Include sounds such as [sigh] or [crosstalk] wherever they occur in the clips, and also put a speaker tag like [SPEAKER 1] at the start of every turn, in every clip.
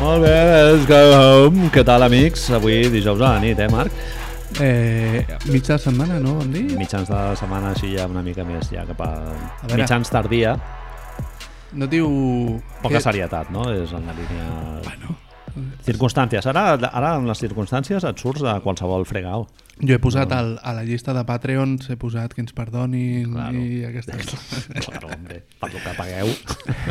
[SPEAKER 1] Molt bé, let's go home. Què tal, amics? Avui dijous a la nit, eh, Marc?
[SPEAKER 2] Eh, mitja de setmana, no vam dir?
[SPEAKER 1] Mitjans de la setmana així ja una mica més, ja cap a...
[SPEAKER 2] A
[SPEAKER 1] a
[SPEAKER 2] veure.
[SPEAKER 1] mitjans tardia.
[SPEAKER 2] No diu...
[SPEAKER 1] Poca
[SPEAKER 2] que-
[SPEAKER 1] serietat, no? És en la línia...
[SPEAKER 2] Eh. Bueno,
[SPEAKER 1] Circumstàncies. Ara, ara amb les circumstàncies et surts de qualsevol
[SPEAKER 2] [laughs]
[SPEAKER 1] fregau.
[SPEAKER 2] jo he posat al, a la llista de Patreons, he posat que ens perdonin
[SPEAKER 1] Claro.
[SPEAKER 2] i aquestes coses.
[SPEAKER 1] Claro, hombre, per lo que
[SPEAKER 2] [laughs]
[SPEAKER 1] pagueu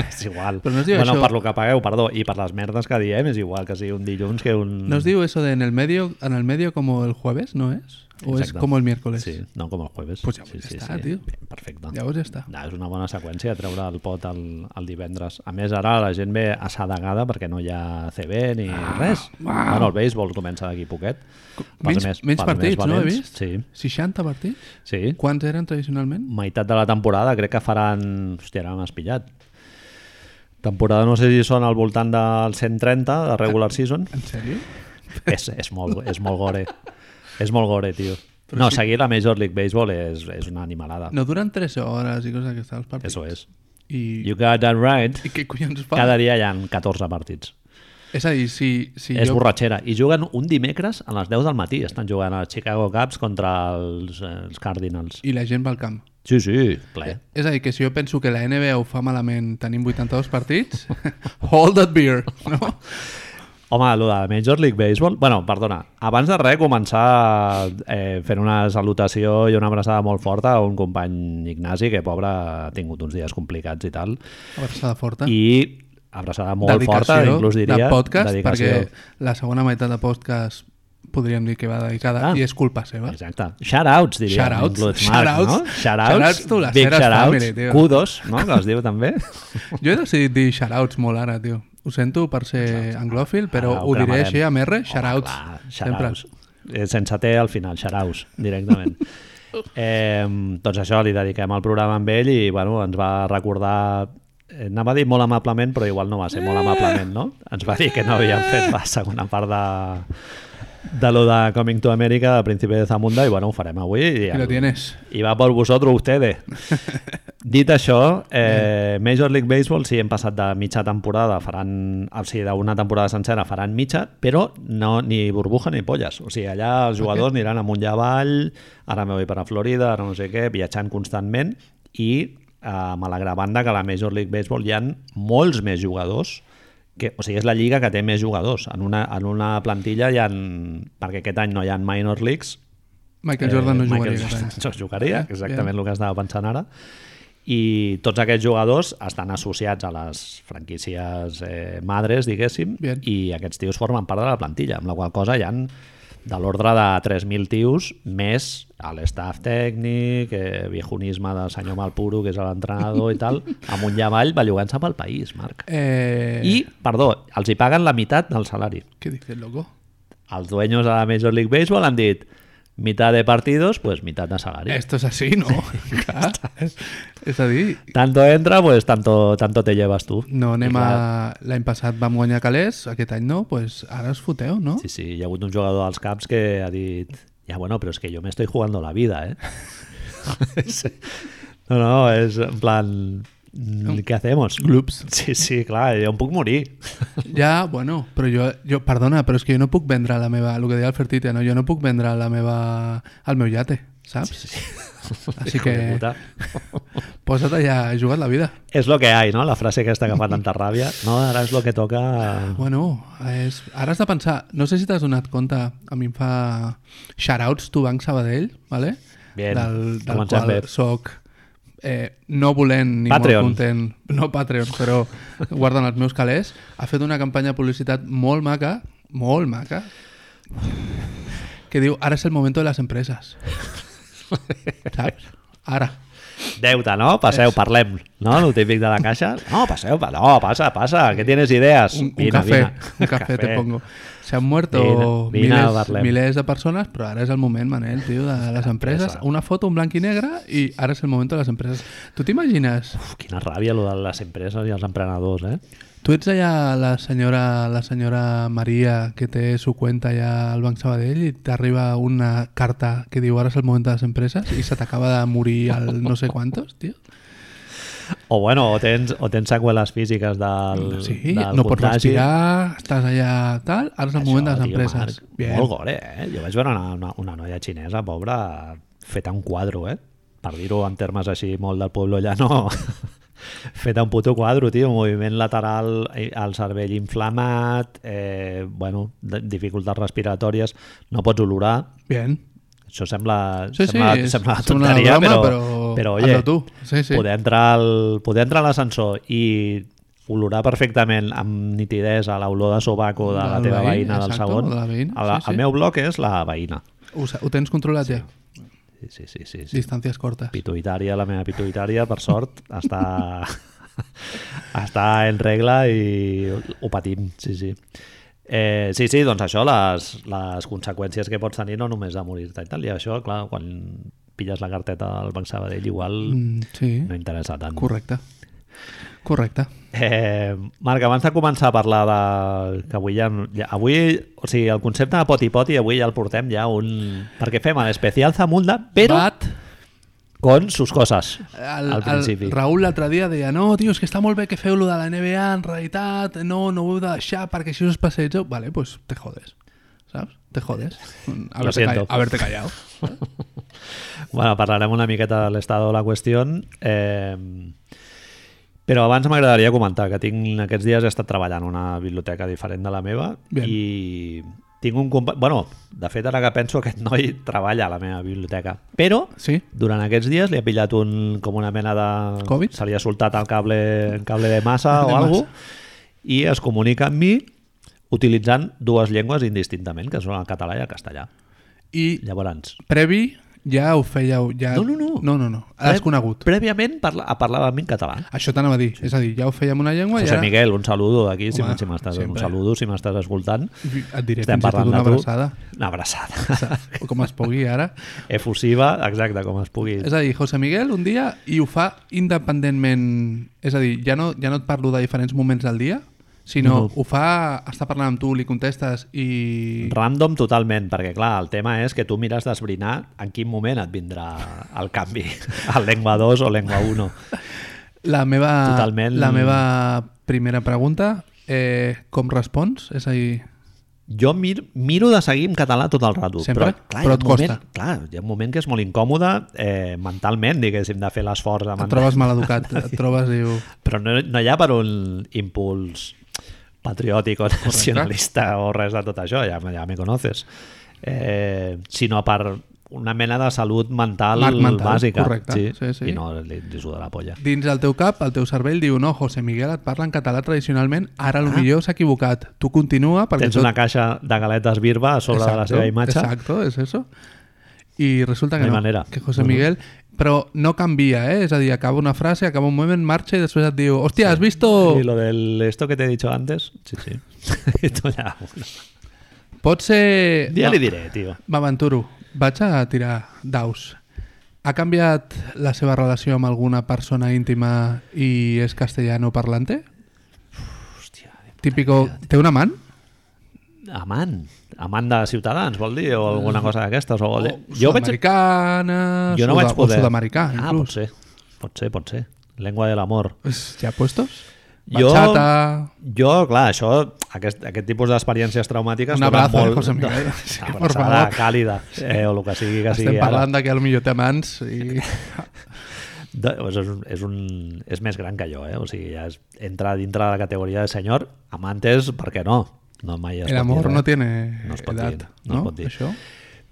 [SPEAKER 1] és igual.
[SPEAKER 2] Però no es diu
[SPEAKER 1] bueno,
[SPEAKER 2] això-
[SPEAKER 1] per lo que pagueu, perdó, i per les merdes que diem és igual que sigui un dilluns que un...
[SPEAKER 2] ¿No os digo eso de en el medio, en el medio como el jueves, no es? ¿O
[SPEAKER 1] Exacte.
[SPEAKER 2] es como el miércoles?
[SPEAKER 1] Sí, no com el jueves.
[SPEAKER 2] Pues ja
[SPEAKER 1] sí,
[SPEAKER 2] està, tio.
[SPEAKER 1] Bé, Perfecte.
[SPEAKER 2] Ya vos ya está.
[SPEAKER 1] No, és una bona seqüència treure el pot el, el divendres. A més, ara la gent ve assadegada perquè no hi ha CB ni ah, res.
[SPEAKER 2] uau.
[SPEAKER 1] Bueno, el béisbol comença d'aquí poquet. Pels
[SPEAKER 2] Menys, menys
[SPEAKER 1] pels
[SPEAKER 2] partits, no? He
[SPEAKER 1] valents.
[SPEAKER 2] vist? 60 partits?
[SPEAKER 1] Sí, sí.
[SPEAKER 2] Quants eren tradicionalment?
[SPEAKER 1] meitat de la temporada crec que faran... Hòstia, ara m'has pillat. Temporada no sé si són al voltant del 130 de
[SPEAKER 2] Ah.
[SPEAKER 1] regular season.
[SPEAKER 2] En sèrio?
[SPEAKER 1] és, és, molt, és molt gore. És molt gore, tio. no, seguir la Major League Baseball és, és una animalada.
[SPEAKER 2] No duren 3 hores i coses d'aquestes els partits.
[SPEAKER 1] Eso és.
[SPEAKER 2] I,
[SPEAKER 1] You got that right.
[SPEAKER 2] I què collons fa?
[SPEAKER 1] Cada dia hi ha 14 partits.
[SPEAKER 2] És a dir, si, si
[SPEAKER 1] és
[SPEAKER 2] jo...
[SPEAKER 1] borratxera. I juguen un dimecres a les 10 del matí. Estan jugant a Chicago Cubs contra els, eh, els Cardinals.
[SPEAKER 2] I la gent va al camp.
[SPEAKER 1] Sí, sí, ple.
[SPEAKER 2] És a dir, que si jo penso que la NBA ho fa malament tenim 82 partits, [laughs] hold that beer, no?
[SPEAKER 1] Home, allò de Major League Baseball... Bueno, perdona, abans de res començar eh, fent una salutació i una abraçada molt forta a un company Ignasi, que pobre ha tingut uns dies complicats i tal.
[SPEAKER 2] Abraçada forta.
[SPEAKER 1] i abraçada molt
[SPEAKER 2] Ah. Dedicació
[SPEAKER 1] forta, inclús diria
[SPEAKER 2] de podcast,
[SPEAKER 1] dedicació.
[SPEAKER 2] perquè la segona meitat de podcast podríem dir que va dedicada
[SPEAKER 1] Ah.
[SPEAKER 2] i és culpa
[SPEAKER 1] [laughs]
[SPEAKER 2] seva.
[SPEAKER 1] Exacte. Shoutouts, diria.
[SPEAKER 2] Shoutouts,
[SPEAKER 1] Inclús, Marc,
[SPEAKER 2] shoutouts.
[SPEAKER 1] no? Shoutouts.
[SPEAKER 2] Shoutouts to la
[SPEAKER 1] big
[SPEAKER 2] Ceres
[SPEAKER 1] shoutouts.
[SPEAKER 2] family, tio.
[SPEAKER 1] Kudos, no? Que es diu també.
[SPEAKER 2] Jo he decidit dir shoutouts molt ara, tio. Ho sento per
[SPEAKER 1] ah.
[SPEAKER 2] ser anglòfil, [laughs] però
[SPEAKER 1] Ara ho
[SPEAKER 2] ho diré
[SPEAKER 1] cremarem.
[SPEAKER 2] així a merre, shoutouts.
[SPEAKER 1] Clar,
[SPEAKER 2] sempre.
[SPEAKER 1] shoutouts. Eh, Sense T al final, shoutouts,
[SPEAKER 2] [laughs]
[SPEAKER 1] directament. eh, doncs això, li dediquem el programa amb ell i bueno, ens va recordar eh, anava a dir molt amablement, però igual no va ser
[SPEAKER 2] Eh!
[SPEAKER 1] molt amablement, no? Ens va dir que no havíem fet la segona part de, de lo de Coming to America, de Príncipe de Zamunda, i bueno, ho farem avui. I,
[SPEAKER 2] I lo tienes.
[SPEAKER 1] I va per vosaltres, ustedes. Dit això, eh, Major League Baseball, sí, hem passat de mitja temporada, faran, o sigui, d'una temporada sencera faran mitja, però no, ni burbuja ni polles. O sigui, allà els jugadors aniran amunt i avall, ara me voy per a Florida, ara no sé què, viatjant constantment, i eh, amb la gran banda que a la Major League Baseball hi han molts més jugadors que, o sigui, és la lliga que té més jugadors. En una, en una plantilla hi ha, perquè aquest any no hi ha minor leagues,
[SPEAKER 2] Michael Jordan no
[SPEAKER 1] eh,
[SPEAKER 2] jugaria.
[SPEAKER 1] Michael Jordan
[SPEAKER 2] aquest any.
[SPEAKER 1] no jugaria,
[SPEAKER 2] Eh,
[SPEAKER 1] exactament
[SPEAKER 2] bien.
[SPEAKER 1] el que estava pensant ara. I tots aquests jugadors estan associats a les franquícies eh, madres, diguéssim,
[SPEAKER 2] Bien.
[SPEAKER 1] i aquests tios formen part de la plantilla, amb la qual cosa hi han de l'ordre de 3.000 tios, més a l'estaf tècnic, eh, viejunisme del senyor Malpuro, que és l'entrenador i
[SPEAKER 2] [laughs]
[SPEAKER 1] tal, amunt i avall, bellugant-se pel país, Marc.
[SPEAKER 2] Eh,
[SPEAKER 1] I, perdó, els hi paguen la meitat del salari
[SPEAKER 2] Què dices, loco?
[SPEAKER 1] els dueños de la Major League Baseball han dit mitad de partidos, pues mitad de salario.
[SPEAKER 2] Esto es así, no?
[SPEAKER 1] [laughs]
[SPEAKER 2] Clar. és a dir,
[SPEAKER 1] Tanto entra, pues tanto, tanto te llevas tú.
[SPEAKER 2] no anem
[SPEAKER 1] I clar,
[SPEAKER 2] a... L'any passat vam guanyar calés, aquest any no, pues ara us foteu, no?
[SPEAKER 1] Sí, sí, hi ha hagut un jugador als Caps que ha dit ja, bueno, però és que jo me estoy jugando la vida,
[SPEAKER 2] [laughs]
[SPEAKER 1] eh? Sí. no, no, és en plan... mm, Què hacemos?
[SPEAKER 2] Glups.
[SPEAKER 1] Sí, sí, clar, jo em puc morir.
[SPEAKER 2] Ja, bueno, però jo, jo, perdona, però és que jo no puc vendre la meva, el que deia el Fertite, no? jo no puc vendre la meva, el meu yate, saps?
[SPEAKER 1] Sí, sí.
[SPEAKER 2] Així
[SPEAKER 1] Hijo de
[SPEAKER 2] que-
[SPEAKER 1] puta.
[SPEAKER 2] Posa't allà, he jugat la vida.
[SPEAKER 1] És lo que hay, no? La frase aquesta que fa tanta ràbia. No, ara és lo que toca...
[SPEAKER 2] Bueno, és... ara has de pensar, no sé si t'has donat compte, a mi em fa shoutouts to Banc Sabadell, ¿vale?
[SPEAKER 1] Bien,
[SPEAKER 2] del, del
[SPEAKER 1] comencem
[SPEAKER 2] qual
[SPEAKER 1] bé.
[SPEAKER 2] soc eh, no volent ni
[SPEAKER 1] Patreon.
[SPEAKER 2] molt content, no Patreon, però guarden els meus calés, ha fet una campanya de publicitat molt maca, molt maca, que diu, ara és el moment de les
[SPEAKER 1] [laughs]
[SPEAKER 2] empreses. Saps? Ara.
[SPEAKER 1] Deute, no? Passeu, parlem. No? El típic de la caixa. No, passeu, pa- no, passa, passa, que tienes idees.
[SPEAKER 2] Un, un cafè, un cafè, te pongo. Se han muerto
[SPEAKER 1] Vine- vine,
[SPEAKER 2] miles,
[SPEAKER 1] parlem.
[SPEAKER 2] miles de persones, però ara és el moment, Manel, tio, de les empreses.
[SPEAKER 1] empresa.
[SPEAKER 2] Una foto en blanc i negre i ara és el moment de les empreses. Tu t'imagines?
[SPEAKER 1] Uf, quina ràbia, allò de les empreses i els emprenedors, eh?
[SPEAKER 2] Tu ets allà la senyora, la senyora Maria que té su cuenta allà al Banc Sabadell i t'arriba una carta que diu ara és el moment de les empreses i se t'acaba de morir al no sé quantos, tio.
[SPEAKER 1] O bueno, o tens, o tens seqüeles físiques del,
[SPEAKER 2] Sí,
[SPEAKER 1] del
[SPEAKER 2] no pots
[SPEAKER 1] contagi.
[SPEAKER 2] respirar, estàs allà tal, ara és el moment de les
[SPEAKER 1] Això, tio,
[SPEAKER 2] empreses.
[SPEAKER 1] Marc,
[SPEAKER 2] Bien.
[SPEAKER 1] Molt gore, eh? Jo vaig veure una, una, una noia xinesa, pobra, feta un quadro, eh? Per dir-ho en termes així molt del poble llano, [laughs] feta un puto quadro, tio, moviment lateral, eh, el cervell inflamat, eh, bueno, de- dificultats respiratòries, no pots olorar,
[SPEAKER 2] Bien.
[SPEAKER 1] això sembla,
[SPEAKER 2] Sí, sí,
[SPEAKER 1] sembla,
[SPEAKER 2] és-
[SPEAKER 1] sembla
[SPEAKER 2] sembla una
[SPEAKER 1] tonteria,
[SPEAKER 2] broma,
[SPEAKER 1] però,
[SPEAKER 2] però
[SPEAKER 1] però
[SPEAKER 2] hazlo
[SPEAKER 1] oye,
[SPEAKER 2] tu. Sí, sí.
[SPEAKER 1] poder entrar al, poder entrar a l'ascensor i olorar perfectament amb nitidesa l'olor de sobaco de la
[SPEAKER 2] Del
[SPEAKER 1] teva
[SPEAKER 2] veí,
[SPEAKER 1] veïna del
[SPEAKER 2] exacte,
[SPEAKER 1] segon.
[SPEAKER 2] o de la veïna,
[SPEAKER 1] a la,
[SPEAKER 2] sí, sí.
[SPEAKER 1] El meu bloc és la veïna.
[SPEAKER 2] Ho, sa- ho tens controlat ja?
[SPEAKER 1] Sí, sí, sí. sí, sí.
[SPEAKER 2] Distàncies cortes.
[SPEAKER 1] Pituitària, la meva pituitària, per sort, està, [laughs] està en regla i ho patim, sí, sí. Eh, sí, sí, doncs això, les, les conseqüències que pots tenir no només de morir-te i tal, i això, clar, quan pilles la carteta del Banc Sabadell igual
[SPEAKER 2] Mm, sí,
[SPEAKER 1] no interessa tant.
[SPEAKER 2] correcte. Correcte.
[SPEAKER 1] Eh, Marc, abans de començar a parlar de... que avui ja... ja avui, o sigui, el concepte de poti poti avui ja el portem ja un... perquè fem l'especial Zamunda, però
[SPEAKER 2] Bat,
[SPEAKER 1] con sus coses,
[SPEAKER 2] el,
[SPEAKER 1] al principi.
[SPEAKER 2] El Raül l'altre dia deia no, tio, és que està molt bé que feu lo de la NBA en realitat, no, no ho heu de deixar perquè així us passegeu. Vale, pues te jodes. Saps? Te jodes. Mm, Haberte,
[SPEAKER 1] siento.
[SPEAKER 2] call- haberte
[SPEAKER 1] [laughs]
[SPEAKER 2] callado.
[SPEAKER 1] Bueno, parlarem una miqueta de l'estado de la qüestió. Eh, però abans m'agradaria comentar que tinc, aquests dies he estat treballant a una biblioteca diferent de la meva
[SPEAKER 2] Bien.
[SPEAKER 1] i tinc un company... Bueno, de fet, ara que penso, aquest noi treballa a la meva biblioteca. Però
[SPEAKER 2] Sí?
[SPEAKER 1] durant aquests dies li ha pillat un, com una mena de...
[SPEAKER 2] Covid?
[SPEAKER 1] Se li ha soltat el cable, el cable de massa
[SPEAKER 2] De
[SPEAKER 1] o
[SPEAKER 2] massa.
[SPEAKER 1] alguna i es comunica amb mi utilitzant dues llengües indistintament, que són el català i el castellà.
[SPEAKER 2] I
[SPEAKER 1] Llavors,
[SPEAKER 2] previ ja ho fèieu. Ja...
[SPEAKER 1] No, no, no.
[SPEAKER 2] No, no, no. L'has conegut.
[SPEAKER 1] Prèviament parla, parlava amb mi en català.
[SPEAKER 2] Això t'anava a dir. És a dir, Ah, ja ho fèiem una llengua i
[SPEAKER 1] José
[SPEAKER 2] ara
[SPEAKER 1] Miguel, un saludo d'aquí, si,
[SPEAKER 2] Home,
[SPEAKER 1] si m'estàs un
[SPEAKER 2] sempre.
[SPEAKER 1] saludo, si m'estàs escoltant.
[SPEAKER 2] et diré
[SPEAKER 1] Estem
[SPEAKER 2] fins i tot
[SPEAKER 1] parlant
[SPEAKER 2] una
[SPEAKER 1] de tu.
[SPEAKER 2] abraçada.
[SPEAKER 1] Una abraçada.
[SPEAKER 2] O com es pugui ara.
[SPEAKER 1] [laughs] Efusiva, exacte, com es pugui.
[SPEAKER 2] És a dir, José Miguel un dia i ho fa independentment... És a dir, ja no, ja no et parlo de diferents moments del dia, sinó
[SPEAKER 1] No.
[SPEAKER 2] ho fa, està parlant amb tu, li contestes i...
[SPEAKER 1] Random totalment, perquè clar, el tema és que tu mires d'esbrinar en quin moment et vindrà el canvi, [laughs] el lengua 2 o lengua 1.
[SPEAKER 2] La meva,
[SPEAKER 1] Totalment.
[SPEAKER 2] la meva primera pregunta, eh, com respons? És a dir,
[SPEAKER 1] Jo mir, miro de seguir en català tot el rato.
[SPEAKER 2] Sempre?
[SPEAKER 1] Però, clar, hi ha
[SPEAKER 2] Però et
[SPEAKER 1] un moment,
[SPEAKER 2] costa.
[SPEAKER 1] Clar, hi ha un moment que és molt incòmode eh, mentalment, diguéssim, de fer l'esforç de
[SPEAKER 2] et trobes
[SPEAKER 1] [laughs]
[SPEAKER 2] maleducat, et trobes, diu...
[SPEAKER 1] però no, no hi ha per un impuls patriòtic o nacionalista o res de tot això, ja, ja me conoces, eh, sinó per una mena de salut mental,
[SPEAKER 2] Marc mental,
[SPEAKER 1] bàsica.
[SPEAKER 2] correcte, sí, sí.
[SPEAKER 1] I no li, li suda la polla.
[SPEAKER 2] Dins del teu cap, el teu cervell diu no, José Miguel et parla en català tradicionalment, ara ah. millor s'ha equivocat. Tu continua perquè
[SPEAKER 1] Tens una caixa de galetes birba a sobre de la
[SPEAKER 2] Exacto,
[SPEAKER 1] seva imatge.
[SPEAKER 2] Exacto, es eso. Y resulta que
[SPEAKER 1] No
[SPEAKER 2] no,
[SPEAKER 1] hay manera.
[SPEAKER 2] que José
[SPEAKER 1] No, no.
[SPEAKER 2] Miguel... Pero no cambia, ¿eh? Es decir, acaba una frase, acaba un movimiento, marcha y después te digo, hostia, ¿has visto?
[SPEAKER 1] Y lo del esto que te he dicho antes, sí, sí. [laughs] Esto ya, bueno.
[SPEAKER 2] Pot ser...
[SPEAKER 1] Ya
[SPEAKER 2] No,
[SPEAKER 1] le diré, tío.
[SPEAKER 2] M'aventuro. Vaig a tirar daus. Ha canviat la seva relació amb alguna persona íntima i és castellano parlante?
[SPEAKER 1] Hòstia.
[SPEAKER 2] Típico... Té un amant?
[SPEAKER 1] Amant. Amant de Ciutadans, vol dir? O alguna cosa d'aquestes. O...
[SPEAKER 2] O
[SPEAKER 1] jo vaig,
[SPEAKER 2] Sudamericana...
[SPEAKER 1] Jo no
[SPEAKER 2] suda-
[SPEAKER 1] vaig poder.
[SPEAKER 2] O sudamericà,
[SPEAKER 1] Ah, pot
[SPEAKER 2] inclús. Pues,
[SPEAKER 1] ser. Pot ser, pot ser. Lengua de l'amor.
[SPEAKER 2] Ja puestos?
[SPEAKER 1] Jo-
[SPEAKER 2] Bachata...
[SPEAKER 1] Jo, clar, això, aquest, aquest tipus d'experiències traumàtiques...
[SPEAKER 2] Un
[SPEAKER 1] donen
[SPEAKER 2] abrazo, eh,
[SPEAKER 1] molt...
[SPEAKER 2] José Miguel.
[SPEAKER 1] [laughs]
[SPEAKER 2] Sí,
[SPEAKER 1] Una
[SPEAKER 2] por
[SPEAKER 1] abraçada
[SPEAKER 2] favor.
[SPEAKER 1] càlida, eh, o el que sigui que
[SPEAKER 2] Estem
[SPEAKER 1] sigui
[SPEAKER 2] parlant de que el millor té amants
[SPEAKER 1] [laughs]
[SPEAKER 2] i...
[SPEAKER 1] ara. De, és, un, és, un, és més gran que jo, eh? O sigui, ja és, entra dintre de la categoria de senyor, amantes, per què no? No mai es
[SPEAKER 2] El
[SPEAKER 1] pot dir
[SPEAKER 2] amor
[SPEAKER 1] res.
[SPEAKER 2] no tiene
[SPEAKER 1] No es pot
[SPEAKER 2] edad,
[SPEAKER 1] dir, no
[SPEAKER 2] no?
[SPEAKER 1] es pot dir.
[SPEAKER 2] Això?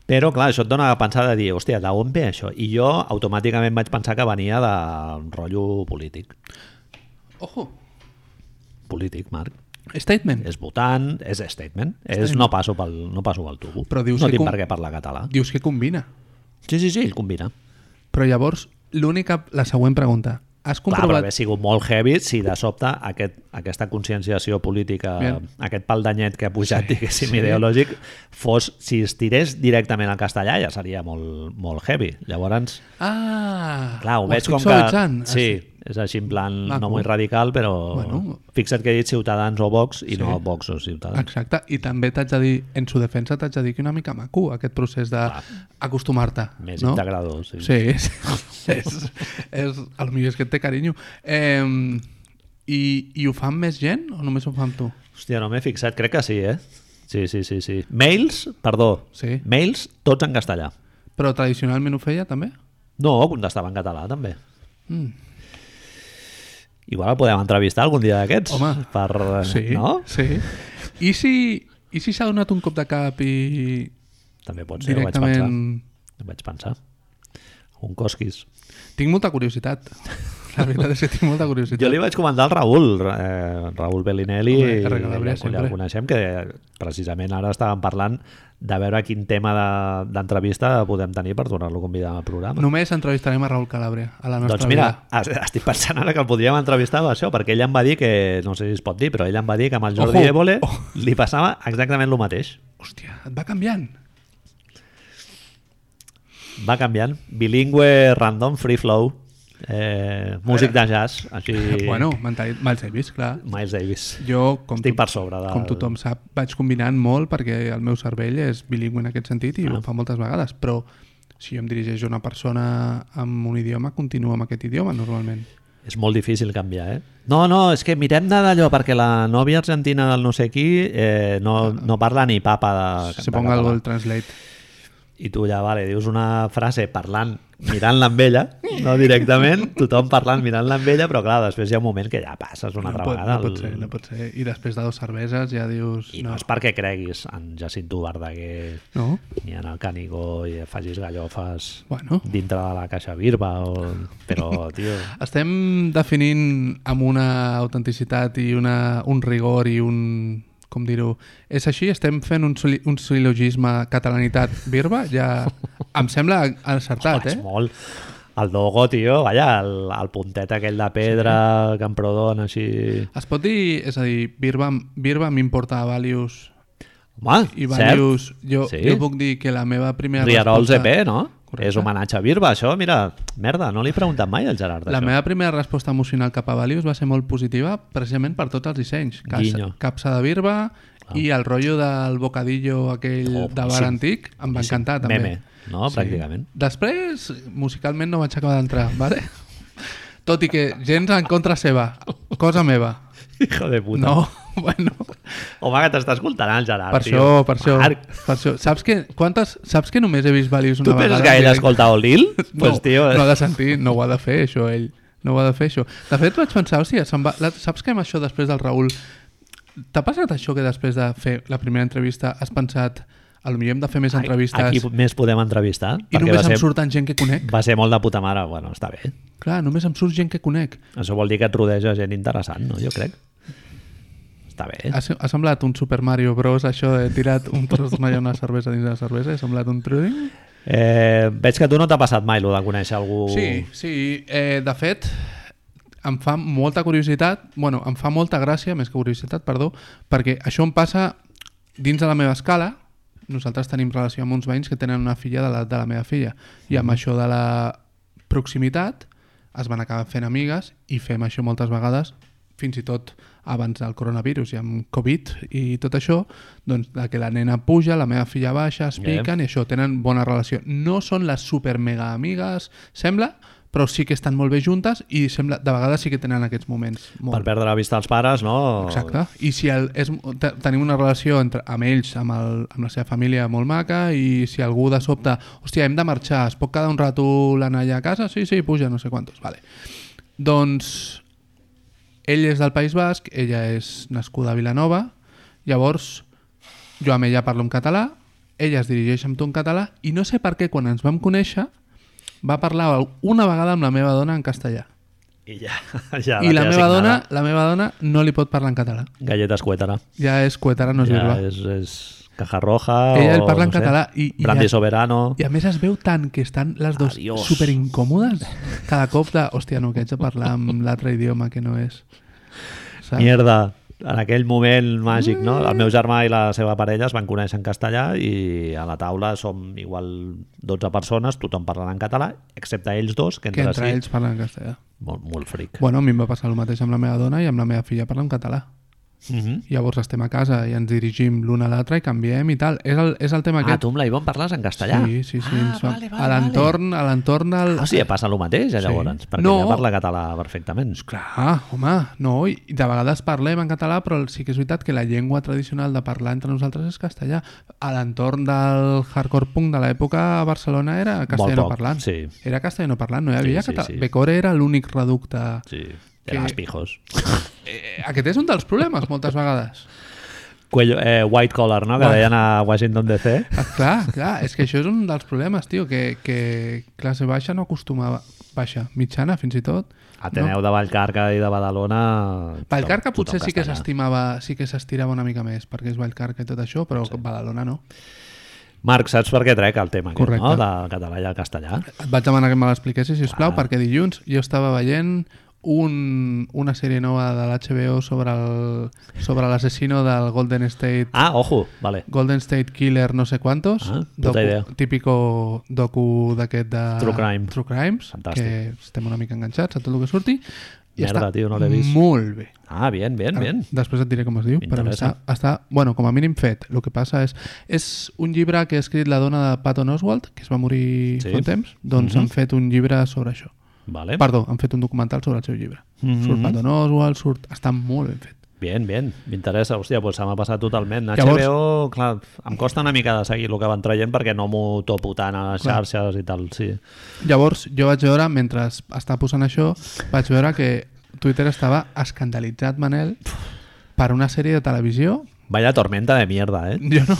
[SPEAKER 1] Però, clar, això et dona a pensar de dir, hòstia, d'on ve això? I jo automàticament vaig pensar que venia d'un rotllo polític.
[SPEAKER 2] Ojo,
[SPEAKER 1] Polític, Marc.
[SPEAKER 2] statement.
[SPEAKER 1] és votant, és statement, és no passo pel, no passo pel tubo.
[SPEAKER 2] Però dius
[SPEAKER 1] no
[SPEAKER 2] que
[SPEAKER 1] tinc
[SPEAKER 2] com-
[SPEAKER 1] per què parlar català.
[SPEAKER 2] Dius que combina.
[SPEAKER 1] Sí, sí, sí, el combina.
[SPEAKER 2] Però llavors, l'única... La següent pregunta. Has
[SPEAKER 1] Clar, però
[SPEAKER 2] comprovat...
[SPEAKER 1] hagués sigut molt heavy si de sobte aquest, aquesta conscienciació política,
[SPEAKER 2] Bien.
[SPEAKER 1] aquest pal d'anyet que ha pujat, sí, diguéssim,
[SPEAKER 2] sí.
[SPEAKER 1] ideològic, fos, si es tirés directament al castellà ja seria molt, molt heavy. Llavors,
[SPEAKER 2] Ah,
[SPEAKER 1] clar, ho, veig
[SPEAKER 2] estic
[SPEAKER 1] com que...
[SPEAKER 2] suavitzant.
[SPEAKER 1] Sí,
[SPEAKER 2] Estic-
[SPEAKER 1] És així en plan,
[SPEAKER 2] Maco.
[SPEAKER 1] no molt radical, però
[SPEAKER 2] Bueno.
[SPEAKER 1] fixa't que he dit Ciutadans o Vox i
[SPEAKER 2] Sí.
[SPEAKER 1] no Vox o Ciutadans.
[SPEAKER 2] Exacte, i també t'haig de dir, en su defensa t'haig de dir que una mica maco aquest procés d'acostumar-te.
[SPEAKER 1] Més
[SPEAKER 2] no?
[SPEAKER 1] integrador, sí.
[SPEAKER 2] Sí, és, [laughs] és, és, el millor és que et té carinyo. Eh, i, I ho fan més gent o només ho fan tu?
[SPEAKER 1] Hòstia, no m'he fixat, crec que sí, eh? Sí, sí, sí, sí. Mails, perdó,
[SPEAKER 2] Sí.
[SPEAKER 1] mails tots en castellà.
[SPEAKER 2] Però tradicionalment ho feia també?
[SPEAKER 1] No, contestava en català també.
[SPEAKER 2] Mm.
[SPEAKER 1] Igual el podem entrevistar algun dia d'aquests.
[SPEAKER 2] Home.
[SPEAKER 1] per, eh,
[SPEAKER 2] Sí,
[SPEAKER 1] No?
[SPEAKER 2] sí. I si i si s'ha donat un cop de cap i
[SPEAKER 1] També pot ser,
[SPEAKER 2] directament...
[SPEAKER 1] ho vaig pensar. Ho vaig pensar. Un cosquis.
[SPEAKER 2] Tinc molta curiositat. La veritat és que tinc molta
[SPEAKER 1] Jo
[SPEAKER 2] curiositat.
[SPEAKER 1] li vaig comentar al Raül, eh, Raül Bellinelli,
[SPEAKER 2] Home, que
[SPEAKER 1] que
[SPEAKER 2] regalabria
[SPEAKER 1] el,
[SPEAKER 2] sempre.
[SPEAKER 1] coneixem, que precisament ara estàvem parlant de veure quin tema de- d'entrevista de, podem tenir per tornar-lo a convidar al programa.
[SPEAKER 2] Només entrevistarem a Raül Calabria, a la nostra
[SPEAKER 1] doncs mira, es- estic pensant ara que el podríem entrevistar per això, perquè ell em va dir que, no sé si es pot dir, però ell em va dir que amb el Jordi
[SPEAKER 2] Ojo.
[SPEAKER 1] Évole
[SPEAKER 2] Oh.
[SPEAKER 1] li passava exactament el mateix.
[SPEAKER 2] vida. Hòstia, et va canviant.
[SPEAKER 1] Va canviant. Bilingüe, random, free flow, eh, músic de jazz, així...
[SPEAKER 2] [laughs] Bueno, mentalitat, mal Davis, clar.
[SPEAKER 1] Miles Davis.
[SPEAKER 2] Jo, com,
[SPEAKER 1] Estic
[SPEAKER 2] tot-
[SPEAKER 1] per sobre del-
[SPEAKER 2] com tothom sap, vaig combinant molt perquè el meu cervell és bilingüe en aquest sentit i ah. ho fa moltes vegades, però si jo em dirigeixo a una persona amb un idioma, continuo amb aquest idioma normalment.
[SPEAKER 1] És molt difícil canviar, eh? No, no, és que mirem de d'allò, perquè la nòvia argentina del no sé qui eh, no, no parla ni papa de,
[SPEAKER 2] Ah.
[SPEAKER 1] de
[SPEAKER 2] Se ponga
[SPEAKER 1] català.
[SPEAKER 2] el translate.
[SPEAKER 1] I tu ja, vale, dius una frase parlant, mirant-la amb ella, no directament, tothom parlant, mirant-la amb ella, però clar, després hi ha un moment que ja passes una
[SPEAKER 2] no,
[SPEAKER 1] altra
[SPEAKER 2] pot,
[SPEAKER 1] vegada.
[SPEAKER 2] no pot
[SPEAKER 1] el-
[SPEAKER 2] ser, no pot ser. I després de dues cerveses ja dius...
[SPEAKER 1] I no. no és perquè creguis en Jacinto Verdaguer
[SPEAKER 2] No?
[SPEAKER 1] ni en el Canigó i facis gallofes
[SPEAKER 2] Bueno.
[SPEAKER 1] dintre de la caixa birba o...
[SPEAKER 2] [laughs]
[SPEAKER 1] però, tio,
[SPEAKER 2] Estem definint amb una autenticitat i una, un rigor i un... com dir-ho... És així? Estem fent un, soli- un silogisme catalanitat-birba?
[SPEAKER 1] [laughs]
[SPEAKER 2] Ja... Em sembla encertat,
[SPEAKER 1] Vaig
[SPEAKER 2] eh?
[SPEAKER 1] molt. El Dogo, tio, vaja, el, el puntet aquell de pedra, sí. Camprodon, així...
[SPEAKER 2] Es pot dir... És a dir, birba, birba m'importa Valius
[SPEAKER 1] Home,
[SPEAKER 2] i
[SPEAKER 1] cert.
[SPEAKER 2] Valius... Jo,
[SPEAKER 1] Sí.
[SPEAKER 2] jo puc dir que la meva primera
[SPEAKER 1] Rierols E EP,
[SPEAKER 2] resposta...
[SPEAKER 1] no?
[SPEAKER 2] doncs Correcte.
[SPEAKER 1] És homenatge a Birba, això, mira, merda, no li he preguntat mai al Gerard,
[SPEAKER 2] La
[SPEAKER 1] això.
[SPEAKER 2] meva primera resposta emocional cap a Valius va ser molt positiva precisament per tots els dissenys. Capsa,
[SPEAKER 1] Guinyo.
[SPEAKER 2] capsa de birba Clar. i el rotllo del bocadillo aquell
[SPEAKER 1] Oh,
[SPEAKER 2] oh, de bar
[SPEAKER 1] boníssim.
[SPEAKER 2] antic em va
[SPEAKER 1] Boníssim.
[SPEAKER 2] encantar també.
[SPEAKER 1] Meme, no? Pràcticament. [laughs]
[SPEAKER 2] Després, musicalment no vaig acabar d'entrar, [laughs] vale? tot i que gens en contra seva, cosa meva.
[SPEAKER 1] Hijo de puta.
[SPEAKER 2] No, [laughs] bueno,
[SPEAKER 1] Home, que t'està escoltant el Gerard,
[SPEAKER 2] per
[SPEAKER 1] tio.
[SPEAKER 2] això, per això,
[SPEAKER 1] Marc,
[SPEAKER 2] per això. Saps que, quantes, saps que només he vist Valius una
[SPEAKER 1] tu
[SPEAKER 2] vegada?
[SPEAKER 1] penses que ell
[SPEAKER 2] en directe?
[SPEAKER 1] escolta Olil? Doncs,
[SPEAKER 2] [laughs] No,
[SPEAKER 1] pues, tio...
[SPEAKER 2] no ha de sentir, no ho ha de fer això ell, no ho ha de fer això de fet vaig pensar, hòstia, se'm va... la... saps que amb això després del Raül t'ha passat això que després de fer la primera entrevista has pensat, a lo millor hem de fer més entrevistes
[SPEAKER 1] Aquí més podem entrevistar.
[SPEAKER 2] i
[SPEAKER 1] perquè va
[SPEAKER 2] només em
[SPEAKER 1] ser,
[SPEAKER 2] surten gent que conec
[SPEAKER 1] va ser molt de puta mare. Bueno, està bé.
[SPEAKER 2] clar, només em surt gent que conec
[SPEAKER 1] Això vol dir que et rodeja gent interessant, no? Jo crec. Està bé.
[SPEAKER 2] ha, se- ha semblat un Super Mario Bros això de tirat un tros d'una i una cervesa dins de la cervesa, ha semblat un truding
[SPEAKER 1] Eh, veig que a tu no t'ha passat mai lo de conèixer algú...
[SPEAKER 2] Sí, sí. Eh, de fet, em fa molta curiositat, bueno, em fa molta gràcia, més que curiositat, perdó, perquè això em passa dins de la meva escala. Nosaltres tenim relació amb uns veïns que tenen una filla de l'edat de la meva filla. I amb això de la proximitat es van acabar fent amigues i fem això moltes vegades fins i tot abans del coronavirus i amb Covid i tot això, doncs de que la nena puja, la meva filla baixa, es
[SPEAKER 1] Bé.
[SPEAKER 2] piquen i això, tenen bona relació. No són les super mega amigues, sembla, però sí que estan molt bé juntes i sembla, de vegades sí que tenen aquests moments. Molt.
[SPEAKER 1] Per perdre la vista als pares, no?
[SPEAKER 2] Exacte. I si el, és, te, tenim una relació entre, amb ells, amb, el, amb la seva família molt maca, i si algú de sobte, hòstia, hem de marxar, es pot quedar un rato la Naya a casa? Sí, sí, puja, no sé quantos. Vale. Doncs ell és del País Basc, ella és nascuda a Vilanova, llavors jo amb ella parlo en català, ella es dirigeix amb tu en català, i no sé per què quan ens vam conèixer va parlar una vegada amb la meva dona en castellà.
[SPEAKER 1] I ja, [laughs] ja
[SPEAKER 2] I la
[SPEAKER 1] té
[SPEAKER 2] meva,
[SPEAKER 1] assignada.
[SPEAKER 2] dona, la meva dona no li pot parlar en català.
[SPEAKER 1] Galletes cuétara.
[SPEAKER 2] Ja és coetara, no és ja
[SPEAKER 1] ja
[SPEAKER 2] birba.
[SPEAKER 1] és, és caja roja o,
[SPEAKER 2] Ella el parla
[SPEAKER 1] no
[SPEAKER 2] en català
[SPEAKER 1] sé,
[SPEAKER 2] i- i
[SPEAKER 1] Brandy
[SPEAKER 2] ja-
[SPEAKER 1] soberano.
[SPEAKER 2] I a més es veu tant que estan les dues
[SPEAKER 1] Adiós.
[SPEAKER 2] super
[SPEAKER 1] [laughs]
[SPEAKER 2] incòmodes cada cop de, hòstia, no, que haig de parlar amb l'altre idioma que no és. Saps?
[SPEAKER 1] Mierda. En aquell moment màgic, no?
[SPEAKER 2] Mm.
[SPEAKER 1] El meu germà i la seva parella es van conèixer en castellà i a la taula som igual 12 persones, tothom parlant en català, excepte ells dos, que
[SPEAKER 2] Que
[SPEAKER 1] entre,
[SPEAKER 2] entre
[SPEAKER 1] si
[SPEAKER 2] ells parlen en castellà.
[SPEAKER 1] molt, molt fric.
[SPEAKER 2] Bueno, a mi em va passar el mateix amb la meva dona i amb la meva filla parla en català.
[SPEAKER 1] Mhm.
[SPEAKER 2] Llavors estem a casa i ens dirigim l'un a l'altre i canviem i tal. És el, és el tema
[SPEAKER 1] Ah,
[SPEAKER 2] aquest.
[SPEAKER 1] tu amb la Ivonne parles en castellà?
[SPEAKER 2] Sí, sí, sí.
[SPEAKER 1] Ah,
[SPEAKER 2] ens va-
[SPEAKER 1] vale,
[SPEAKER 2] a
[SPEAKER 1] vale, vale.
[SPEAKER 2] l'entorn, a l'entorn... Al...
[SPEAKER 1] Ah, o sigui, passa el mateix, eh,
[SPEAKER 2] Sí.
[SPEAKER 1] llavors, perquè
[SPEAKER 2] No.
[SPEAKER 1] no. ja parla català perfectament.
[SPEAKER 2] Clar, Ah, home, no, i de vegades parlem en català, però sí que és veritat que la llengua tradicional de parlar entre nosaltres és castellà. A l'entorn del hardcore punk de l'època a Barcelona era castellano
[SPEAKER 1] poc,
[SPEAKER 2] parlant.
[SPEAKER 1] sí.
[SPEAKER 2] Era castellano parlant, no hi havia
[SPEAKER 1] sí,
[SPEAKER 2] català.
[SPEAKER 1] sí.
[SPEAKER 2] Becore era l'únic reducte.
[SPEAKER 1] Sí, eren
[SPEAKER 2] Que-
[SPEAKER 1] els pijos.
[SPEAKER 2] Eh, aquest és un dels problemes, moltes vegades.
[SPEAKER 1] Cuello, eh, white collar, no?, que
[SPEAKER 2] Bueno.
[SPEAKER 1] deien a Washington DC.
[SPEAKER 2] Ah, clar, clar, és que això és un dels problemes, tio, que, que classe baixa no acostumava... Baixa, mitjana, fins i tot.
[SPEAKER 1] Ateneu de Vallcarca i de Badalona...
[SPEAKER 2] Vallcarca
[SPEAKER 1] tothom-
[SPEAKER 2] potser
[SPEAKER 1] tothom
[SPEAKER 2] sí que
[SPEAKER 1] castellà.
[SPEAKER 2] s'estimava, sí que s'estirava una mica més, perquè és Vallcarca i tot això, però sí. Badalona no.
[SPEAKER 1] Marc, saps per què trec el tema aquest,
[SPEAKER 2] Correcte.
[SPEAKER 1] no? Del català i el castellà.
[SPEAKER 2] Et vaig demanar que me l'expliquessis, sisplau, ah. perquè dilluns jo estava veient un, una sèrie nova de l'HBO sobre el- sobre l'assassino del Golden State
[SPEAKER 1] Ah, ojo, vale.
[SPEAKER 2] Golden State Killer no sé quantos
[SPEAKER 1] Ah, puta idea.
[SPEAKER 2] típico docu d'aquest de
[SPEAKER 1] True crime.
[SPEAKER 2] True Crimes
[SPEAKER 1] Fantàstic.
[SPEAKER 2] que estem una mica enganxats a tot el que surti i
[SPEAKER 1] Merda,
[SPEAKER 2] està
[SPEAKER 1] tio, no l'he vist.
[SPEAKER 2] molt bé
[SPEAKER 1] Ah, bien, bien,
[SPEAKER 2] Ara,
[SPEAKER 1] bien.
[SPEAKER 2] Després et diré com es diu, però està,
[SPEAKER 1] M'interessa.
[SPEAKER 2] està, bueno, com a mínim fet. El que passa és... És un llibre que ha escrit la dona de Patton Oswalt, que es va morir
[SPEAKER 1] Sí. Mhm. Eh?
[SPEAKER 2] fa un temps, doncs han fet un llibre sobre això.
[SPEAKER 1] Vale.
[SPEAKER 2] Perdó, han fet un documental sobre el seu llibre.
[SPEAKER 1] Mhm.
[SPEAKER 2] Surt Patton Oswalt, surt... Està molt ben fet.
[SPEAKER 1] Bien, bien. M'interessa, hòstia, doncs se m'ha passat totalment. A
[SPEAKER 2] Llavors-
[SPEAKER 1] HBO, clar, em costa una mica de seguir el que van traient perquè no m'ho topo tant a les xarxes i tal, sí.
[SPEAKER 2] Llavors, jo vaig veure, mentre es- estava posant això, vaig veure que Twitter estava escandalitzat, Manel, per una sèrie de televisió
[SPEAKER 1] Vaya tormenta de mierda, eh?
[SPEAKER 2] Yo
[SPEAKER 1] [laughs]
[SPEAKER 2] no.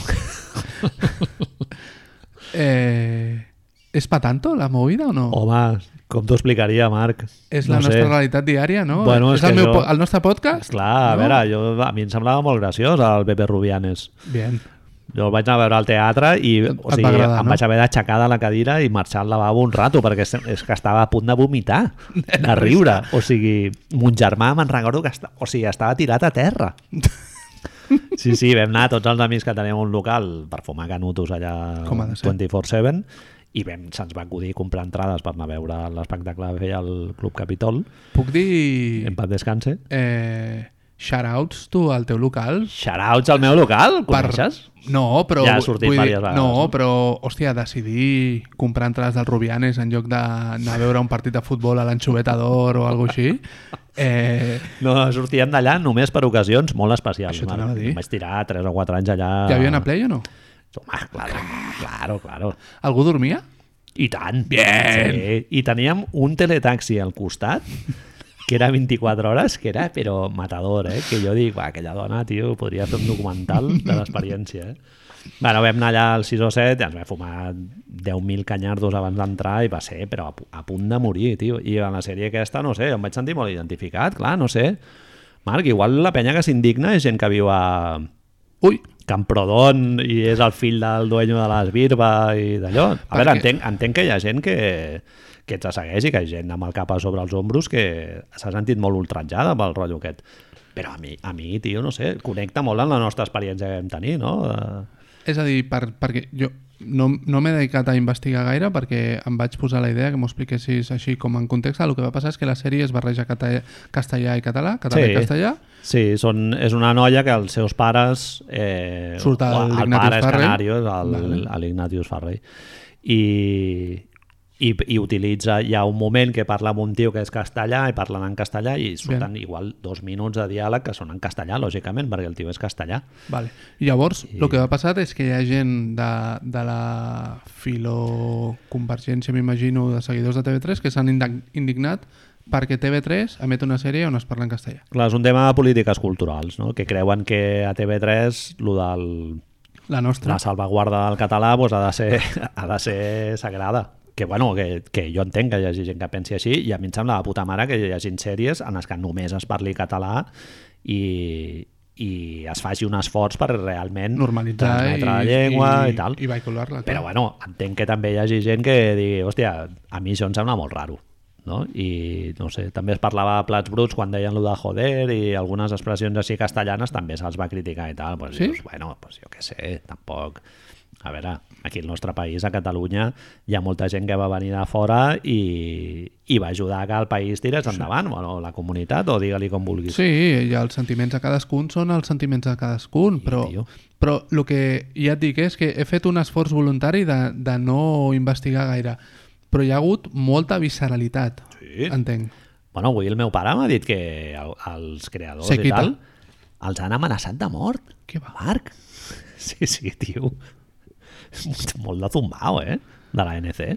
[SPEAKER 2] eh, ¿Es para tanto la movida o no?
[SPEAKER 1] Home, com t'ho explicaria, Marc?
[SPEAKER 2] es la
[SPEAKER 1] no
[SPEAKER 2] nuestra
[SPEAKER 1] sé.
[SPEAKER 2] realidad diaria, ¿no?
[SPEAKER 1] Bueno,
[SPEAKER 2] es
[SPEAKER 1] és
[SPEAKER 2] el,
[SPEAKER 1] que
[SPEAKER 2] meu
[SPEAKER 1] jo-
[SPEAKER 2] po- el nostre podcast.
[SPEAKER 1] Clar, a
[SPEAKER 2] no?
[SPEAKER 1] veure, jo, a mi em semblava molt graciós el Pepe Rubianes.
[SPEAKER 2] Bien.
[SPEAKER 1] Jo el vaig anar a veure al teatre i o
[SPEAKER 2] et
[SPEAKER 1] sigui,
[SPEAKER 2] va agradar,
[SPEAKER 1] em
[SPEAKER 2] no?
[SPEAKER 1] vaig haver d'aixecar de la cadira i marxar al lavabo un rato perquè és, és que estava a punt de vomitar,
[SPEAKER 2] [laughs]
[SPEAKER 1] de riure. O sigui, mon germà me'n recordo que esta, o sigui, estava tirat a terra.
[SPEAKER 2] [laughs]
[SPEAKER 1] Sí, sí, vam anar tots els amics que teníem un local per fumar canutos allà
[SPEAKER 2] Com ha de ser.
[SPEAKER 1] 24-7 i vam, se'ns va acudir comprar entrades per anar a veure l'espectacle que feia el Club Capitol,
[SPEAKER 2] Puc dir,
[SPEAKER 1] en paz descanse.
[SPEAKER 2] eh, shoutouts tu al teu local?
[SPEAKER 1] Shoutouts al meu local,
[SPEAKER 2] per-
[SPEAKER 1] coneixes?
[SPEAKER 2] No, però...
[SPEAKER 1] Ja ha
[SPEAKER 2] vull-
[SPEAKER 1] sortit
[SPEAKER 2] vull dir-
[SPEAKER 1] diverses vegades,
[SPEAKER 2] No,
[SPEAKER 1] no?
[SPEAKER 2] però, hòstia, decidir comprar entrades del Rubianes en lloc d'anar a veure un partit de futbol a l'Anxoveta d'Or o alguna així, eh,
[SPEAKER 1] No, sortíem d'allà només per ocasions molt especials.
[SPEAKER 2] Això t'anava a dir.
[SPEAKER 1] Em Vaig tirar 3 o 4 anys allà...
[SPEAKER 2] hi havia una play o no?
[SPEAKER 1] Home, claro, claro, claro.
[SPEAKER 2] Algú dormia?
[SPEAKER 1] I tant. Bien! Sí. I teníem un teletaxi al costat que era 24 hores, que era però matador, eh? Que jo dic, va, aquella dona, tio, podria fer un documental de l'experiència, eh? Bueno, vam anar allà al 6 o 7 i ens vam fumar 10.000 canyardos abans d'entrar i va ser, però a, pu- a punt de morir, tio. I en la sèrie aquesta, no sé, em vaig sentir molt identificat, clar, no sé. Marc, igual la penya que s'indigna és gent que viu a
[SPEAKER 2] Ui,
[SPEAKER 1] Camprodon i és el fill del dueño de les birba i d'allò. A
[SPEAKER 2] Perquè-
[SPEAKER 1] veure, entenc, entenc que hi ha gent que, que te segueix i que hi ha gent amb el cap a sobre els ombros que s'ha sentit molt ultratjada pel rotllo aquest. Però a mi, a mi, tio, no sé, connecta molt amb la nostra experiència que vam tenir, no? Eh, De-
[SPEAKER 2] És a dir, per, perquè jo no, no m'he dedicat a investigar gaire perquè em vaig posar la idea que m'ho expliquessis així com en context. El que va passar és que la sèrie es barreja cata- castellà i català, català
[SPEAKER 1] Sí.
[SPEAKER 2] i castellà.
[SPEAKER 1] Sí, són, és una noia que els seus pares... Eh,
[SPEAKER 2] Surt el
[SPEAKER 1] o-
[SPEAKER 2] Ignatius
[SPEAKER 1] pare és
[SPEAKER 2] Farrell.
[SPEAKER 1] Canarios, el, vale. l'Ignatius Farrell. I, i, I utilitza... Hi ha un moment que parla amb un tio que és castellà i parlen en castellà i surten Bien. igual dos minuts de diàleg que són en castellà, lògicament, perquè el tio és castellà.
[SPEAKER 2] Vale. Llavors, el que va passar és que hi ha gent de, de la filoconvergència, m'imagino, de seguidors de TV3 que s'han indag- indignat perquè TV3 emet una sèrie on es parla en castellà.
[SPEAKER 1] Clar, és un tema de polítiques culturals, no? que creuen que a TV3 lo del
[SPEAKER 2] La nostra.
[SPEAKER 1] la salvaguarda del català pues, ha, de ser, [laughs] ha de ser sagrada. Que, bueno, que, que jo entenc que hi hagi gent que pensi així i a mi em sembla de puta mare que hi hagi sèries en les que només es parli català i, i es faci un esforç per realment
[SPEAKER 2] normalitzar
[SPEAKER 1] transmetre la llengua i, tal.
[SPEAKER 2] i vehicular-la. clar.
[SPEAKER 1] Però bueno, entenc que també hi hagi gent que digui, hòstia, a mi això em sembla molt raro. No? i no sé, també es parlava de plats bruts quan deien lo de joder i algunes expressions així castellanes també se'ls va criticar i tal, pues,
[SPEAKER 2] Sí?
[SPEAKER 1] dius, bueno, pues jo què sé, tampoc A veure, aquí al nostre país, a Catalunya, hi ha molta gent que va venir de fora i, i va ajudar que el país tirés endavant, o la comunitat, o digue-li com vulguis.
[SPEAKER 2] Sí, i els sentiments de cadascun són els sentiments de cadascun, però,
[SPEAKER 1] tio.
[SPEAKER 2] però el que ja et dic és que he fet un esforç voluntari de, de no investigar gaire, però hi ha hagut molta visceralitat,
[SPEAKER 1] Sí.
[SPEAKER 2] entenc.
[SPEAKER 1] Bueno, avui el meu pare m'ha dit que el, els creadors
[SPEAKER 2] Se
[SPEAKER 1] i
[SPEAKER 2] quita.
[SPEAKER 1] tal els han amenaçat de mort.
[SPEAKER 2] Què va?
[SPEAKER 1] Marc? Sí, sí, tio. És molt- Molt de zumbao, eh? De la NC.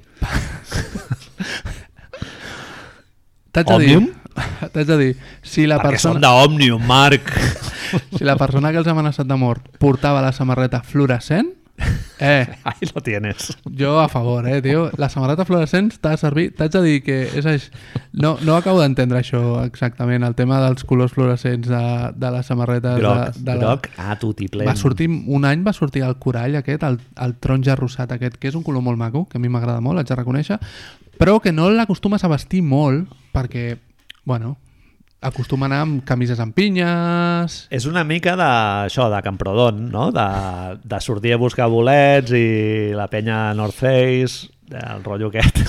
[SPEAKER 2] T'haig de, dir,
[SPEAKER 1] Òmnium?
[SPEAKER 2] t'haig de dir, [laughs] si la,
[SPEAKER 1] Perquè són
[SPEAKER 2] persona,
[SPEAKER 1] d'Òmnium,
[SPEAKER 2] [laughs]
[SPEAKER 1] Marc.
[SPEAKER 2] si la persona que els ha amenaçat de mort portava la samarreta fluorescent, eh,
[SPEAKER 1] Ahí lo tienes.
[SPEAKER 2] Jo a favor, eh, tio. La samarreta fluorescent t'ha de servir... T'haig de dir que és així. No, no acabo d'entendre això exactament, el tema dels colors fluorescents de, de les samarretes...
[SPEAKER 1] Groc,
[SPEAKER 2] de, de la...
[SPEAKER 1] groc, a tu, tiplem.
[SPEAKER 2] Va sortir, un any va sortir el corall aquest, el, el taronja rossat aquest, que és un color molt maco, que a mi m'agrada molt, haig de reconèixer, però que no l'acostumes a vestir molt, perquè, bueno, acostuma a anar amb camises amb pinyes...
[SPEAKER 1] És una mica d'això, de Camprodon, no? De, de sortir a buscar bolets i la penya North Face, el rotllo
[SPEAKER 2] [laughs]
[SPEAKER 1] aquest.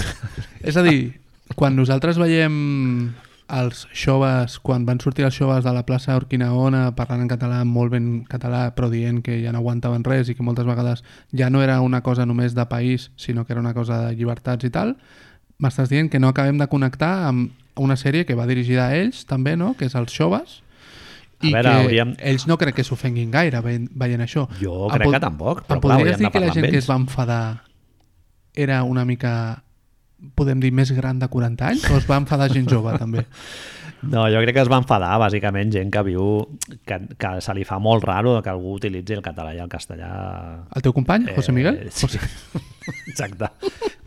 [SPEAKER 2] És a dir, quan nosaltres veiem els joves, quan van sortir els joves de la plaça Orquinaona parlant en català, molt ben català, però dient que ja no aguantaven res i que moltes vegades ja no era una cosa només de país, sinó que era una cosa de llibertats i tal, m'estàs dient que no acabem de connectar amb una sèrie que va dirigida a ells, també, no?, que és els joves,
[SPEAKER 1] A
[SPEAKER 2] i
[SPEAKER 1] veure,
[SPEAKER 2] que
[SPEAKER 1] hauríem-
[SPEAKER 2] ells no crec que s'ofenguin gaire veient, veient això.
[SPEAKER 1] Jo
[SPEAKER 2] Em
[SPEAKER 1] crec que tampoc, però
[SPEAKER 2] em
[SPEAKER 1] clar,
[SPEAKER 2] podries
[SPEAKER 1] hauríem de
[SPEAKER 2] dir que la
[SPEAKER 1] parlar
[SPEAKER 2] gent
[SPEAKER 1] amb
[SPEAKER 2] que es
[SPEAKER 1] ells.
[SPEAKER 2] va enfadar era una mica, podem dir, més gran de 40 anys? O es va enfadar gent
[SPEAKER 1] [laughs]
[SPEAKER 2] jove, també?
[SPEAKER 1] No, jo crec que es va enfadar, bàsicament, gent que viu... Que, que se li fa molt raro que algú utilitzi el català i el castellà...
[SPEAKER 2] El teu company, José Miguel?
[SPEAKER 1] Eh, sí. [laughs] Exacte.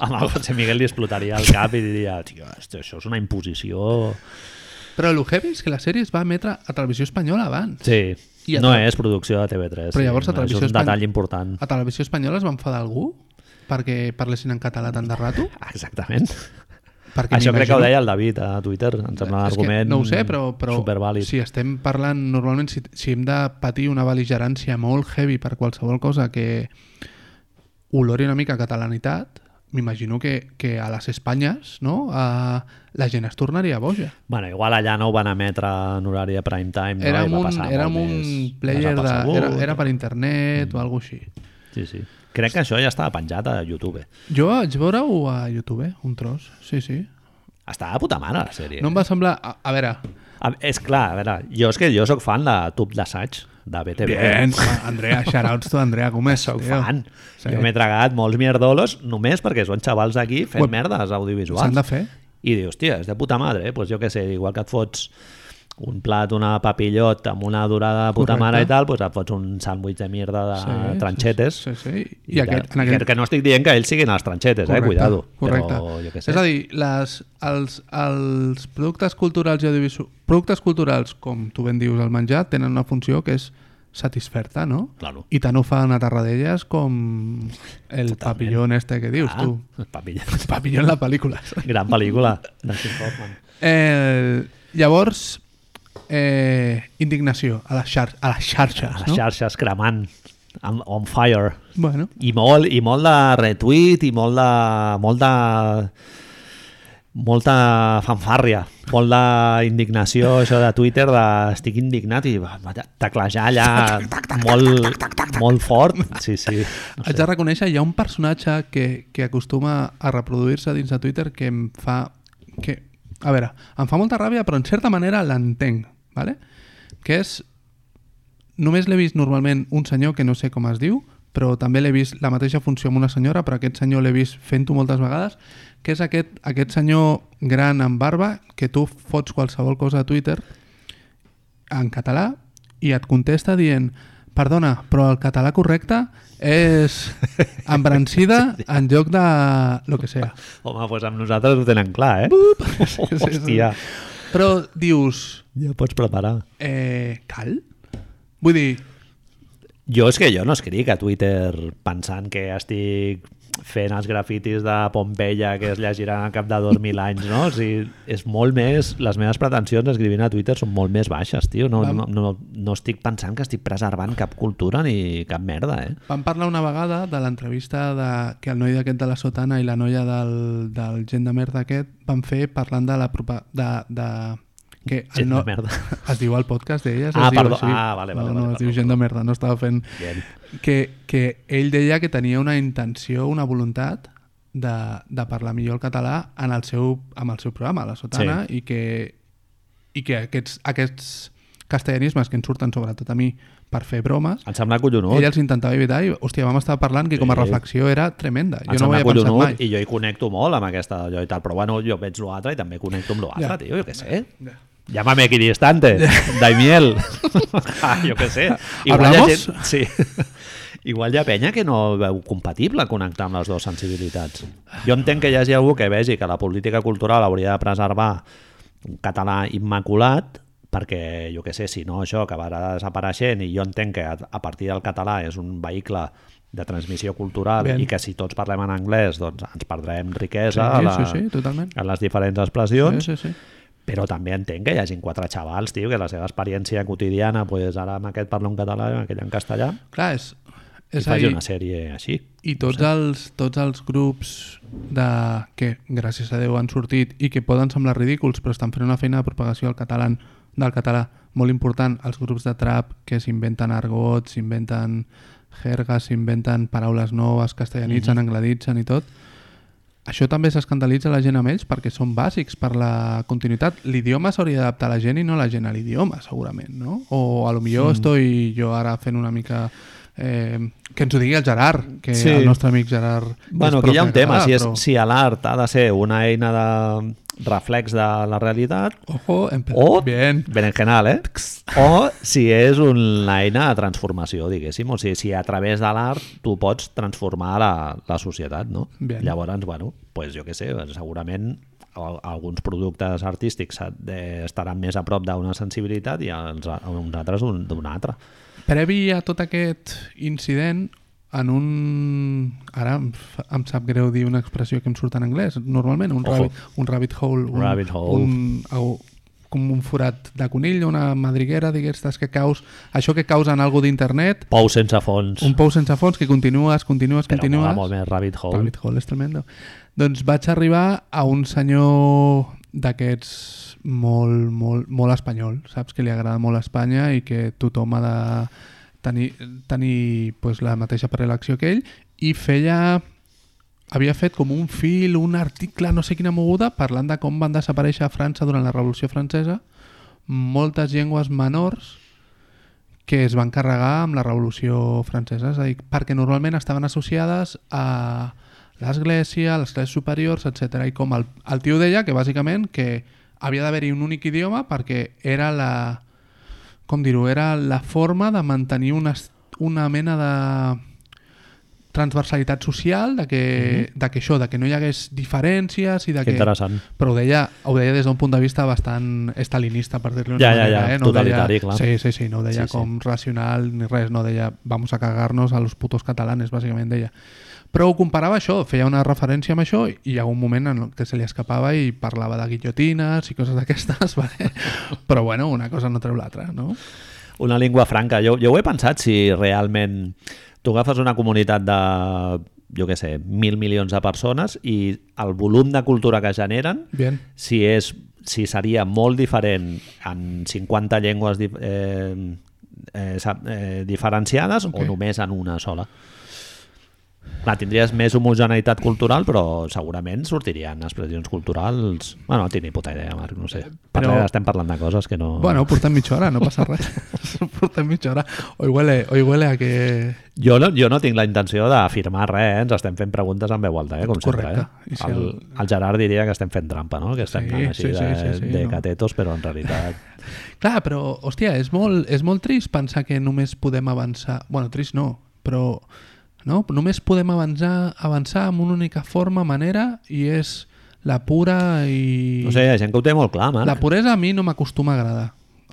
[SPEAKER 1] Amb el José Miguel li explotaria el cap i diria tio, hòstia, això és una imposició...
[SPEAKER 2] Però el heavy és que la sèrie es va emetre a Televisió Espanyola abans.
[SPEAKER 1] Sí,
[SPEAKER 2] I a
[SPEAKER 1] no
[SPEAKER 2] tra-
[SPEAKER 1] és producció de TV3.
[SPEAKER 2] Però llavors
[SPEAKER 1] sí,
[SPEAKER 2] a Televisió
[SPEAKER 1] eh, És un detall
[SPEAKER 2] Espany-
[SPEAKER 1] important.
[SPEAKER 2] A Televisió Espanyola es va enfadar algú? perquè parlessin en català tant de rato?
[SPEAKER 1] [laughs] Exactament.
[SPEAKER 2] Ah, Perquè
[SPEAKER 1] Això crec que ho
[SPEAKER 2] m'imagino-
[SPEAKER 1] deia el David a Twitter, em sembla un
[SPEAKER 2] És que
[SPEAKER 1] argument
[SPEAKER 2] no ho sé, però, però
[SPEAKER 1] supervàlid.
[SPEAKER 2] si estem parlant, normalment si, si hem de patir una beligerància molt heavy per qualsevol cosa que olori una mica a catalanitat, m'imagino que, que a les Espanyes no? a, la gent es tornaria boja.
[SPEAKER 1] Bueno, igual allà no ho van emetre en horari de prime time,
[SPEAKER 2] Era
[SPEAKER 1] no? I
[SPEAKER 2] amb
[SPEAKER 1] va
[SPEAKER 2] un,
[SPEAKER 1] passar
[SPEAKER 2] era amb
[SPEAKER 1] molt
[SPEAKER 2] un
[SPEAKER 1] més
[SPEAKER 2] player de... Era,
[SPEAKER 1] desapercebut.
[SPEAKER 2] era per internet mm. o alguna així.
[SPEAKER 1] Sí, sí. Crec que això ja estava penjat a YouTube.
[SPEAKER 2] Jo vaig veure-ho a YouTube, eh? un tros. Sí, sí.
[SPEAKER 1] Estava de puta mare, la sèrie.
[SPEAKER 2] No em va semblar... A, a veure...
[SPEAKER 1] A, és clar, a veure, jo és que jo sóc fan de tub d'assaig, de BTV.
[SPEAKER 2] home, Andrea, shoutouts tu, Andrea Gómez.
[SPEAKER 1] Sóc
[SPEAKER 2] tio.
[SPEAKER 1] fan.
[SPEAKER 2] Sí.
[SPEAKER 1] Jo m'he tragat molts mierdolos només perquè són xavals d'aquí fent
[SPEAKER 2] Bueno,
[SPEAKER 1] merdes audiovisuals.
[SPEAKER 2] S'han de fer.
[SPEAKER 1] I dius, hòstia, és de puta madre, eh? pues jo què sé, igual que et fots un plat, una papillot amb una durada de puta
[SPEAKER 2] Correcte.
[SPEAKER 1] mare i tal, pues et fots un sàndwich de mierda de tranxetes.
[SPEAKER 2] Sí, sí. sí.
[SPEAKER 1] I, I aquest, que, aquest... que no estic dient que ells siguin els tranxetes, eh? Cuidado. Però jo què sé.
[SPEAKER 2] És a dir, les, els, els productes culturals i audiovisuals... Productes culturals, com tu ben dius, el menjar, tenen una funció que és satisferta, no?
[SPEAKER 1] Claro.
[SPEAKER 2] I tant ho fan a Tarradellas com el papillón este que dius,
[SPEAKER 1] ah,
[SPEAKER 2] tu. [laughs]
[SPEAKER 1] papilla.
[SPEAKER 2] El papillón la pel·lícula.
[SPEAKER 1] [laughs]
[SPEAKER 2] [laughs]
[SPEAKER 1] Gran pel·lícula de Tim Hoffman.
[SPEAKER 2] Eh, llavors, eh, indignació a les, xar a les xarxes,
[SPEAKER 1] A les
[SPEAKER 2] no?
[SPEAKER 1] xarxes cremant, on, on fire.
[SPEAKER 2] Bueno,
[SPEAKER 1] I molt, i molt de retuit, i molt de... Molt de molta fanfàrria, molt d'indignació, això de Twitter, de estic indignat i va, va teclejar allà molt, molt fort. Sí, sí. No
[SPEAKER 2] Haig de reconèixer, hi ha un personatge que, que acostuma a reproduir-se dins de Twitter que em fa... Que, a veure, em fa molta ràbia, però en certa manera l'entenc, ¿vale? que és... Només l'he vist normalment un senyor que no sé com es diu, però també l'he vist la mateixa funció amb una senyora, però aquest senyor l'he vist fent-ho moltes vegades, que és aquest, aquest senyor gran amb barba que tu fots qualsevol cosa a Twitter en català i et contesta dient perdona, però el català correcte és
[SPEAKER 1] [laughs]
[SPEAKER 2] embrancida en lloc de lo que sea.
[SPEAKER 1] Home, doncs amb nosaltres ho tenen clar, eh?
[SPEAKER 2] sí,
[SPEAKER 1] [laughs]
[SPEAKER 2] sí.
[SPEAKER 1] Hòstia,
[SPEAKER 2] Però dius,
[SPEAKER 1] ja ho pots preparar.
[SPEAKER 2] eh, cal? Vull dir,
[SPEAKER 1] Jo és que jo no escric a Twitter pensant que estic fent els grafitis de Pompeia que es llegiran al cap de 2.000 anys, no? O sigui, és molt més... Les meves pretensions escrivint a Twitter són molt més baixes, tio. No,
[SPEAKER 2] Vam-
[SPEAKER 1] no, no, no estic pensant que estic preservant cap cultura ni cap merda, eh?
[SPEAKER 2] Vam parlar una vegada de l'entrevista de, que el noi aquest de la sotana i la noia del, del gent de merda aquest van fer parlant de la... Propa, de, de, que el
[SPEAKER 1] Gent de merda.
[SPEAKER 2] Es diu el podcast d'elles?
[SPEAKER 1] Ah,
[SPEAKER 2] es diu
[SPEAKER 1] perdó.
[SPEAKER 2] així?
[SPEAKER 1] Ah, vale, vale, vale,
[SPEAKER 2] No, no, es diu
[SPEAKER 1] perdó,
[SPEAKER 2] gent de merda, no estava fent...
[SPEAKER 1] Bien.
[SPEAKER 2] Que, que ell deia que tenia una intenció, una voluntat de, de parlar millor el català en el seu, amb el seu programa, La Sotana, i que, i que aquests, aquests castellanismes que ens surten, sobretot a mi, per fer bromes,
[SPEAKER 1] Em sembla collonut.
[SPEAKER 2] ell els intentava evitar i, hòstia, vam estar parlant que com a
[SPEAKER 1] Sí.
[SPEAKER 2] reflexió era tremenda.
[SPEAKER 1] Em
[SPEAKER 2] Jo no ho
[SPEAKER 1] sembla
[SPEAKER 2] havia pensat
[SPEAKER 1] collonut
[SPEAKER 2] mai.
[SPEAKER 1] I jo hi connecto molt amb aquesta d'allò i tal, però bueno, jo veig l'altre i també connecto amb l'altre,
[SPEAKER 2] Ja.
[SPEAKER 1] tio, jo què sé.
[SPEAKER 2] Ja.
[SPEAKER 1] Llámame equidistante,
[SPEAKER 2] [laughs]
[SPEAKER 1] Daimiel. [laughs] ah, jo què sé. Igual hi ha
[SPEAKER 2] Hablamos?
[SPEAKER 1] gent, sí. Igual hi ha penya que no veu compatible connectar amb les dues sensibilitats. Jo entenc que hi hagi algú que vegi que la política cultural hauria de preservar un català immaculat, perquè, jo que sé, si no això acabarà desapareixent i jo entenc que a, a partir del català és un vehicle de transmissió cultural
[SPEAKER 2] Ben.
[SPEAKER 1] i que si tots parlem en anglès doncs ens perdrem riquesa
[SPEAKER 2] Sí,
[SPEAKER 1] a, la,
[SPEAKER 2] sí, sí, totalment.
[SPEAKER 1] a les diferents expressions
[SPEAKER 2] Sí, sí, sí.
[SPEAKER 1] però també entenc que hi hagin quatre xavals, tio, que la seva experiència quotidiana, pues, ara amb aquest parlo en català, amb aquell en castellà,
[SPEAKER 2] Clar, és,
[SPEAKER 1] i
[SPEAKER 2] és a
[SPEAKER 1] faci
[SPEAKER 2] dir,
[SPEAKER 1] una sèrie així.
[SPEAKER 2] i tots, els, tots els grups de, que, gràcies a Déu, han sortit i que poden semblar ridículs, però estan fent una feina de propagació del català, del català molt important. Els grups de trap que s'inventen argots, s'inventen jergas, s'inventen paraules noves, castellanitzen, angladitzen i tot. Això també s'escandalitza la gent amb ells perquè són bàsics per la continuïtat. L'idioma s'hauria d'adaptar a la gent i no la gent a l'idioma, segurament, no? O a lo
[SPEAKER 1] Mm.
[SPEAKER 2] millor estoy jo ara fent una mica... Eh, que ens ho digui el Gerard, que
[SPEAKER 1] Sí.
[SPEAKER 2] el nostre amic Gerard... és
[SPEAKER 1] Bueno,
[SPEAKER 2] profe
[SPEAKER 1] aquí hi ha un
[SPEAKER 2] de
[SPEAKER 1] tema,
[SPEAKER 2] català,
[SPEAKER 1] si, és,
[SPEAKER 2] però-
[SPEAKER 1] si l'art ha de ser una eina de reflex de la realitat,
[SPEAKER 2] Ojo, empe...
[SPEAKER 1] o,
[SPEAKER 2] Bien.
[SPEAKER 1] berenjenal, eh? O si és una eina de transformació, diguéssim. O sigui, si a través de l'art tu pots transformar la, la societat, no?
[SPEAKER 2] Bien.
[SPEAKER 1] Llavors, bueno, pues jo què sé, segurament al- alguns productes artístics s'ha- de- estaran més a prop d'una sensibilitat i els, a- uns altres d'un- d'una altra.
[SPEAKER 2] Previ a tot aquest incident, en un... Ara em, fa- em sap greu dir una expressió que em surt en anglès, normalment, un,
[SPEAKER 1] Ojo.
[SPEAKER 2] rabbit, un rabbit hole. Un,
[SPEAKER 1] Rabbit hole.
[SPEAKER 2] Un, au, com un forat de conill, una madriguera, diguestes, que caus... Això que causa en algo d'internet,
[SPEAKER 1] Pou sense fons,
[SPEAKER 2] un pou sense fons que continues, continues,
[SPEAKER 1] però mola
[SPEAKER 2] continues...
[SPEAKER 1] molt més Rabbit Hole.
[SPEAKER 2] Rabbit Hole és tremendo. Doncs vaig arribar a un senyor d'aquests molt, molt, molt espanyol, saps? Que li agrada molt Espanya i que tothom ha de tenir, tenir pues, la mateixa prelació que ell i feia havia fet com un fil, un article, no sé quina moguda, parlant de com van desaparèixer a França durant la Revolució Francesa moltes llengües menors que es van carregar amb la Revolució Francesa, és a dir, perquè normalment estaven associades a l'Església, a les classes superiors, etc. I com el, el tio deia que bàsicament que havia d'haver-hi un únic idioma perquè era la... com dir-ho? Era la forma de mantenir una, es- una mena de transversalitat social, de que, mm -hmm. de que això, de que no hi hagués diferències i de
[SPEAKER 1] Que
[SPEAKER 2] que...
[SPEAKER 1] interessant.
[SPEAKER 2] Però ho deia, ho deia des d'un punt de vista bastant estalinista, per dir-li una
[SPEAKER 1] Ja, ja,
[SPEAKER 2] manera.
[SPEAKER 1] ja,
[SPEAKER 2] eh? no ho
[SPEAKER 1] totalitari,
[SPEAKER 2] deia,
[SPEAKER 1] clar.
[SPEAKER 2] Sí, sí, sí, no ho deia
[SPEAKER 1] Sí, sí.
[SPEAKER 2] sí, com racional ni res, no deia vamos a cagarnos a los putos catalanes, bàsicament deia. Però ho comparava a això, feia una referència amb això i hi ha un moment en el que se li escapava i parlava de guillotines i coses d'aquestes, [laughs] vale? però bueno, una cosa no treu l'altra, no?
[SPEAKER 1] Una llengua franca. Jo, jo ho he pensat si realment tu agafes una comunitat de, jo què sé, mil milions de persones i el volum de cultura que generen,
[SPEAKER 2] Bien.
[SPEAKER 1] si, és, si seria molt diferent en 50 llengües dif eh, eh, sap- eh, diferenciades
[SPEAKER 2] Ok.
[SPEAKER 1] o només en una sola. Clar, tindries més homogeneïtat cultural, però segurament sortirien expressions culturals... Bueno, no tinc ni puta idea, Marc, no sé. Però...
[SPEAKER 2] Però-
[SPEAKER 1] Estem parlant de coses que no...
[SPEAKER 2] Bueno, portem mitja hora, no passa
[SPEAKER 1] [laughs]
[SPEAKER 2] res. [laughs] portem mitja hora. Hoy huele, hoy huele a que...
[SPEAKER 1] Jo no, jo no tinc la intenció d'afirmar res, eh? ens estem fent preguntes en veu alta, eh? com
[SPEAKER 2] Correcte.
[SPEAKER 1] sempre. Eh?
[SPEAKER 2] I si
[SPEAKER 1] el,
[SPEAKER 2] el-
[SPEAKER 1] el Gerard diria que estem fent trampa, no? que estem
[SPEAKER 2] Sí,
[SPEAKER 1] anant així
[SPEAKER 2] sí, sí,
[SPEAKER 1] de,
[SPEAKER 2] sí, sí,
[SPEAKER 1] de
[SPEAKER 2] no.
[SPEAKER 1] catetos, però en
[SPEAKER 2] [laughs]
[SPEAKER 1] realitat...
[SPEAKER 2] Clar, però, hòstia, és molt, és molt trist pensar que només podem avançar... bueno, trist no, però no? només podem avançar, avançar amb una única forma, manera, i és la pura i...
[SPEAKER 1] No sé, hi ha gent que ho té molt clar, Marc.
[SPEAKER 2] la puresa a mi no m'acostuma a agradar.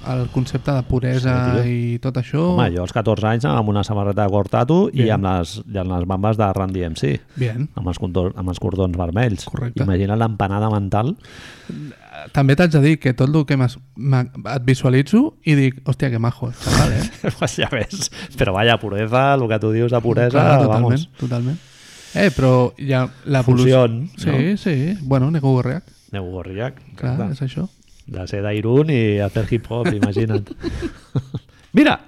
[SPEAKER 2] el concepte de puresa
[SPEAKER 1] Sí, tio.
[SPEAKER 2] i tot això.
[SPEAKER 1] Home, jo als 14 anys anava amb una samarreta de Gortatu i
[SPEAKER 2] Bien.
[SPEAKER 1] amb les, i amb les bambes de Randy MC,
[SPEAKER 2] Bien.
[SPEAKER 1] amb els, contor, amb els cordons vermells.
[SPEAKER 2] Correcte.
[SPEAKER 1] Imagina l'empanada
[SPEAKER 2] [laughs]
[SPEAKER 1] mental.
[SPEAKER 2] També t'haig de dir que tot el que m'has- m'ha- et visualitzo i dic, hòstia, que majo, xaval, eh?
[SPEAKER 1] pues ja ves. Però vaja, pureza, el que tu dius de [laughs] puresa,
[SPEAKER 2] Clar, totalment,
[SPEAKER 1] vamos.
[SPEAKER 2] totalment. Eh, però ja la
[SPEAKER 1] Fusión,
[SPEAKER 2] Sí, sí. Bueno, Neko Gorriak,
[SPEAKER 1] Neu Gorriac.
[SPEAKER 2] clar, és això.
[SPEAKER 1] De ser d'Irun i hacer hip-hop, imagina't. [laughs] Mira,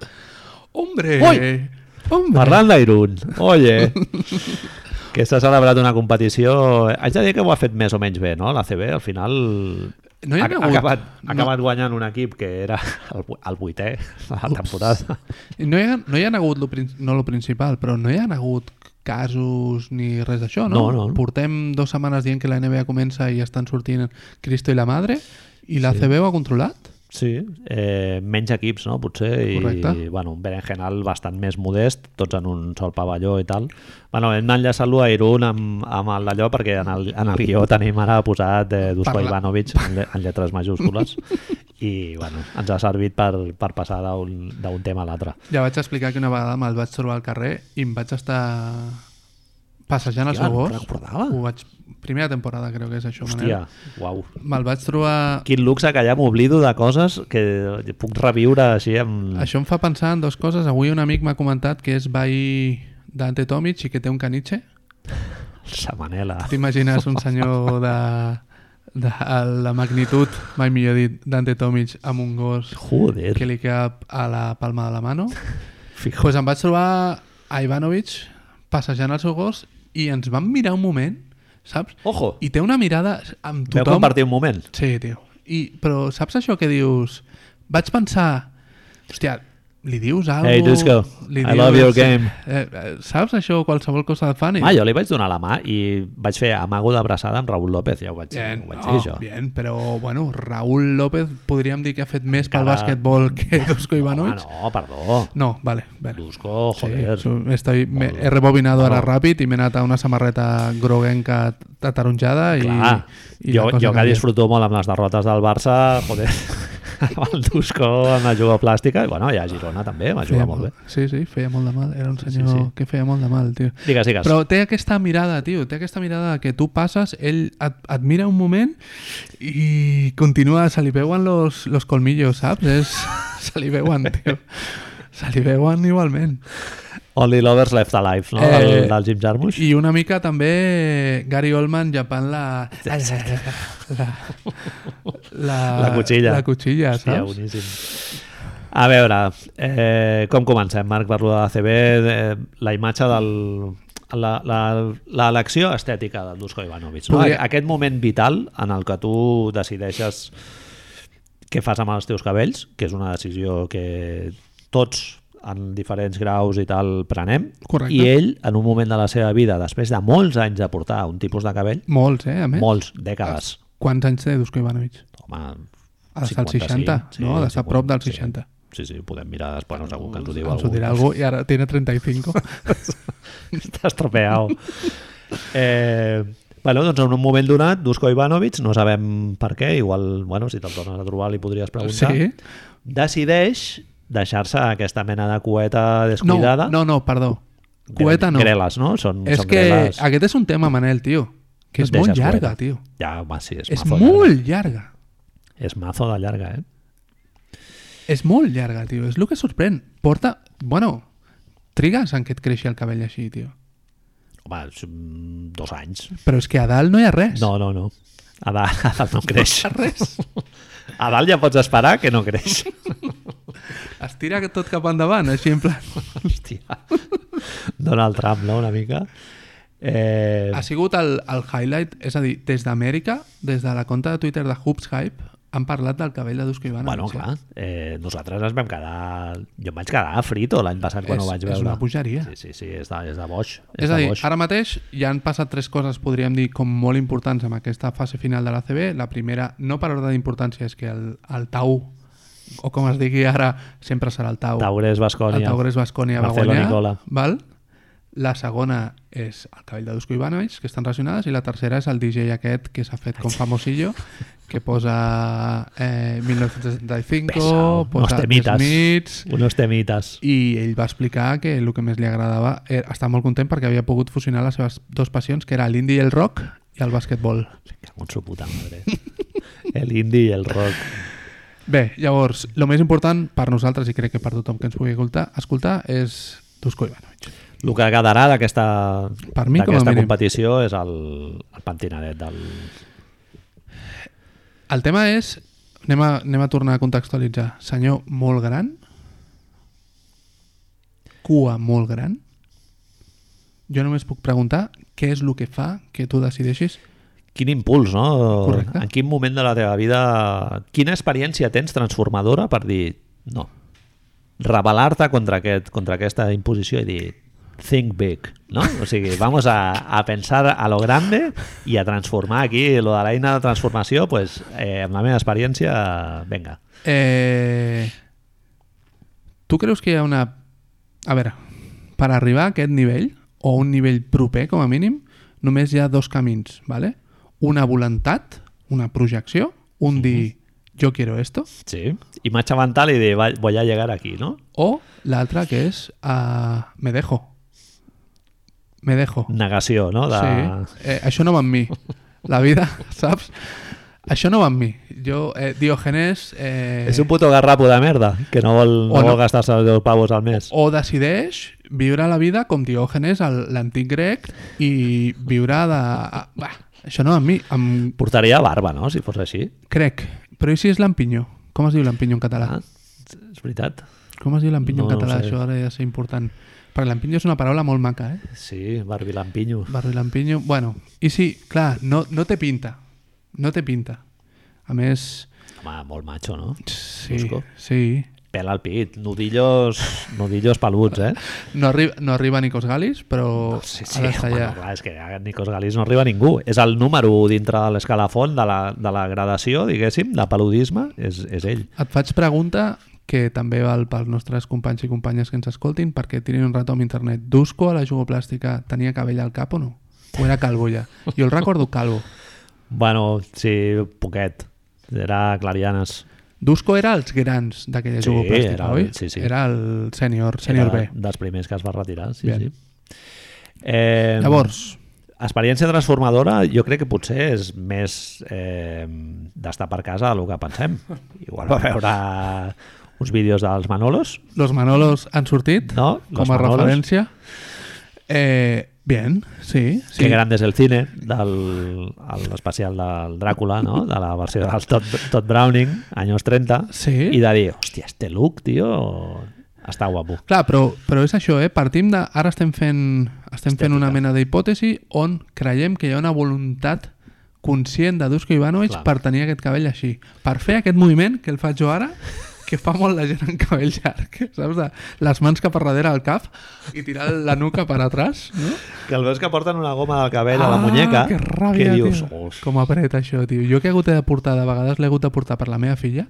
[SPEAKER 2] Hombre!
[SPEAKER 1] Ui!
[SPEAKER 2] Hombre!
[SPEAKER 1] Parlant d'Irun, oye, que s'ha celebrat una competició... Haig de dir que ho ha fet més o menys bé, no? La CB, al final...
[SPEAKER 2] No hi ha
[SPEAKER 1] ha,
[SPEAKER 2] hagut-
[SPEAKER 1] ha acabat,
[SPEAKER 2] no.
[SPEAKER 1] ha acabat guanyant un equip que era el, vu- el vuitè de la temporada.
[SPEAKER 2] No hi ha, no hi ha hagut, lo, prin- no lo principal, però no hi ha hagut casos ni res d'això, no?
[SPEAKER 1] No, no.
[SPEAKER 2] Portem dues setmanes dient que la NBA comença i estan sortint Cristo i la Madre i la CB ho ha controlat?
[SPEAKER 1] Sí, eh, menys equips, no? Potser,
[SPEAKER 2] Correcte.
[SPEAKER 1] i bueno, un berenjenal bastant més modest, tots en un sol pavelló i tal. Bueno, hem d'enllaçar-lo a Irun amb, amb el d'allò, perquè en el, en el guió tenim ara posat eh, Dusko
[SPEAKER 2] Parla-
[SPEAKER 1] Ivanovic en, lle- en lletres majúscules i bueno, ens ha servit per, per passar d'un d'un tema a l'altre.
[SPEAKER 2] Ja vaig explicar que una vegada me'l vaig trobar al carrer i em vaig estar passejant el
[SPEAKER 1] Hòstia,
[SPEAKER 2] seu
[SPEAKER 1] no
[SPEAKER 2] gos.
[SPEAKER 1] me'n recordava.
[SPEAKER 2] Ho vaig... Primera temporada, crec que és això,
[SPEAKER 1] Hòstia,
[SPEAKER 2] Manel.
[SPEAKER 1] uau.
[SPEAKER 2] Me'l vaig trobar...
[SPEAKER 1] Quin luxe que ja m'oblido de coses que puc reviure així amb...
[SPEAKER 2] Això em fa pensar en dues coses. Avui un amic m'ha comentat que és veí d'Ante Tomic i que té un caniche.
[SPEAKER 1] Samanela.
[SPEAKER 2] T'imagines un senyor de, de la magnitud, mai millor dit, d'Ante Tomic amb un gos
[SPEAKER 1] Joder,
[SPEAKER 2] que li cap a la palma de la mano?
[SPEAKER 1] fijo.
[SPEAKER 2] pues em vaig trobar a Ivanovic passejant el seu gos i ens vam mirar un moment, saps?
[SPEAKER 1] Ojo,
[SPEAKER 2] I té una mirada amb
[SPEAKER 1] veu
[SPEAKER 2] tothom...
[SPEAKER 1] compartir un moment.
[SPEAKER 2] Sí, tio. I, però saps això que dius? Vaig pensar... Hòstia, li dius alguna
[SPEAKER 1] Hey, Dusko, I love your game.
[SPEAKER 2] Eh, eh, saps això qualsevol cosa de fan? I-
[SPEAKER 1] Ah, jo li vaig donar la mà i vaig fer amago d'abraçada amb Raül López, ja ho vaig,
[SPEAKER 2] Bien,
[SPEAKER 1] ho vaig
[SPEAKER 2] no,
[SPEAKER 1] dir jo.
[SPEAKER 2] bien, però bueno, Raúl López podríem dir que ha fet més pel
[SPEAKER 1] Cada-
[SPEAKER 2] bàsquetbol que Dusko
[SPEAKER 1] Home,
[SPEAKER 2] Ivanovic.
[SPEAKER 1] no, perdó.
[SPEAKER 2] No, vale, vale.
[SPEAKER 1] Dusko,
[SPEAKER 2] Sí,
[SPEAKER 1] joder.
[SPEAKER 2] estoy, me, he rebobinado ahora ràpid i m'he anat a una samarreta groguenca ataronjada i,
[SPEAKER 1] Clar,
[SPEAKER 2] i
[SPEAKER 1] jo,
[SPEAKER 2] la cosa
[SPEAKER 1] jo que
[SPEAKER 2] canvia.
[SPEAKER 1] disfruto molt amb les derrotes del Barça, joder, [laughs] amb el Dusko, amb la juga plàstica, i bueno, i a Girona també, va
[SPEAKER 2] Feia
[SPEAKER 1] jugar molt bé.
[SPEAKER 2] Sí, sí, feia molt de mal. Era un senyor
[SPEAKER 1] sí.
[SPEAKER 2] que feia molt de mal, tio.
[SPEAKER 1] Digues, digues.
[SPEAKER 2] Però té aquesta mirada, tio, té aquesta mirada que tu passes, ell et, et mira un moment i continua, se li veuen los, los colmillos, saps? És, [laughs] se li veuen, tio. Se li veuen igualment.
[SPEAKER 1] Only Lovers Left Alive, no?
[SPEAKER 2] Eh,
[SPEAKER 1] Eh, del, del Jim Jarmusch.
[SPEAKER 2] I una mica també Gary Oldman llepant la... La, la, la,
[SPEAKER 1] La cuchilla.
[SPEAKER 2] Ah, La cuchilla,
[SPEAKER 1] Hòstia,
[SPEAKER 2] saps?
[SPEAKER 1] boníssim. A veure, eh, com comencem, Marc, per lo de l'ACB, eh, la imatge del... la- la- l'elecció estètica del Dusko Ivanovic. No?
[SPEAKER 2] Podria-
[SPEAKER 1] Aquest moment vital en el que tu decideixes què fas amb els teus cabells, que és una decisió que tots en diferents graus i tal prenem,
[SPEAKER 2] Correcte.
[SPEAKER 1] i ell, en un moment de la seva vida, després de molts anys de portar un tipus de cabell,
[SPEAKER 2] Molts, eh, a més.
[SPEAKER 1] molts, dècades,
[SPEAKER 2] Quants anys té Dusko Ivanovic?
[SPEAKER 1] home,
[SPEAKER 2] Als als
[SPEAKER 1] 55,
[SPEAKER 2] 60,
[SPEAKER 1] sí,
[SPEAKER 2] no? Ha d'estar a
[SPEAKER 1] 50,
[SPEAKER 2] prop dels
[SPEAKER 1] sí.
[SPEAKER 2] 60.
[SPEAKER 1] Sí, sí, podem mirar després, no segur que ens ho diu
[SPEAKER 2] Ens
[SPEAKER 1] algú.
[SPEAKER 2] ho dirà algú i ara tiene 35.
[SPEAKER 1] [laughs] Està estropeado. eh, bueno, doncs en un moment donat, Dusko Ivanovic, no sabem per què, igual, bueno, si te'l tornes a trobar li podries preguntar,
[SPEAKER 2] Sí.
[SPEAKER 1] decideix deixar-se aquesta mena de cueta
[SPEAKER 2] No,
[SPEAKER 1] descuidada.
[SPEAKER 2] no, no, perdó. Cueta no.
[SPEAKER 1] Greles, no? Són,
[SPEAKER 2] és
[SPEAKER 1] són
[SPEAKER 2] que
[SPEAKER 1] greles.
[SPEAKER 2] aquest és un tema, Manel, tio, que és
[SPEAKER 1] Deixes
[SPEAKER 2] molt llarga,
[SPEAKER 1] cueta.
[SPEAKER 2] tio.
[SPEAKER 1] Ja, home, sí, és,
[SPEAKER 2] És
[SPEAKER 1] mazo
[SPEAKER 2] molt
[SPEAKER 1] Llarga.
[SPEAKER 2] llarga.
[SPEAKER 1] És mazo de llarga, eh?
[SPEAKER 2] És molt llarga, tio. És el que sorprèn. Porta... Bueno, trigues en que et creixi el cabell així, tio.
[SPEAKER 1] Home, és, mm, dos anys.
[SPEAKER 2] Però és que a dalt no hi ha res.
[SPEAKER 1] No, no, no. A dalt, a dalt no creix.
[SPEAKER 2] Hi ha res.
[SPEAKER 1] A dalt ja pots esperar que no creix.
[SPEAKER 2] Es tira tot cap endavant, així en plan...
[SPEAKER 1] Hòstia. Donald Trump, no?, una mica. Eh,
[SPEAKER 2] Ha sigut el, el highlight, és a dir, des d'Amèrica, des de la compte de Twitter de Hoops Hype, han parlat del cabell de Dusko Ivanovic.
[SPEAKER 1] bueno, clar, eh, nosaltres ens vam quedar... Jo em vaig quedar a frito l'any passat quan
[SPEAKER 2] És-
[SPEAKER 1] ho vaig
[SPEAKER 2] és
[SPEAKER 1] veure.
[SPEAKER 2] una bogeria.
[SPEAKER 1] Sí, sí, sí, és de, és de boig. És,
[SPEAKER 2] És a
[SPEAKER 1] de
[SPEAKER 2] dir,
[SPEAKER 1] boig.
[SPEAKER 2] ara mateix ja han passat tres coses, podríem dir, com molt importants amb aquesta fase final de la CB. La primera, no per ordre d'importància, és que el, el Tau, o com es digui ara, sempre serà el Tau.
[SPEAKER 1] Taures,
[SPEAKER 2] el
[SPEAKER 1] Bascònia.
[SPEAKER 2] Taures Bascònia va
[SPEAKER 1] Marcelo
[SPEAKER 2] guanyar.
[SPEAKER 1] Nicola.
[SPEAKER 2] Val? La segona és el cabell de Dusko Ivanovic, que estan relacionades, i la tercera és el DJ aquest que s'ha fet com famosillo, que posa eh, 1975,
[SPEAKER 1] Pesao, unos
[SPEAKER 2] posa
[SPEAKER 1] temites.
[SPEAKER 2] The Smiths,
[SPEAKER 1] Unos temites.
[SPEAKER 2] i ell va explicar que el que més li agradava era estar molt content perquè havia pogut fusionar les seves dues passions, que era l'indi i el rock i el basquetbol.
[SPEAKER 1] Con su puta
[SPEAKER 2] [laughs]
[SPEAKER 1] madre. El indie i el rock.
[SPEAKER 2] Bé, llavors, el més important per nosaltres i crec que per tothom que ens pugui escoltar, escoltar és Dusko Ivanovic.
[SPEAKER 1] El que quedarà d'aquesta
[SPEAKER 2] Per mi, com a
[SPEAKER 1] d'aquesta
[SPEAKER 2] mínim.
[SPEAKER 1] competició és el, el pentinadet del...
[SPEAKER 2] El tema és, anem a, anem a tornar a contextualitzar, senyor molt gran, cua molt gran, jo només puc preguntar què és el que fa que tu decideixis
[SPEAKER 1] Quin impuls, no?
[SPEAKER 2] Correcte.
[SPEAKER 1] En quin moment de la teva vida... Quina experiència tens transformadora per dir no? Rebelar-te contra, aquest, contra aquesta imposició i dir think big, no? O sigui, vamos a, a pensar a lo grande i a transformar aquí. Lo de l'eina de transformació, pues, eh, amb la meva experiència, venga.
[SPEAKER 2] Eh, tu creus que hi ha una... A veure, per arribar a aquest nivell, o un nivell proper com a mínim, només hi ha dos camins, ¿vale? una voluntat, una projecció, un dir jo quiero esto,
[SPEAKER 1] Sí. Imatge mental i dir "Va- voy a llegar aquí, no?
[SPEAKER 2] o l'altra que és uh, me dejo. Me dejo.
[SPEAKER 1] Negació, no? De...
[SPEAKER 2] Sí. Eh, això no va amb mi. La vida, [laughs] saps? Això no va amb mi. Jo, eh, Diogenes... Eh...
[SPEAKER 1] És un puto garrapo de merda que no vol, no
[SPEAKER 2] O no.
[SPEAKER 1] vol gastar-se els 10 pavos al mes.
[SPEAKER 2] o decideix viure la vida com Diògenes, el- l'antic grec, i viure de... ah, Bah, això no amb mi, amb...
[SPEAKER 1] Portaria barba, no?, si fos així.
[SPEAKER 2] crec. Però i si és l'empinyó? Com es diu l'empinyó en català?
[SPEAKER 1] Ah, és veritat.
[SPEAKER 2] Com es diu l'empinyó
[SPEAKER 1] no
[SPEAKER 2] en
[SPEAKER 1] ho
[SPEAKER 2] català?
[SPEAKER 1] sé.
[SPEAKER 2] Això ara ja és important. Perquè l'empinyó és una paraula molt maca, eh?
[SPEAKER 1] Sí, Barbie Lampinyo.
[SPEAKER 2] Barri l'empinyó... Bueno, i sí, clar, no, no té pinta. No té pinta. A més,
[SPEAKER 1] Home, molt macho, no?
[SPEAKER 2] sí,
[SPEAKER 1] Busco.
[SPEAKER 2] sí.
[SPEAKER 1] Pèl al pit, nudillos, nudillos peluts, eh?
[SPEAKER 2] No, arriba, no arriba a Nicos Galis, però
[SPEAKER 1] Sí, sí,
[SPEAKER 2] ha
[SPEAKER 1] home,
[SPEAKER 2] d'estar allà.
[SPEAKER 1] no, clar, és que a Nicos Galís no arriba ningú. És el número 1 dintre de l'escalafon de, la, de la gradació, diguéssim, de paludisme, és, és ell.
[SPEAKER 2] Et faig pregunta que també val pels nostres companys i companyes que ens escoltin perquè tirin un rato amb internet. Dusko a la jugoplàstica tenia cabell al cap o no? O era calvo ja? Jo el recordo calvo.
[SPEAKER 1] Bueno, sí, poquet. Era Clarianes.
[SPEAKER 2] Dusko era els grans d'aquella
[SPEAKER 1] Sí,
[SPEAKER 2] jugoplàstica,
[SPEAKER 1] era el-
[SPEAKER 2] oi?
[SPEAKER 1] sí, sí.
[SPEAKER 2] Era el sènior, sènior
[SPEAKER 1] era
[SPEAKER 2] B.
[SPEAKER 1] dels primers que es va retirar, sí,
[SPEAKER 2] Bien.
[SPEAKER 1] sí. Eh,
[SPEAKER 2] Llavors,
[SPEAKER 1] Experiència transformadora jo crec que potser és més eh, d'estar per casa el que pensem. Igual va veure uns vídeos dels Manolos,
[SPEAKER 2] los Manolos han sortit
[SPEAKER 1] No, los
[SPEAKER 2] com a
[SPEAKER 1] Manolos.
[SPEAKER 2] referència. Eh, bien,
[SPEAKER 1] sí.
[SPEAKER 2] sí. sí.
[SPEAKER 1] que gran és el cine, del el especial del Dràcula, no? de la versió del Todd, Todd Browning, anys 30,
[SPEAKER 2] Sí.
[SPEAKER 1] i de dir, hòstia, este look, tio, està guapo.
[SPEAKER 2] Clar, però, però és això, eh? Partim de... Ara estem fent, estem fent una mena d'hipòtesi on creiem que hi ha una voluntat conscient de Dusko Ivanovic
[SPEAKER 1] Clar.
[SPEAKER 2] per tenir aquest cabell així. Per fer aquest moviment que el faig jo ara, que fa molt la gent amb cabell llarg, [laughs] saps? De, les mans cap a darrere al cap i tirar la nuca per atrás, no? Ah,
[SPEAKER 1] Que el veus que porten una goma del cabell a la muñeca,
[SPEAKER 2] que ràbia,
[SPEAKER 1] que dius,
[SPEAKER 2] tio.
[SPEAKER 1] "Hosti,
[SPEAKER 2] Com apreta això, tio. Jo que he hagut de portar, de vegades l'he hagut de portar per la meva filla,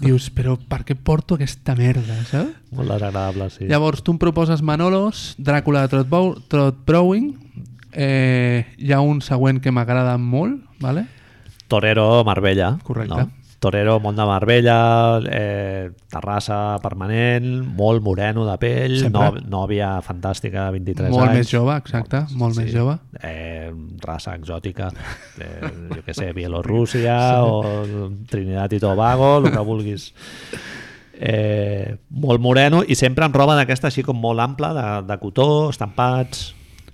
[SPEAKER 2] dius, però per què porto aquesta merda, saps?
[SPEAKER 1] molt desagradable, sí.
[SPEAKER 2] Llavors, tu em proposes Manolos, Dràcula de Trotbow- Trotbrowing, eh, hi ha un següent que m'agrada molt, vale?
[SPEAKER 1] Torero, Marbella.
[SPEAKER 2] Correcte.
[SPEAKER 1] No? Torero, món de Marbella, eh, Terrassa permanent, molt moreno de pell, no,
[SPEAKER 2] Sempre.
[SPEAKER 1] nòvia fantàstica, 23
[SPEAKER 2] molt
[SPEAKER 1] anys.
[SPEAKER 2] més jove, exacte, molt, més jove.
[SPEAKER 1] Eh, raça exòtica, eh, jo què sé, Bielorússia o Trinidad i Tobago, el que vulguis. Eh, molt moreno i sempre amb roba d'aquesta així com molt ampla, de, de cotó, estampats,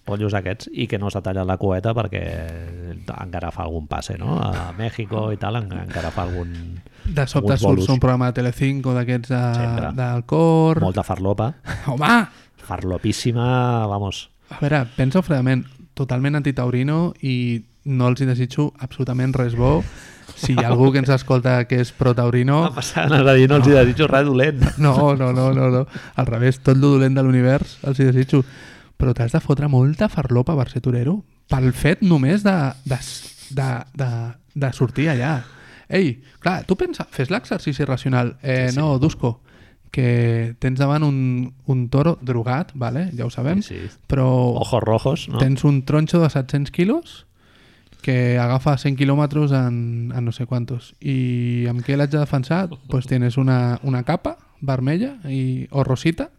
[SPEAKER 1] pollos aquests, i que no s'ha tallat la cueta perquè encara fa algun passe, no? A Mèxico i tal, en- encara fa algun...
[SPEAKER 2] De sobte
[SPEAKER 1] alguns
[SPEAKER 2] surts
[SPEAKER 1] bolos.
[SPEAKER 2] un programa de Telecinco d'aquests de,
[SPEAKER 1] Sempre.
[SPEAKER 2] del cor...
[SPEAKER 1] Molta farlopa,
[SPEAKER 2] Home!
[SPEAKER 1] farlopíssima, vamos.
[SPEAKER 2] A veure, pensa fredament, totalment antitaurino i no els hi desitjo absolutament res bo. Si hi ha algú que ens escolta que és
[SPEAKER 1] [laughs]
[SPEAKER 2] protaurino...
[SPEAKER 1] Va passar, anava a dir, no els hi desitjo res dolent.
[SPEAKER 2] No, no, no, no, no. Al revés, tot lo dolent de l'univers, els hi desitjo. Però t'has de fotre molta farlopa per ser torero. Pel fet només de, de, de, de, de sortir allà. Ei, clar, tu pensa, fes l'exercici racional. Eh, sí, sí. No, Dusko, que tens davant un, un toro drogat, vale? ja ho sabem,
[SPEAKER 1] Sí, sí.
[SPEAKER 2] però
[SPEAKER 1] Ojos rojos, no?
[SPEAKER 2] tens un tronxo de 700 quilos que agafa 100 quilòmetres en, en no sé quantos. I amb què l'haig de
[SPEAKER 1] [laughs]
[SPEAKER 2] defensar? pues tienes una, una capa vermella i, o rosita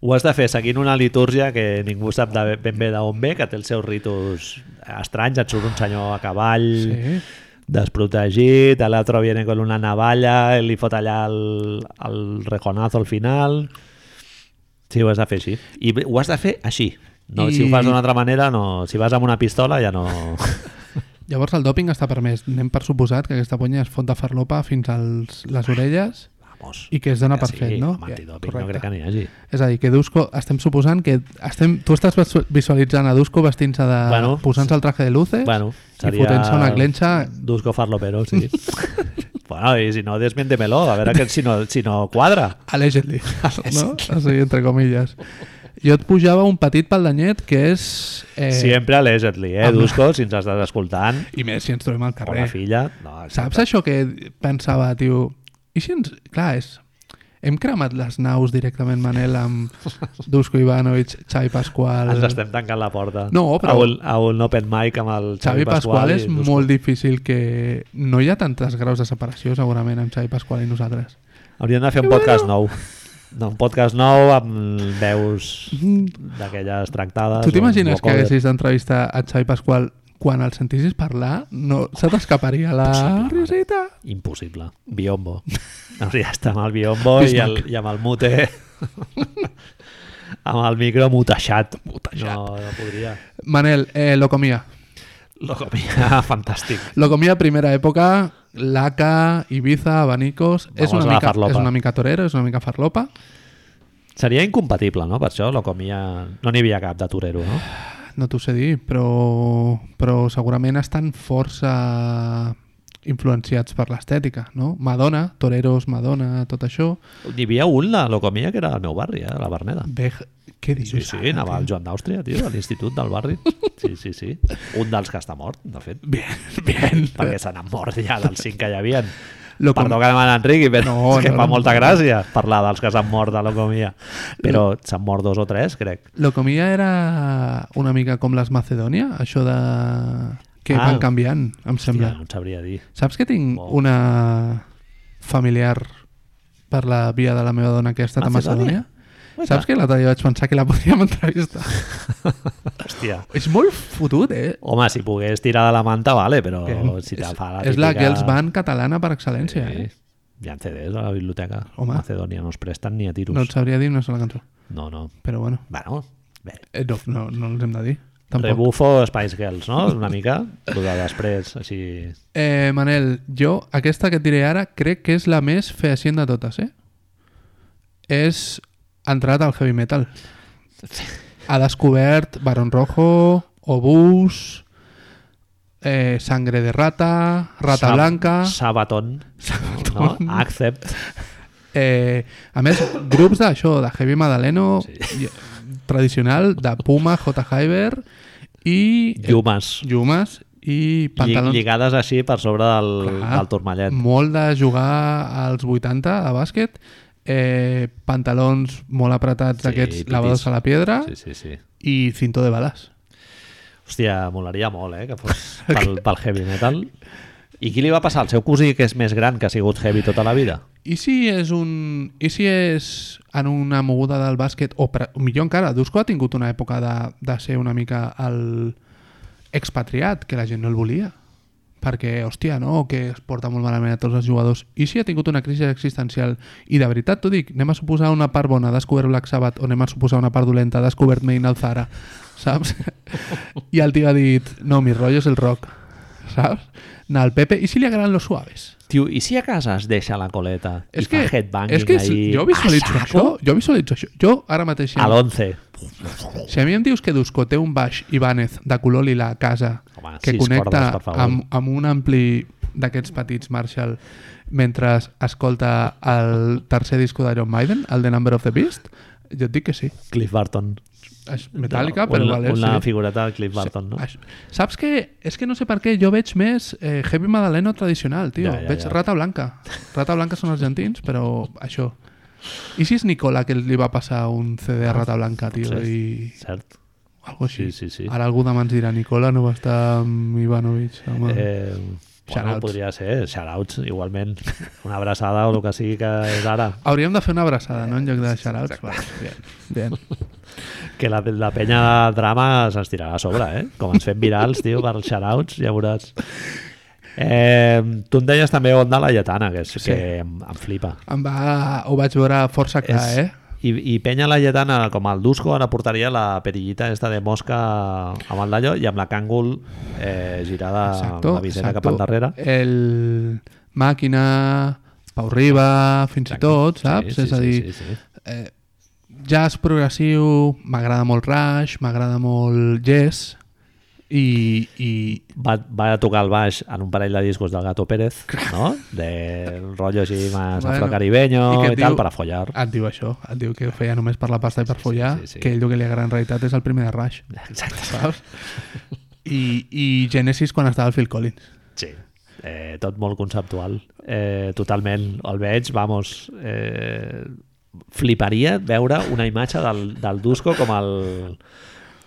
[SPEAKER 1] Ho has de fer seguint una litúrgia que ningú sap de ben bé d'on ve, que té els seus ritus estranys, et surt un senyor a cavall,
[SPEAKER 2] sí.
[SPEAKER 1] desprotegit, a l'altre viene con una navalla, li fot allà el, el reconazo al final... Sí, ho has de fer així. I bé, ho has de fer així. No, Si ho
[SPEAKER 2] I-
[SPEAKER 1] fas d'una altra manera, no. Si vas amb una pistola, ja no...
[SPEAKER 2] Llavors el dòping està permès. Anem per suposat que aquesta ponya es fot de farlopa fins a les orelles
[SPEAKER 1] Vamos.
[SPEAKER 2] i que es dona per
[SPEAKER 1] Ah, sí,
[SPEAKER 2] fet, no?
[SPEAKER 1] amb antidoping no
[SPEAKER 2] Correcte.
[SPEAKER 1] crec que n'hi hagi.
[SPEAKER 2] És a dir, que Dusko, estem suposant que estem, tu estàs visu- visualitzant a Dusko vestint-se de...
[SPEAKER 1] Bueno,
[SPEAKER 2] posant-se el traje de luces
[SPEAKER 1] Bueno, seria...
[SPEAKER 2] i fotent-se una clenxa...
[SPEAKER 1] Dusko Farlopero,
[SPEAKER 2] [laughs]
[SPEAKER 1] sí. bueno, i si no, desmiéntemelo, a veure que si no, si no quadra.
[SPEAKER 2] Allegedly, [laughs] no? O sigui, entre comilles. Jo et pujava un petit paldanyet que és... Eh,
[SPEAKER 1] Sempre allegedly, eh,
[SPEAKER 2] amb-
[SPEAKER 1] Dusko, si ens estàs escoltant,
[SPEAKER 2] I més si ens trobem
[SPEAKER 1] o
[SPEAKER 2] al
[SPEAKER 1] la
[SPEAKER 2] carrer.
[SPEAKER 1] filla... No,
[SPEAKER 2] Saps això que pensava, tio... I si ens... Clar, és... Hem cremat les naus directament, Manel,
[SPEAKER 1] [laughs]
[SPEAKER 2] amb Dusko Ivanovic, Xavi Pasqual...
[SPEAKER 1] Ens estem tancant la porta.
[SPEAKER 2] No,
[SPEAKER 1] A
[SPEAKER 2] però-
[SPEAKER 1] un, a un open mic amb el
[SPEAKER 2] Xavi Pasqual
[SPEAKER 1] i
[SPEAKER 2] és
[SPEAKER 1] Dusko.
[SPEAKER 2] molt difícil que... No hi ha tantes graus de separació, segurament, amb Xavi Pasqual i nosaltres.
[SPEAKER 1] Hauríem de fer un podcast nou. No, un podcast nou amb veus d'aquelles tractades.
[SPEAKER 2] Tu t'imagines
[SPEAKER 1] un
[SPEAKER 2] que
[SPEAKER 1] vocoder.
[SPEAKER 2] haguessis d'entrevistar a Xavi Pasqual quan el sentissis parlar? No, se t'escaparia la
[SPEAKER 1] Impossible,
[SPEAKER 2] riseta?
[SPEAKER 1] Impossible. Biombo. Hauria d'estar amb el biombo i, el, i amb el mute... amb el micro mutejat.
[SPEAKER 2] Mutejat.
[SPEAKER 1] No, no podria.
[SPEAKER 2] Manel, eh, Locomia.
[SPEAKER 1] Lo comia Ah, fantàstic.
[SPEAKER 2] Locomia, primera època, Laca, Ibiza, Abanicos... és,
[SPEAKER 1] Vamos a
[SPEAKER 2] una
[SPEAKER 1] la
[SPEAKER 2] mica,
[SPEAKER 1] farlopa.
[SPEAKER 2] és una mica torero, és una mica farlopa.
[SPEAKER 1] Seria incompatible, no? Per això lo comia... No n'hi havia cap de torero, no?
[SPEAKER 2] No t'ho sé dir, però, però segurament estan força influenciats per l'estètica, no? Madonna, toreros, Madonna, tot això.
[SPEAKER 1] N'hi havia un, la Locomia, que era al meu barri, eh, a la Berneda.
[SPEAKER 2] Bej... Què dius?
[SPEAKER 1] Sí, sí,
[SPEAKER 2] ara,
[SPEAKER 1] anava al
[SPEAKER 2] tio?
[SPEAKER 1] Joan d'Àustria, tio, a l'institut del barri. Sí, sí, sí. Un dels que està mort, de fet.
[SPEAKER 2] Bien, [laughs] bien.
[SPEAKER 1] Perquè se n'han mort ja dels cinc que hi havia.
[SPEAKER 2] Lo com-
[SPEAKER 1] Perdó que demana Enriqui, però
[SPEAKER 2] No,
[SPEAKER 1] és que
[SPEAKER 2] no,
[SPEAKER 1] fa
[SPEAKER 2] no.
[SPEAKER 1] molta gràcia parlar dels que s'han mort de l'Ocomia. Però s'han mort dos o tres, crec.
[SPEAKER 2] Locomia era una mica com les Macedònia, això de... que
[SPEAKER 1] Ah.
[SPEAKER 2] van canviant, em
[SPEAKER 1] Ja,
[SPEAKER 2] sembla.
[SPEAKER 1] no en sabria dir.
[SPEAKER 2] Saps que tinc
[SPEAKER 1] Wow.
[SPEAKER 2] una familiar per la via de la meva dona que ha estat
[SPEAKER 1] Macedònia?
[SPEAKER 2] a Macedònia? Saps que l'altre dia vaig pensar que la podíem entrevistar?
[SPEAKER 1] Hòstia.
[SPEAKER 2] és molt fotut, eh?
[SPEAKER 1] Home, si pogués tirar de la manta, vale, però
[SPEAKER 2] Bien.
[SPEAKER 1] Oh, si te
[SPEAKER 2] és,
[SPEAKER 1] fa la
[SPEAKER 2] és la
[SPEAKER 1] típica-
[SPEAKER 2] Girls Band catalana per excel·lència,
[SPEAKER 1] Sí.
[SPEAKER 2] eh?
[SPEAKER 1] Hi ha CDs a la biblioteca.
[SPEAKER 2] Home.
[SPEAKER 1] Macedònia no es presten ni a tiros.
[SPEAKER 2] No et sabria dir una sola cançó,
[SPEAKER 1] no, no.
[SPEAKER 2] però bueno,
[SPEAKER 1] Bueno, bé,
[SPEAKER 2] eh, no, no, no els hem de dir. Tampoc.
[SPEAKER 1] Rebufo Spice Girls, no? Una mica. Lo de després, així...
[SPEAKER 2] Eh, Manel, jo aquesta que et diré ara crec que és la més feacient de totes, eh? És entrat al heavy metal. Ha descobert Barón Rojo, Obús, eh, Sangre de Rata, Rata
[SPEAKER 1] Sab-
[SPEAKER 2] Blanca... [laughs]
[SPEAKER 1] Sabaton. Sabaton. No? Accept.
[SPEAKER 2] Eh, a més, grups d'això, de Heavy Madaleno, i- tradicional, de Puma, J. Hyber i... eh,
[SPEAKER 1] Llumes.
[SPEAKER 2] Llumes i
[SPEAKER 1] Lli-
[SPEAKER 2] pantalons...
[SPEAKER 1] Lligades així per sobre del,
[SPEAKER 2] Clar.
[SPEAKER 1] del turmallet.
[SPEAKER 2] molt de jugar als 80 a bàsquet, eh, pantalons molt apretats
[SPEAKER 1] Sí,
[SPEAKER 2] d'aquests
[SPEAKER 1] pitis.
[SPEAKER 2] lavados a la pedra
[SPEAKER 1] Sí, sí, sí.
[SPEAKER 2] i cinto de bales.
[SPEAKER 1] Hòstia, molaria molt, eh? Que
[SPEAKER 2] [laughs]
[SPEAKER 1] fos pel, pel heavy metal. I qui li va passar? El seu cosí, que és més gran, que ha sigut heavy tota la vida?
[SPEAKER 2] I si és un... I si és en una moguda del bàsquet, o per, millor encara, Dusko ha tingut una època de, de ser una mica el expatriat, que la gent no el volia. Perquè, hòstia, no, que es porta molt malament a tots els jugadors. I si ha tingut una crisi existencial, i de veritat t'ho dic, anem a suposar una part bona, ha descobert Black Sabbath, o anem a suposar una part dolenta, ha descobert Main al Zara, saps? I el tio ha dit, no, mi rotllo és el rock, saps? Anar al Pepe, i si li agraden los suaves?
[SPEAKER 1] Tio, i si a casa es deixa la coleta
[SPEAKER 2] És
[SPEAKER 1] i
[SPEAKER 2] que,
[SPEAKER 1] fa headbanging
[SPEAKER 2] és que és-
[SPEAKER 1] ahí
[SPEAKER 2] jo visualitzo
[SPEAKER 1] a
[SPEAKER 2] això,
[SPEAKER 1] saco?
[SPEAKER 2] jo visualitzo això. Jo ara mateix, si,
[SPEAKER 1] A l'11.
[SPEAKER 2] si a mi em dius que Dusko té un baix Ibáñez de color lila a casa
[SPEAKER 1] Home,
[SPEAKER 2] que
[SPEAKER 1] sis cordes,
[SPEAKER 2] connecta
[SPEAKER 1] per favor.
[SPEAKER 2] amb, amb un ampli d'aquests petits Marshall mentre escolta el tercer disco d'Iron Maiden, el The Number of the Beast, Jo et dic que sí.
[SPEAKER 1] Cliff Barton.
[SPEAKER 2] És metàl·lica, però
[SPEAKER 1] una,
[SPEAKER 2] vale,
[SPEAKER 1] Una
[SPEAKER 2] sí.
[SPEAKER 1] figureta de Cliff Barton, no?
[SPEAKER 2] Això- Saps que és que no sé per què jo veig més eh, Heavy Madaleno tradicional, tio.
[SPEAKER 1] Ja, ja,
[SPEAKER 2] veig
[SPEAKER 1] ja.
[SPEAKER 2] Rata Blanca. Rata Blanca són argentins, però això. I si és Nicola que li va passar un CD a Rata Blanca, tio,
[SPEAKER 1] Ah, Potser.
[SPEAKER 2] i
[SPEAKER 1] Cert.
[SPEAKER 2] algo així.
[SPEAKER 1] Sí, sí, sí.
[SPEAKER 2] Ara algú demà ens dirà Nicola no va estar amb Ivanovic. Home. Eh,
[SPEAKER 1] Eh, bueno,
[SPEAKER 2] Shoutouts.
[SPEAKER 1] podria ser, shoutouts, igualment. Una abraçada o el que sigui que és ara.
[SPEAKER 2] Hauríem de fer una abraçada, no? En lloc de xarauts. Vale, bien, bien.
[SPEAKER 1] Que la, la penya de drama se'ns tirarà a sobre, eh? Com ens fem virals, tio, per shoutouts, ja veuràs. Eh, tu em deies també Onda la Lletana, que, és, sí. que em, em flipa.
[SPEAKER 2] Em va... Ho vaig veure força clar,
[SPEAKER 1] És- ah,
[SPEAKER 2] eh?
[SPEAKER 1] I, I penya la lletana, com el Dusko, ara portaria la perillita esta de mosca amb el d'allò i amb la càngul eh, girada
[SPEAKER 2] Exacto,
[SPEAKER 1] amb la visera
[SPEAKER 2] exacto.
[SPEAKER 1] cap endarrere.
[SPEAKER 2] El Màquina, Pau Riba, fins i tot,
[SPEAKER 1] Sí,
[SPEAKER 2] saps?
[SPEAKER 1] sí,
[SPEAKER 2] És a dir,
[SPEAKER 1] sí, sí, sí.
[SPEAKER 2] eh, jazz progressiu, m'agrada molt Rush, m'agrada molt Yes, i, i
[SPEAKER 1] Va, va tocar el baix en un parell de discos del Gato Pérez, no? De rotllo així más
[SPEAKER 2] Bueno,
[SPEAKER 1] afrocaribeño
[SPEAKER 2] i
[SPEAKER 1] i,
[SPEAKER 2] que
[SPEAKER 1] i tal,
[SPEAKER 2] diu-
[SPEAKER 1] per a follar.
[SPEAKER 2] et diu això, et diu que ho feia només per la pasta i per follar,
[SPEAKER 1] sí, sí.
[SPEAKER 2] que ell el que li agrada en realitat és el primer de Rush,
[SPEAKER 1] Exacte. [laughs]
[SPEAKER 2] saps? I, I Genesis quan estava el Phil Collins.
[SPEAKER 1] Sí. Eh, tot molt conceptual. Eh, totalment. El veig, vamos... Eh, fliparia veure una imatge del, del Dusko com el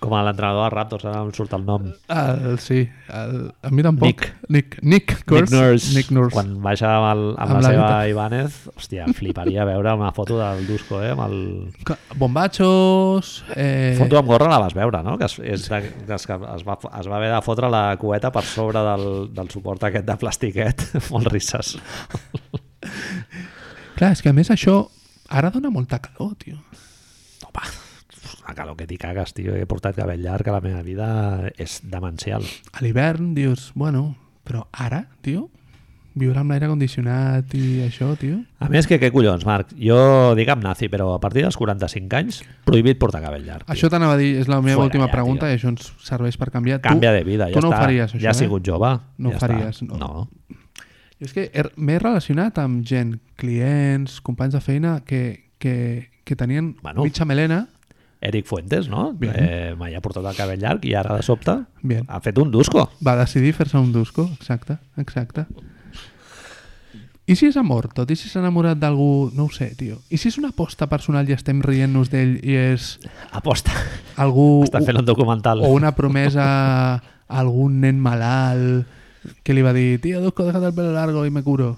[SPEAKER 1] com a l'entrenador de Raptors, ara em surt el nom.
[SPEAKER 2] El, sí, el, a mi tampoc.
[SPEAKER 1] Nick.
[SPEAKER 2] Nick, Nick, Nurse.
[SPEAKER 1] Nick Nurse.
[SPEAKER 2] Nick Nurse.
[SPEAKER 1] Quan baixa amb, el, amb,
[SPEAKER 2] Amb
[SPEAKER 1] la,
[SPEAKER 2] la
[SPEAKER 1] seva
[SPEAKER 2] guita.
[SPEAKER 1] Ibanez, hòstia, fliparia veure una foto del Dusko, eh? Amb el...
[SPEAKER 2] Ca- Bombachos... Eh,
[SPEAKER 1] Foto amb gorra la vas veure, no? Que es, és de, des que es, va, es va haver de fotre la cueta per sobre del, del suport aquest de plastiquet. [laughs] molt risses.
[SPEAKER 2] Clar, és que a més això ara dona molta calor, tio.
[SPEAKER 1] Opa, la calor que t'hi cagues, tio. He portat cabell llarg a la meva vida és demencial.
[SPEAKER 2] A l'hivern dius, bueno, però ara, tio, viure amb l'aire condicionat i això, tio...
[SPEAKER 1] A més, que què collons, Marc? Jo digue'm nazi, però a partir dels 45 anys, prohibit portar cabell llarg. Tio.
[SPEAKER 2] Això t'anava a dir, és la meva
[SPEAKER 1] Fuera
[SPEAKER 2] última
[SPEAKER 1] ja,
[SPEAKER 2] pregunta
[SPEAKER 1] tio.
[SPEAKER 2] i això ens serveix per canviar.
[SPEAKER 1] Canvia de vida, ja
[SPEAKER 2] tu no
[SPEAKER 1] està.
[SPEAKER 2] ho faries, això,
[SPEAKER 1] ja has
[SPEAKER 2] eh?
[SPEAKER 1] sigut jove.
[SPEAKER 2] No ho
[SPEAKER 1] ja
[SPEAKER 2] faries,
[SPEAKER 1] està.
[SPEAKER 2] no.
[SPEAKER 1] no.
[SPEAKER 2] Jo és que he- m'he relacionat amb gent, clients, companys de feina que, que, que tenien
[SPEAKER 1] Bueno.
[SPEAKER 2] mitja melena...
[SPEAKER 1] Eric Fuentes, no?
[SPEAKER 2] Bien.
[SPEAKER 1] Eh, mai ha portat el cabell llarg i ara de sobte
[SPEAKER 2] Bien.
[SPEAKER 1] ha fet un dusco.
[SPEAKER 2] Va decidir fer-se un dusco, exacte, exacte. I si és amor, tot? I si s'ha enamorat d'algú? No ho sé, tio. I si és una aposta personal i estem rient-nos d'ell i és
[SPEAKER 1] Aposta.
[SPEAKER 2] algú...
[SPEAKER 1] Està fent un documental.
[SPEAKER 2] o
[SPEAKER 1] [laughs]
[SPEAKER 2] una promesa a algun nen malalt que li va dir tio, Dusko, déjate el pelo largo i me curo.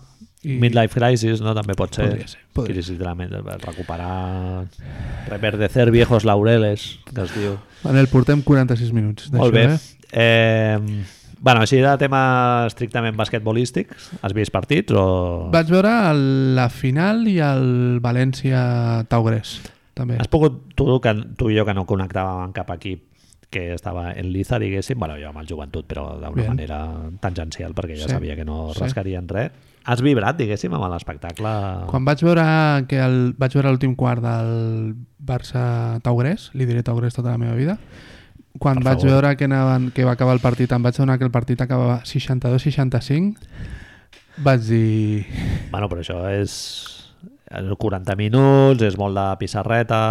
[SPEAKER 2] I...
[SPEAKER 1] Midlife Crisis, no? També pot ser.
[SPEAKER 2] Podria ser, podria
[SPEAKER 1] Crisis de la ment, recuperar... Reverdecer viejos laureles, que es diu.
[SPEAKER 2] Manel, portem 46 minuts d'això,
[SPEAKER 1] Molt bé.
[SPEAKER 2] eh?
[SPEAKER 1] Eh, bueno, així de tema estrictament basquetbolístic, has vist partits o...
[SPEAKER 2] Vaig veure el- la final i el València-Taugres, també.
[SPEAKER 1] Has pogut, tu, que, tu i jo que no connectàvem amb cap equip que estava en l'Iza, diguéssim, bueno, jo amb el joventut, però d'una
[SPEAKER 2] Bien.
[SPEAKER 1] manera tangencial, perquè ja
[SPEAKER 2] Sí,
[SPEAKER 1] sabia que no
[SPEAKER 2] sí.
[SPEAKER 1] rascarien res. Has vibrat, diguéssim, amb l'espectacle...
[SPEAKER 2] Quan vaig veure que el, vaig veure l'últim quart del Barça Taurès, li diré Taurès tota la meva vida, quan
[SPEAKER 1] Per
[SPEAKER 2] vaig
[SPEAKER 1] favor.
[SPEAKER 2] veure que, anaven, que va acabar el partit, em vaig adonar que el partit acabava 62-65, vaig dir...
[SPEAKER 1] Bueno, però això és... és 40 minuts, és molt de pissarreta,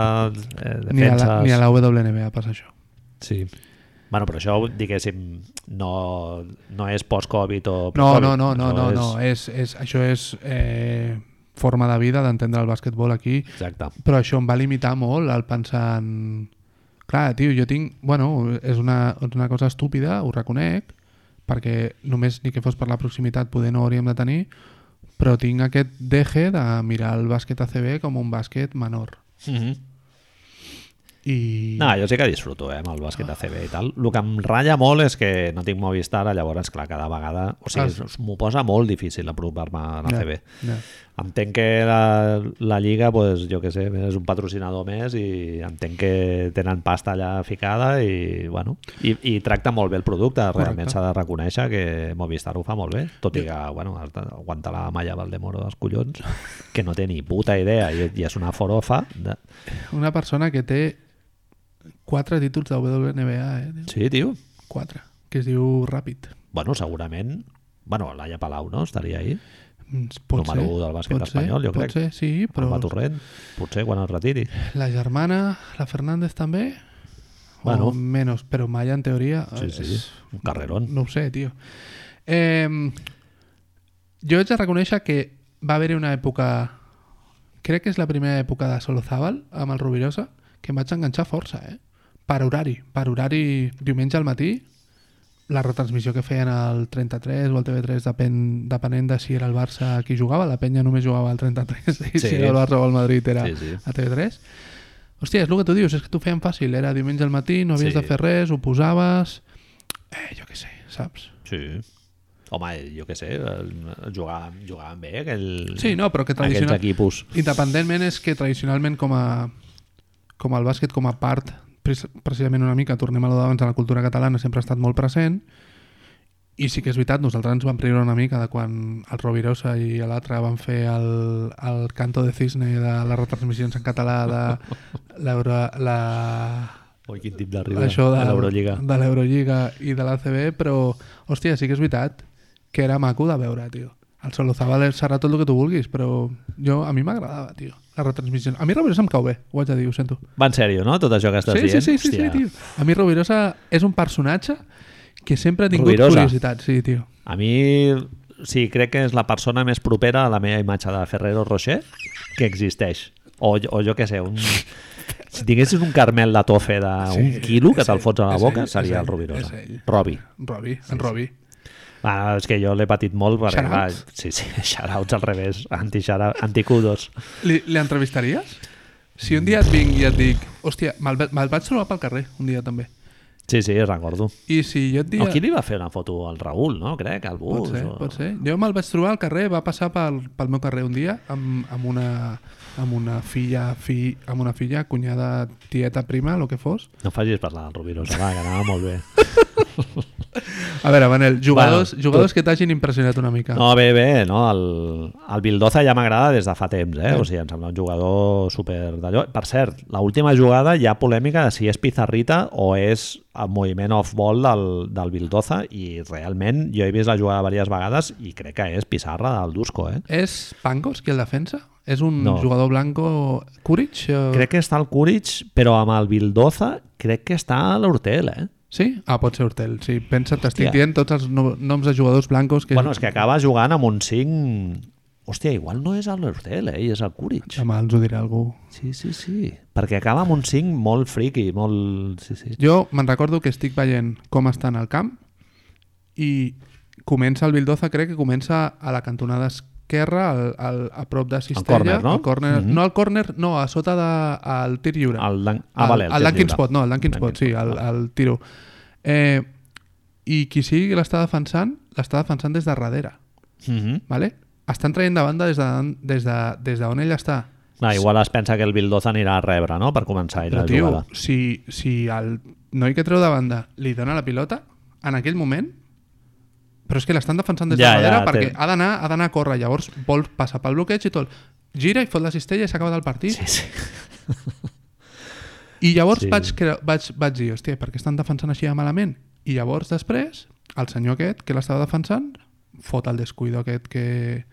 [SPEAKER 1] eh,
[SPEAKER 2] Ni a, la,
[SPEAKER 1] defenses...
[SPEAKER 2] ni a la WNBA passa això.
[SPEAKER 1] Sí. Bueno, però això, diguéssim, no, no és post-Covid o...
[SPEAKER 2] No,
[SPEAKER 1] pre-Covid.
[SPEAKER 2] no, no, no,
[SPEAKER 1] Això
[SPEAKER 2] no,
[SPEAKER 1] és-
[SPEAKER 2] no. eh. És, és, això és eh, forma de vida d'entendre el basquetbol aquí
[SPEAKER 1] Exacte.
[SPEAKER 2] però això em va limitar molt al pensar en... Clar, tio, jo tinc... Bueno, és una, és una cosa estúpida, ho reconec, perquè només ni que fos per la proximitat poder no hauríem de tenir, però tinc aquest deje de mirar el bàsquet ACB com un bàsquet menor.
[SPEAKER 1] Mm -hmm.
[SPEAKER 2] I...
[SPEAKER 1] No, jo sí que disfruto eh, amb el bàsquet de CB i tal. El que em ratlla molt és que no tinc Movistar, llavors, clar, cada vegada... O sigui,
[SPEAKER 2] Ah.
[SPEAKER 1] es- m'ho posa molt difícil apropar-me a la CB.
[SPEAKER 2] Ja.
[SPEAKER 1] Entenc que la, la Lliga, pues, jo que sé, és un patrocinador més i entenc que tenen pasta allà ficada i, bueno, i, i tracta molt bé el producte. Realment
[SPEAKER 2] Correcte.
[SPEAKER 1] s'ha de reconèixer que Movistar ho fa molt bé, tot i que, bueno, has d'aguantar la malla Valdemoro dels collons, que no té ni puta idea i, i és una forofa. De...
[SPEAKER 2] Una persona que té quatre títols de WNBA, eh? tio?
[SPEAKER 1] Sí, tio.
[SPEAKER 2] Quatre. Que es diu Ràpid.
[SPEAKER 1] Bueno, segurament... Bueno, Laia Palau, no? Estaria ahí.
[SPEAKER 2] Mm, Pot
[SPEAKER 1] número
[SPEAKER 2] ser,
[SPEAKER 1] 1 del bàsquet
[SPEAKER 2] pot ser,
[SPEAKER 1] espanyol, jo
[SPEAKER 2] pot
[SPEAKER 1] crec.
[SPEAKER 2] Ser, sí,
[SPEAKER 1] Però...
[SPEAKER 2] però
[SPEAKER 1] Alba Torrent, potser quan es retiri.
[SPEAKER 2] la germana, la Fernández també?
[SPEAKER 1] Bueno.
[SPEAKER 2] O menys, però Maya en teoria... eh,
[SPEAKER 1] Sí, sí,
[SPEAKER 2] és-
[SPEAKER 1] un carrerón.
[SPEAKER 2] No ho sé, tio. Eh, jo haig de reconèixer que va haver-hi una època... Crec que és la primera època de Solozábal amb el Rovirosa, que em vaig enganxar força, eh? Per horari. Per horari diumenge al matí, la retransmissió que feien al 33 o al TV3, depen, depenent de si era el Barça qui jugava, la penya només jugava al 33, i
[SPEAKER 1] Sí.
[SPEAKER 2] si era el Barça o el Madrid era
[SPEAKER 1] Sí, sí.
[SPEAKER 2] a TV3. Hòstia, és el que tu dius, és que t'ho feien fàcil, era diumenge al matí, no havies
[SPEAKER 1] Sí.
[SPEAKER 2] de fer res, ho posaves... Eh, jo què sé, saps?
[SPEAKER 1] Sí. Home, jo què sé, el- jugaven, jugaven bé aquell,
[SPEAKER 2] Sí, no, però que
[SPEAKER 1] aquells
[SPEAKER 2] tradicional...
[SPEAKER 1] equipos.
[SPEAKER 2] Independentment és que tradicionalment com a, com el bàsquet, com a part, pres- precisament una mica, tornem a lo d'abans, a la cultura catalana sempre ha estat molt present i sí que és veritat, nosaltres ens vam riure una mica de quan el Rovirosa i l'altre van fer el, el canto de cisne de les retransmissions en català de l'Euro... La...
[SPEAKER 1] Oi, quin tip d'arriba
[SPEAKER 2] això de,
[SPEAKER 1] a l'Eurolliga.
[SPEAKER 2] de l'Eurolliga i de l'ACB, però, hòstia, sí que és veritat que era maco de veure, tio. El Solozabal serà tot el que tu vulguis, però jo, a mi m'agradava, tio, la retransmissió. A mi Rovirosa em cau bé, ho haig de dir, ho sento.
[SPEAKER 1] Va en sèrio, no? Tot això que estàs
[SPEAKER 2] Sí, sí,
[SPEAKER 1] dient.
[SPEAKER 2] sí, sí, sí,
[SPEAKER 1] Hòstia.
[SPEAKER 2] tio. A mi Rovirosa és un personatge que sempre ha tingut
[SPEAKER 1] Rovirosa.
[SPEAKER 2] curiositat, sí, tio.
[SPEAKER 1] A mi, sí, crec que és la persona més propera a la meva imatge de Ferrero Rocher que existeix. O, jo- o jo què sé, un... Si tinguessis un carmel de tofe d'un
[SPEAKER 2] Sí,
[SPEAKER 1] quilo que
[SPEAKER 2] és
[SPEAKER 1] te'l
[SPEAKER 2] ell,
[SPEAKER 1] fots a la
[SPEAKER 2] és
[SPEAKER 1] boca,
[SPEAKER 2] ell, és
[SPEAKER 1] seria el
[SPEAKER 2] ell,
[SPEAKER 1] Rovirosa.
[SPEAKER 2] és ell.
[SPEAKER 1] Robi.
[SPEAKER 2] Robi, en Robi.
[SPEAKER 1] Ah, és que jo l'he patit molt perquè... clar,
[SPEAKER 2] Shoutouts?
[SPEAKER 1] Sí, sí, [laughs] shoutouts al revés, anti-shoutout- anticudos.
[SPEAKER 2] Li- L'entrevistaries? Si un dia et vinc i et dic, hòstia, me'l va- me'l vaig trobar pel carrer, un dia també.
[SPEAKER 1] Sí, sí, recordo.
[SPEAKER 2] I si jo
[SPEAKER 1] O
[SPEAKER 2] et dia...
[SPEAKER 1] qui li va fer una foto al Raül, no? Crec, al bus.
[SPEAKER 2] Pot ser,
[SPEAKER 1] o...
[SPEAKER 2] pot ser. Jo me'l vaig trobar al carrer, va passar pel, pel meu carrer un dia amb, amb, una, amb una filla, fi, amb una filla, cunyada, tieta, prima, el que fos.
[SPEAKER 1] No facis parlar del Rovirosa, va, que anava molt
[SPEAKER 2] [laughs]
[SPEAKER 1] bé.
[SPEAKER 2] A veure, Manel, jugadors,
[SPEAKER 1] Bueno,
[SPEAKER 2] jugadors que t'hagin impressionat una mica.
[SPEAKER 1] No, bé, bé, no? El, el Bildoza ja m'agrada des de fa temps, eh? O sigui, em sembla un jugador super d'allò. Per cert, l'última jugada hi ha polèmica de si és Pizarrita o és el moviment off-ball del, del Bildoza i realment jo he vist la jugada diverses vegades i crec que és Pizarra del Dusko, eh?
[SPEAKER 2] És Pangos qui el defensa? És un
[SPEAKER 1] No.
[SPEAKER 2] jugador blanco... Kuric? Eh, o-
[SPEAKER 1] Crec que està el Kuric, però amb el Bildoza crec que està l'Hortel, eh?
[SPEAKER 2] Sí? Ah, pot ser Hortel. Sí, pensa, t'estic
[SPEAKER 1] Hòstia.
[SPEAKER 2] dient tots els no, noms de jugadors blancos que...
[SPEAKER 1] Bueno, és que acaba jugant amb un 5... Hòstia, igual no és l'Hortel, eh? I és el Kuric.
[SPEAKER 2] Demà els ho dirà algú.
[SPEAKER 1] Sí, sí, sí. Perquè acaba amb un 5 molt friqui, molt... Sí, sí.
[SPEAKER 2] Jo me'n recordo que estic veient com estan al camp i comença el Bildoza, crec que comença a la cantonada esquerra, al, al, a prop de Cistella.
[SPEAKER 1] córner, no?
[SPEAKER 2] Al córner,
[SPEAKER 1] Mhm.
[SPEAKER 2] no al córner, no, a sota de, al tir lliure.
[SPEAKER 1] El dan... Ah, vale,
[SPEAKER 2] el, el dunking spot, no, el dunking spot, sí, el, el tiro. Eh, I qui sigui que l'està defensant, l'està defensant des de darrere,
[SPEAKER 1] Uh -huh.
[SPEAKER 2] vale? Estan traient de banda des de, des de, des de on ell està.
[SPEAKER 1] ah, igual es pensa que el Bildoza anirà a rebre, no?, per començar ell
[SPEAKER 2] Però,
[SPEAKER 1] la
[SPEAKER 2] tio,
[SPEAKER 1] jugada.
[SPEAKER 2] si, si el noi que treu de banda li dona la pilota, en aquell moment... Però és que l'estan defensant des
[SPEAKER 1] Ja,
[SPEAKER 2] de darrere
[SPEAKER 1] ja,
[SPEAKER 2] perquè
[SPEAKER 1] té-
[SPEAKER 2] ha d'anar ha d'anar a córrer. Llavors vol passar pel bloqueig i tot. Gira i fot la cistella i s'acaba del partit.
[SPEAKER 1] Sí, sí.
[SPEAKER 2] I llavors
[SPEAKER 1] Sí.
[SPEAKER 2] sí. vaig, cre- vaig, vaig dir, hòstia, per què estan defensant així de malament? I llavors, després, el senyor aquest que l'estava defensant fot el descuido aquest que...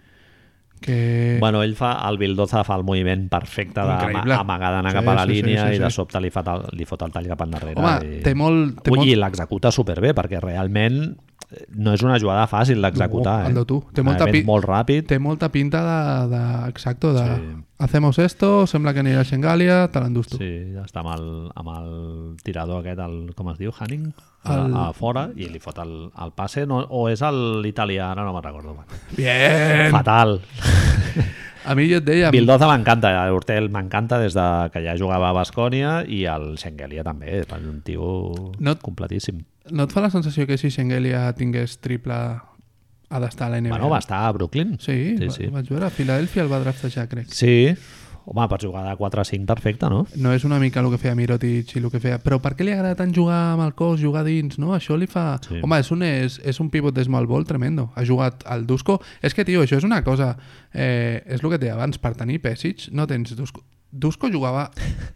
[SPEAKER 2] que...
[SPEAKER 1] Bueno, ell fa, el Bildoza fa el moviment perfecte
[SPEAKER 2] Increïble.
[SPEAKER 1] d'amagada anar
[SPEAKER 2] Sí,
[SPEAKER 1] cap a la
[SPEAKER 2] sí, sí,
[SPEAKER 1] línia
[SPEAKER 2] sí,
[SPEAKER 1] i de
[SPEAKER 2] sí.
[SPEAKER 1] sobte li, fa tal, li fot el tall cap endarrere.
[SPEAKER 2] Home,
[SPEAKER 1] i...
[SPEAKER 2] té molt... Té
[SPEAKER 1] Ui,
[SPEAKER 2] molt...
[SPEAKER 1] i l'executa superbé, perquè realment eh, no és una jugada fàcil d'executar.
[SPEAKER 2] No,
[SPEAKER 1] eh?
[SPEAKER 2] Aldo, tu. Té molta
[SPEAKER 1] Realment
[SPEAKER 2] pi-
[SPEAKER 1] molt ràpid.
[SPEAKER 2] té molta pinta de, de exacto, de
[SPEAKER 1] Sí.
[SPEAKER 2] hacemos esto, sembla que anirà a Xengalia, te l'endús tu. Sí.
[SPEAKER 1] Sí, ja està amb el, amb el tirador aquest, el, com es diu, Hanning,
[SPEAKER 2] El-
[SPEAKER 1] a, a fora, i li fot el, el passe, no, o és el italià, ara no me'n recordo.
[SPEAKER 2] Bien!
[SPEAKER 1] Fatal.
[SPEAKER 2] A mi jo et deia...
[SPEAKER 1] Bildoza m'encanta, l'Hortel m'encanta des de que ja jugava a Bascònia i el Schengelia també, és un tio
[SPEAKER 2] No- Eh,
[SPEAKER 1] completíssim.
[SPEAKER 2] No et fa la sensació que si Xengalia tingués triple ha d'estar a la NBA?
[SPEAKER 1] Bueno, va estar a Brooklyn.
[SPEAKER 2] eh. Sí,
[SPEAKER 1] sí.
[SPEAKER 2] sí,
[SPEAKER 1] sí.
[SPEAKER 2] sí. vaig veure. A Filadèlfia el va draftejar, crec.
[SPEAKER 1] sí. Home, per jugar de 4 a 5 perfecte, no?
[SPEAKER 2] No és una mica el que feia Mirotic i el que feia... Però per què li agrada tant jugar amb el cos, jugar dins, no? Això li fa...
[SPEAKER 1] Sí.
[SPEAKER 2] Sí. Home, és un, és, és un pivot de small ball tremendo. Ha jugat al Dusko... És que, tio, això és una cosa... Eh, és el que et deia abans, per tenir Pesic no tens Dusko. Dusko jugava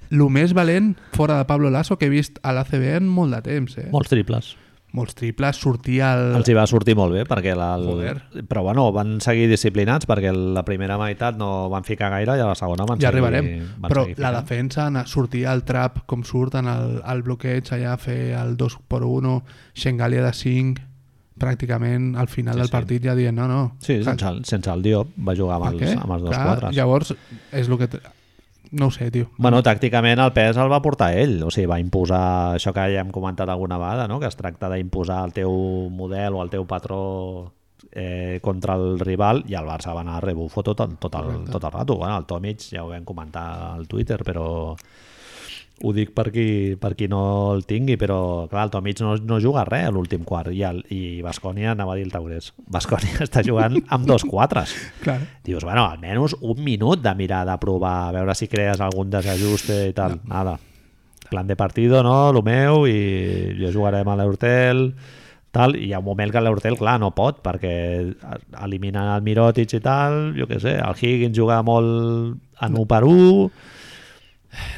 [SPEAKER 2] el més valent fora de Pablo Lasso que he vist a l'ACB en molt de temps, eh?
[SPEAKER 1] Molts triples.
[SPEAKER 2] molts triples, sortir al...
[SPEAKER 1] Els hi va sortir molt bé, perquè la, el...
[SPEAKER 2] Joder.
[SPEAKER 1] però bueno, van seguir disciplinats perquè la primera meitat no van ficar gaire i a la segona van
[SPEAKER 2] Ja
[SPEAKER 1] seguir,
[SPEAKER 2] arribarem,
[SPEAKER 1] van
[SPEAKER 2] però
[SPEAKER 1] seguir
[SPEAKER 2] la
[SPEAKER 1] ficant.
[SPEAKER 2] defensa, anar, sortir al trap com surten, al, al bloqueig allà, fer el 2x1, Xengalia de 5, pràcticament al final
[SPEAKER 1] Sí,
[SPEAKER 2] del
[SPEAKER 1] sí.
[SPEAKER 2] partit ja dient no, no.
[SPEAKER 1] Sí, sense, el- sense el Diop va jugar amb
[SPEAKER 2] per
[SPEAKER 1] els,
[SPEAKER 2] què?
[SPEAKER 1] amb els dos
[SPEAKER 2] Clar,
[SPEAKER 1] quadres.
[SPEAKER 2] Llavors, és el que... t- No ho sé, tio.
[SPEAKER 1] Bueno, tàcticament el pes el va portar ell, o sigui, va imposar això que ja hem comentat alguna vegada, no? que es tracta d'imposar el teu model o el teu patró eh, contra el rival i el Barça va anar a rebufo tot, el- tot, el,
[SPEAKER 2] Correcte.
[SPEAKER 1] tot el rato. Bueno, el Tomic ja ho vam comentar al Twitter, però ho dic per qui, per qui no el tingui, però clar, el Tomic no, no juga res a l'últim quart i, el, i Bascònia anava a dir el taurers. Bascònia [laughs] està jugant amb dos quatres.
[SPEAKER 2] Clar.
[SPEAKER 1] Dius, bueno, almenys un minut de mirar, de provar, a veure si crees algun desajust i tal. No. Nada. Plan de partido, no? Lo meu i jo jugarem a l'Hortel tal, i hi ha un moment que l'Hortel, clar, no pot perquè eliminen el Mirotic i tal, jo què sé, el Higgins juga molt en 1 per 1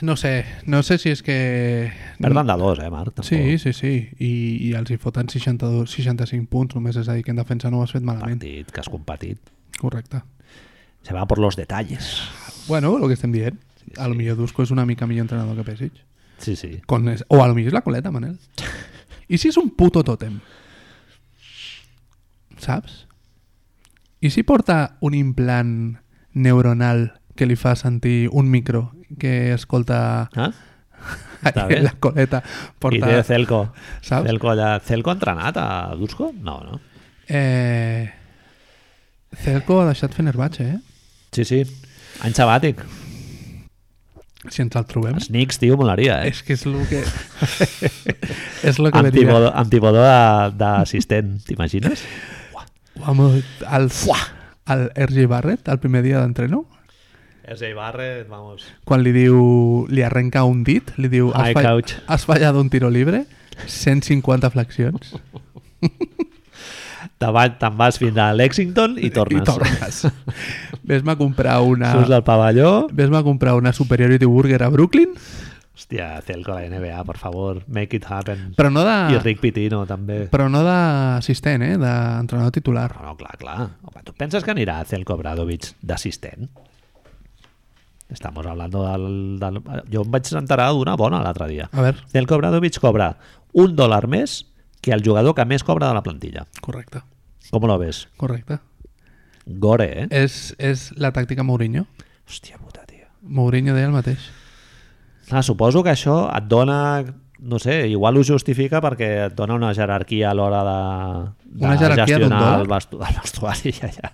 [SPEAKER 2] No sé, no sé si és que...
[SPEAKER 1] perden de dos, eh, Marc? Tampoc.
[SPEAKER 2] Sí, sí, sí. I, i els hi foten 62, 65 punts, només és a dir que en defensa no ho has fet malament.
[SPEAKER 1] Partit que has competit.
[SPEAKER 2] Correcte.
[SPEAKER 1] Se va por los detalles.
[SPEAKER 2] Bueno, el que estem dient.
[SPEAKER 1] Sí,
[SPEAKER 2] A lo
[SPEAKER 1] sí.
[SPEAKER 2] millor Dusko és una mica millor entrenador que Pesic.
[SPEAKER 1] Sí, sí.
[SPEAKER 2] Con es- o a lo mejor es la coleta, Manel. ¿Y si es un puto tótem? ¿Saps? ¿Y si porta un implant neuronal que li fa sentir un micro que escolta
[SPEAKER 1] Eh? Està bé.
[SPEAKER 2] en [laughs] la coleta?
[SPEAKER 1] I té
[SPEAKER 2] Porta,
[SPEAKER 1] Celco.
[SPEAKER 2] saps?
[SPEAKER 1] Celco, allà. Celco ha entrenat a Dusko? No, no.
[SPEAKER 2] Eh, Cerco ha deixat Fenerbahce, eh?
[SPEAKER 1] Sí, sí. Any sabàtic.
[SPEAKER 2] Si ens el trobem.
[SPEAKER 1] Els Knicks, tio, molaria, eh?
[SPEAKER 2] És que és el que... [laughs] és el que
[SPEAKER 1] Amb
[SPEAKER 2] venia.
[SPEAKER 1] Tibodó, amb Tibodó de- d'assistent, t'imagines?
[SPEAKER 2] Vamos, al, al RG Barrett, el primer dia d'entreno,
[SPEAKER 1] S.A. Barrett, vamos.
[SPEAKER 2] quan li diu, li arrenca un dit, li diu, has,
[SPEAKER 1] Hi,
[SPEAKER 2] fall,
[SPEAKER 1] coach."
[SPEAKER 2] has fallat un tiro libre, 150 flexions
[SPEAKER 1] Te'n va, te vas fins a Lexington i tornes.
[SPEAKER 2] i tornes.
[SPEAKER 1] [laughs]
[SPEAKER 2] Ves-me a comprar una...
[SPEAKER 1] Surts del pavelló.
[SPEAKER 2] Ves-me a comprar una Superiority Burger a Brooklyn,
[SPEAKER 1] Hòstia, Celco a la NBA, per favor. Make it happen.
[SPEAKER 2] però no
[SPEAKER 1] I
[SPEAKER 2] de...
[SPEAKER 1] Rick Pitino, també.
[SPEAKER 2] Però no d'assistent, eh? D'entrenador titular.
[SPEAKER 1] No, no, clar, clar. Home, tu penses que anirà Celco Bradovic d'assistent? Estamos hablando del, del... Jo em vaig enterar d'una bona l'altre dia.
[SPEAKER 2] A veure,
[SPEAKER 1] Celco Bradovic cobra un dòlar més que el jugador que més cobra de la plantilla.
[SPEAKER 2] correcte,
[SPEAKER 1] Com lo ves?
[SPEAKER 2] correcte.
[SPEAKER 1] Gore, eh?
[SPEAKER 2] És, és la tàctica Mourinho.
[SPEAKER 1] Hòstia puta, tio.
[SPEAKER 2] Mourinho deia el mateix.
[SPEAKER 1] Clar, suposo que això et dona, no sé, igual ho justifica perquè et dona una jerarquia a l'hora de, de
[SPEAKER 2] Una jerarquia d'un
[SPEAKER 1] gestionar
[SPEAKER 2] dòlar?
[SPEAKER 1] el, vestu el vestuari. [laughs] Ja, ja.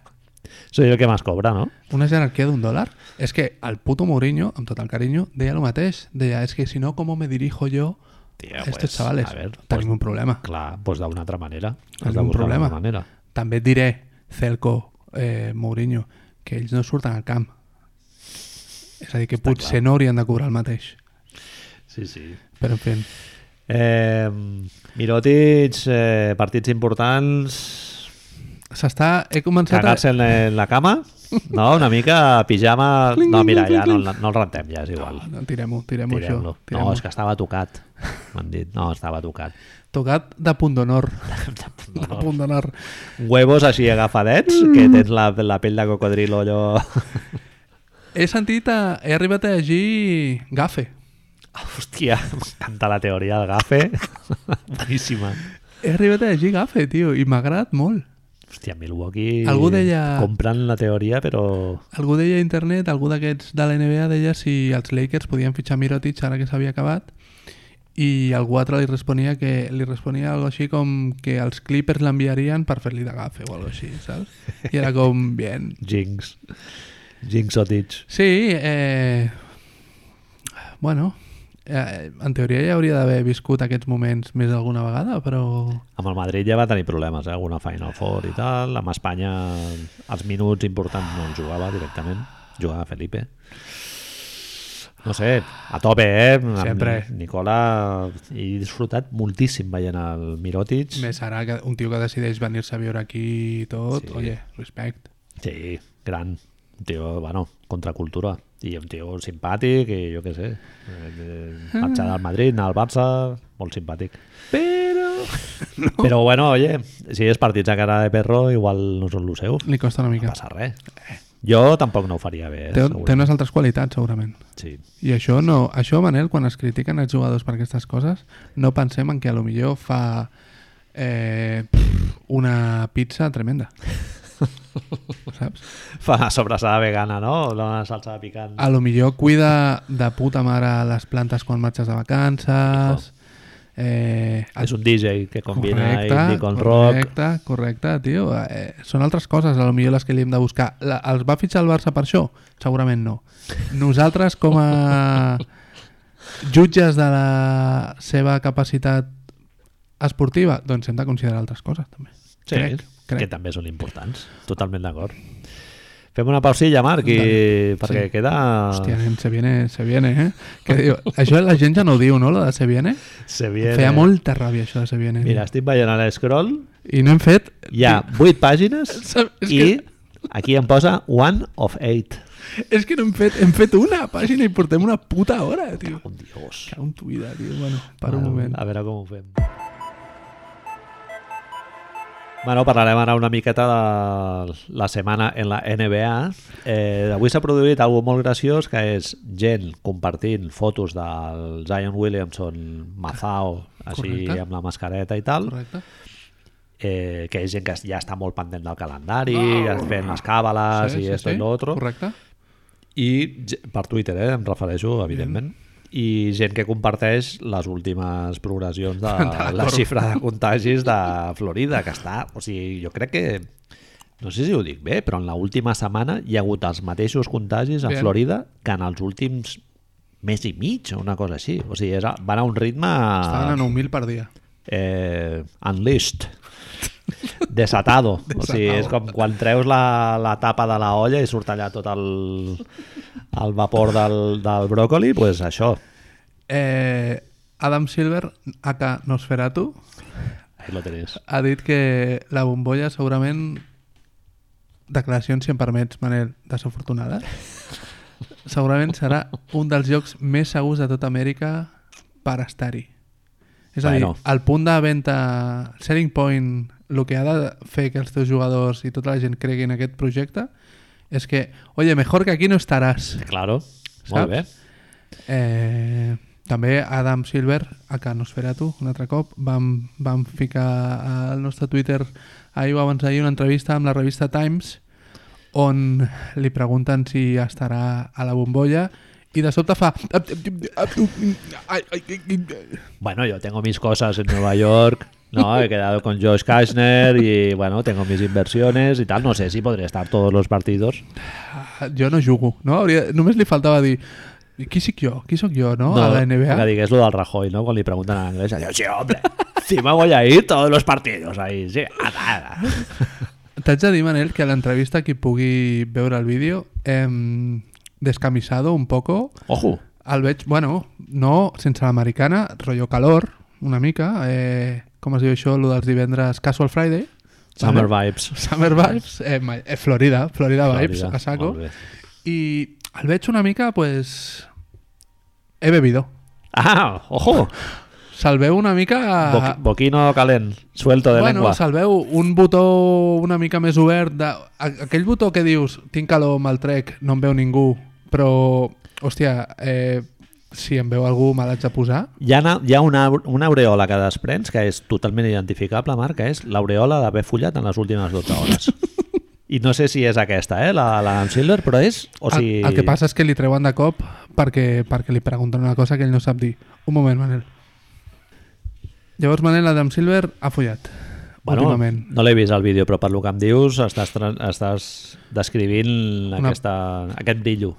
[SPEAKER 1] Això és el que més cobra, no?
[SPEAKER 2] Una jerarquia d'un dòlar? És que el puto Mourinho, amb tot el carinyo, deia el mateix. Deia, és que si no, com me dirijo jo
[SPEAKER 1] Tio,
[SPEAKER 2] a estos chavales?
[SPEAKER 1] A veure, pues,
[SPEAKER 2] Tenim un problema.
[SPEAKER 1] clar, doncs d'una altra manera. Has
[SPEAKER 2] Tenim
[SPEAKER 1] de
[SPEAKER 2] un
[SPEAKER 1] buscar
[SPEAKER 2] problema.
[SPEAKER 1] d'alguna manera.
[SPEAKER 2] També et diré, Celco, eh, Mourinho, que ells no surten al camp. És a dir, que potser no haurien de cobrar el mateix.
[SPEAKER 1] Sí, sí.
[SPEAKER 2] Però, en fi,
[SPEAKER 1] Eh, Mirotic, eh, partits importants,
[SPEAKER 2] s'està... He començat a...
[SPEAKER 1] cagar-se en, en la cama, no? Una mica pijama... No, mira, ja no, no el rentem, ja és igual.
[SPEAKER 2] No, Tirem-ho, Ah, tirem-ho això.
[SPEAKER 1] Tirem-lo.
[SPEAKER 2] Tirem
[SPEAKER 1] No, és que estava tocat. M'han dit, no, estava tocat.
[SPEAKER 2] Tocat de punt
[SPEAKER 1] [laughs]
[SPEAKER 2] d'honor. De punt d'honor.
[SPEAKER 1] Huevos així agafadets,
[SPEAKER 2] Mm.
[SPEAKER 1] que tens la, la pell de cocodril allò...
[SPEAKER 2] [laughs] He sentit a... He arribat a llegir Gafe.
[SPEAKER 1] Hòstia, m'encanta la teoria del
[SPEAKER 2] [laughs]
[SPEAKER 1] gafe. Boníssima.
[SPEAKER 2] He arribat a llegir Gafe, tio, i m'ha agradat molt.
[SPEAKER 1] Hòstia, Milwaukee...
[SPEAKER 2] Algú deia-
[SPEAKER 1] Compren la teoria, però...
[SPEAKER 2] Algú deia a internet, algú d'aquests de la NBA deia si els Lakers podien fitxar Mirotic ara que s'havia acabat i algú altre li responia que li responia algo així com que els Clippers l'enviarien per fer-li d'agafe o algo així, saps? I era com, bien.
[SPEAKER 1] Jinx. Jinx o Titch.
[SPEAKER 2] Sí, eh... Bueno, eh, en teoria ja hauria d'haver viscut aquests moments més d'alguna vegada, però...
[SPEAKER 1] Amb el Madrid ja va tenir problemes, eh? alguna Final Four i tal. Amb Espanya els minuts importants no en jugava directament. Jugava Felipe. No sé, a tope, eh? Amb
[SPEAKER 2] Sempre.
[SPEAKER 1] Nicola, he disfrutat moltíssim veient el Mirotic.
[SPEAKER 2] Més ara que un tio que decideix venir-se a viure aquí i tot,
[SPEAKER 1] Sí.
[SPEAKER 2] sí. oye, respect.
[SPEAKER 1] Sí, gran. Un tio, bueno, contracultura. I un tio simpàtic i jo què sé. Eh, eh, Marxar del Madrid, anar al Barça, molt simpàtic.
[SPEAKER 2] Però...
[SPEAKER 1] Però [laughs] bueno, oye, si és partits a cara de perro, igual no us en luceu.
[SPEAKER 2] Li costa una
[SPEAKER 1] No
[SPEAKER 2] mica.
[SPEAKER 1] passa res. Jo tampoc no ho faria bé.
[SPEAKER 2] Té,
[SPEAKER 1] segur.
[SPEAKER 2] té unes altres qualitats, segurament.
[SPEAKER 1] Sí.
[SPEAKER 2] I això, no, això, Manel, quan es critiquen els jugadors per aquestes coses, no pensem en que a lo millor fa eh, pff, una pizza tremenda. Saps?
[SPEAKER 1] Fa sobrassada vegana, no? Una salsa picant.
[SPEAKER 2] A lo millor cuida de puta mare les plantes quan marxes de vacances. Eh,
[SPEAKER 1] És un DJ que combina indie con rock.
[SPEAKER 2] correcte, correcte, tio. Eh, són altres coses, a lo millor les que li hem de buscar. La, els va fitxar el Barça per això? Segurament no. Nosaltres, com
[SPEAKER 1] [laughs]
[SPEAKER 2] a jutges de la seva capacitat esportiva, doncs hem de considerar altres coses, també.
[SPEAKER 1] Sí,
[SPEAKER 2] crec, crec.
[SPEAKER 1] que també són importants. Totalment d'acord. Fem una pausilla, Marc, i... perquè
[SPEAKER 2] sí.
[SPEAKER 1] queda...
[SPEAKER 2] Hòstia, nen, se viene, se viene, eh? Que
[SPEAKER 1] [laughs]
[SPEAKER 2] diu, això la gent ja no ho diu, no, la de se viene?
[SPEAKER 1] Se
[SPEAKER 2] viene.
[SPEAKER 1] viene...
[SPEAKER 2] Feia molta ràbia, això de se viene.
[SPEAKER 1] Mira, estic veient a l'escroll,
[SPEAKER 2] I no hem fet...
[SPEAKER 1] hi ha 8 pàgines
[SPEAKER 2] Saps? [laughs] És
[SPEAKER 1] i aquí em posa one of eight.
[SPEAKER 2] És que no hem fet, hem fet una pàgina i portem una puta hora, tio.
[SPEAKER 1] Un dios.
[SPEAKER 2] Cago en tu vida, tio. Bueno,
[SPEAKER 1] Ah,
[SPEAKER 2] para un moment.
[SPEAKER 1] A veure com ho fem. Bueno, parlarem ara una miqueta de la setmana en la NBA. Eh, avui s'ha produït algo molt graciós, que és gent compartint fotos del Zion Williamson Mazao, així
[SPEAKER 2] Correcte.
[SPEAKER 1] amb la mascareta i tal,
[SPEAKER 2] Correcte.
[SPEAKER 1] eh, que és gent que ja està molt pendent del calendari, ja fent les càbales i esto i Ah, lo otro. Ah,
[SPEAKER 2] Correcte.
[SPEAKER 1] I ge- per Twitter, eh, em refereixo, evidentment. I gent que comparteix les últimes progressions de
[SPEAKER 2] [laughs] D'acord.
[SPEAKER 1] la xifra de contagis de Florida, que està... O sigui, jo crec que... No sé si ho dic bé, però en la última setmana hi ha hagut els mateixos contagis a
[SPEAKER 2] Bien.
[SPEAKER 1] Florida que en els últims mes i mig o una cosa així. O sigui, és, a- van a un ritme
[SPEAKER 2] Estaven a 9.000 per dia.
[SPEAKER 1] eh, unleashed [laughs] desatado, o sigui, és com quan treus la, la tapa de la olla i surt allà tot el, el vapor del, del bròcoli, doncs pues això
[SPEAKER 2] Eh, Adam Silver, aka Nosferatu,
[SPEAKER 1] ahí lo tenéis
[SPEAKER 2] ha dit que la bombolla segurament declaracions, si em permets, Manel, desafortunades. segurament serà un dels llocs més segurs de tota Amèrica per estar-hi. És a
[SPEAKER 1] Bueno.
[SPEAKER 2] dir, el punt de venda, el selling point, el que ha de fer que els teus jugadors i tota la gent creguin en aquest projecte és que, oye, mejor que aquí no estaràs.
[SPEAKER 1] claro, molt bé
[SPEAKER 2] Eh, també Adam Silver, a que no es farà tu, un altre cop, vam, vam ficar al nostre Twitter ahir o abans d'ahir una entrevista amb la revista Times on li pregunten si estarà a la bombolla i de sobte fa...
[SPEAKER 1] bueno, yo tengo mis cosas en Nueva York No, he quedado con Josh Kashner y bueno, tengo mis inversiones y tal. No sé si podré estar todos los partidos.
[SPEAKER 2] Jo no jugo, no? Hauria, només li faltava dir qui sóc jo? Qui sóc jo, no? no Oh, a
[SPEAKER 1] Que
[SPEAKER 2] la NBA?
[SPEAKER 1] digués lo del Rajoy, ¿no? Cuando le preguntan a inglés, digo, sí, hombre, sí me voy a ir todos los partidos ahí, sí. a nada".
[SPEAKER 2] T'haig de dir, Manel, que a l'entrevista qui pugui veure el vídeo hem descamisado un poco
[SPEAKER 1] Ojo,
[SPEAKER 2] El veig, bueno, no sense l'americana, rotllo calor, una mica, eh, com es diu això, el dels divendres, Casual Friday.
[SPEAKER 1] Summer vibes.
[SPEAKER 2] Summer vibes, eh, ma- eh, Florida, Florida, vibes,
[SPEAKER 1] Florida,
[SPEAKER 2] a saco.
[SPEAKER 1] molt bé.
[SPEAKER 2] I el veig una mica, pues... He bebido.
[SPEAKER 1] Ah, ojo,
[SPEAKER 2] Se'l veu una mica...
[SPEAKER 1] Boqui- boquino calent, suelto de
[SPEAKER 2] Ah. bueno,
[SPEAKER 1] lengua.
[SPEAKER 2] se'l veu un botó una mica més obert. De... a- Aquell botó que dius, tinc calor, me'l trec, no em veu ningú, però, hòstia, eh, si em veu algú me l'haig de posar.
[SPEAKER 1] Hi ha, una, hi ha una, una aureola que desprens que és totalment identificable, Marc, que és l'aureola d'haver follat en les últimes 12 hores.
[SPEAKER 2] [laughs]
[SPEAKER 1] I no sé si és aquesta, eh, la, la d'en Silver, però és... O
[SPEAKER 2] El-
[SPEAKER 1] sigui,
[SPEAKER 2] el, que passa és que li treuen de cop perquè, perquè li pregunten una cosa que ell no sap dir. Un moment, Manel. Llavors, Manel, Adam Silver ha follat.
[SPEAKER 1] bueno,
[SPEAKER 2] últimament.
[SPEAKER 1] no l'he vist al vídeo, però per lo que em dius estàs, tra- estàs descrivint
[SPEAKER 2] Una-
[SPEAKER 1] aquesta, aquest brillo.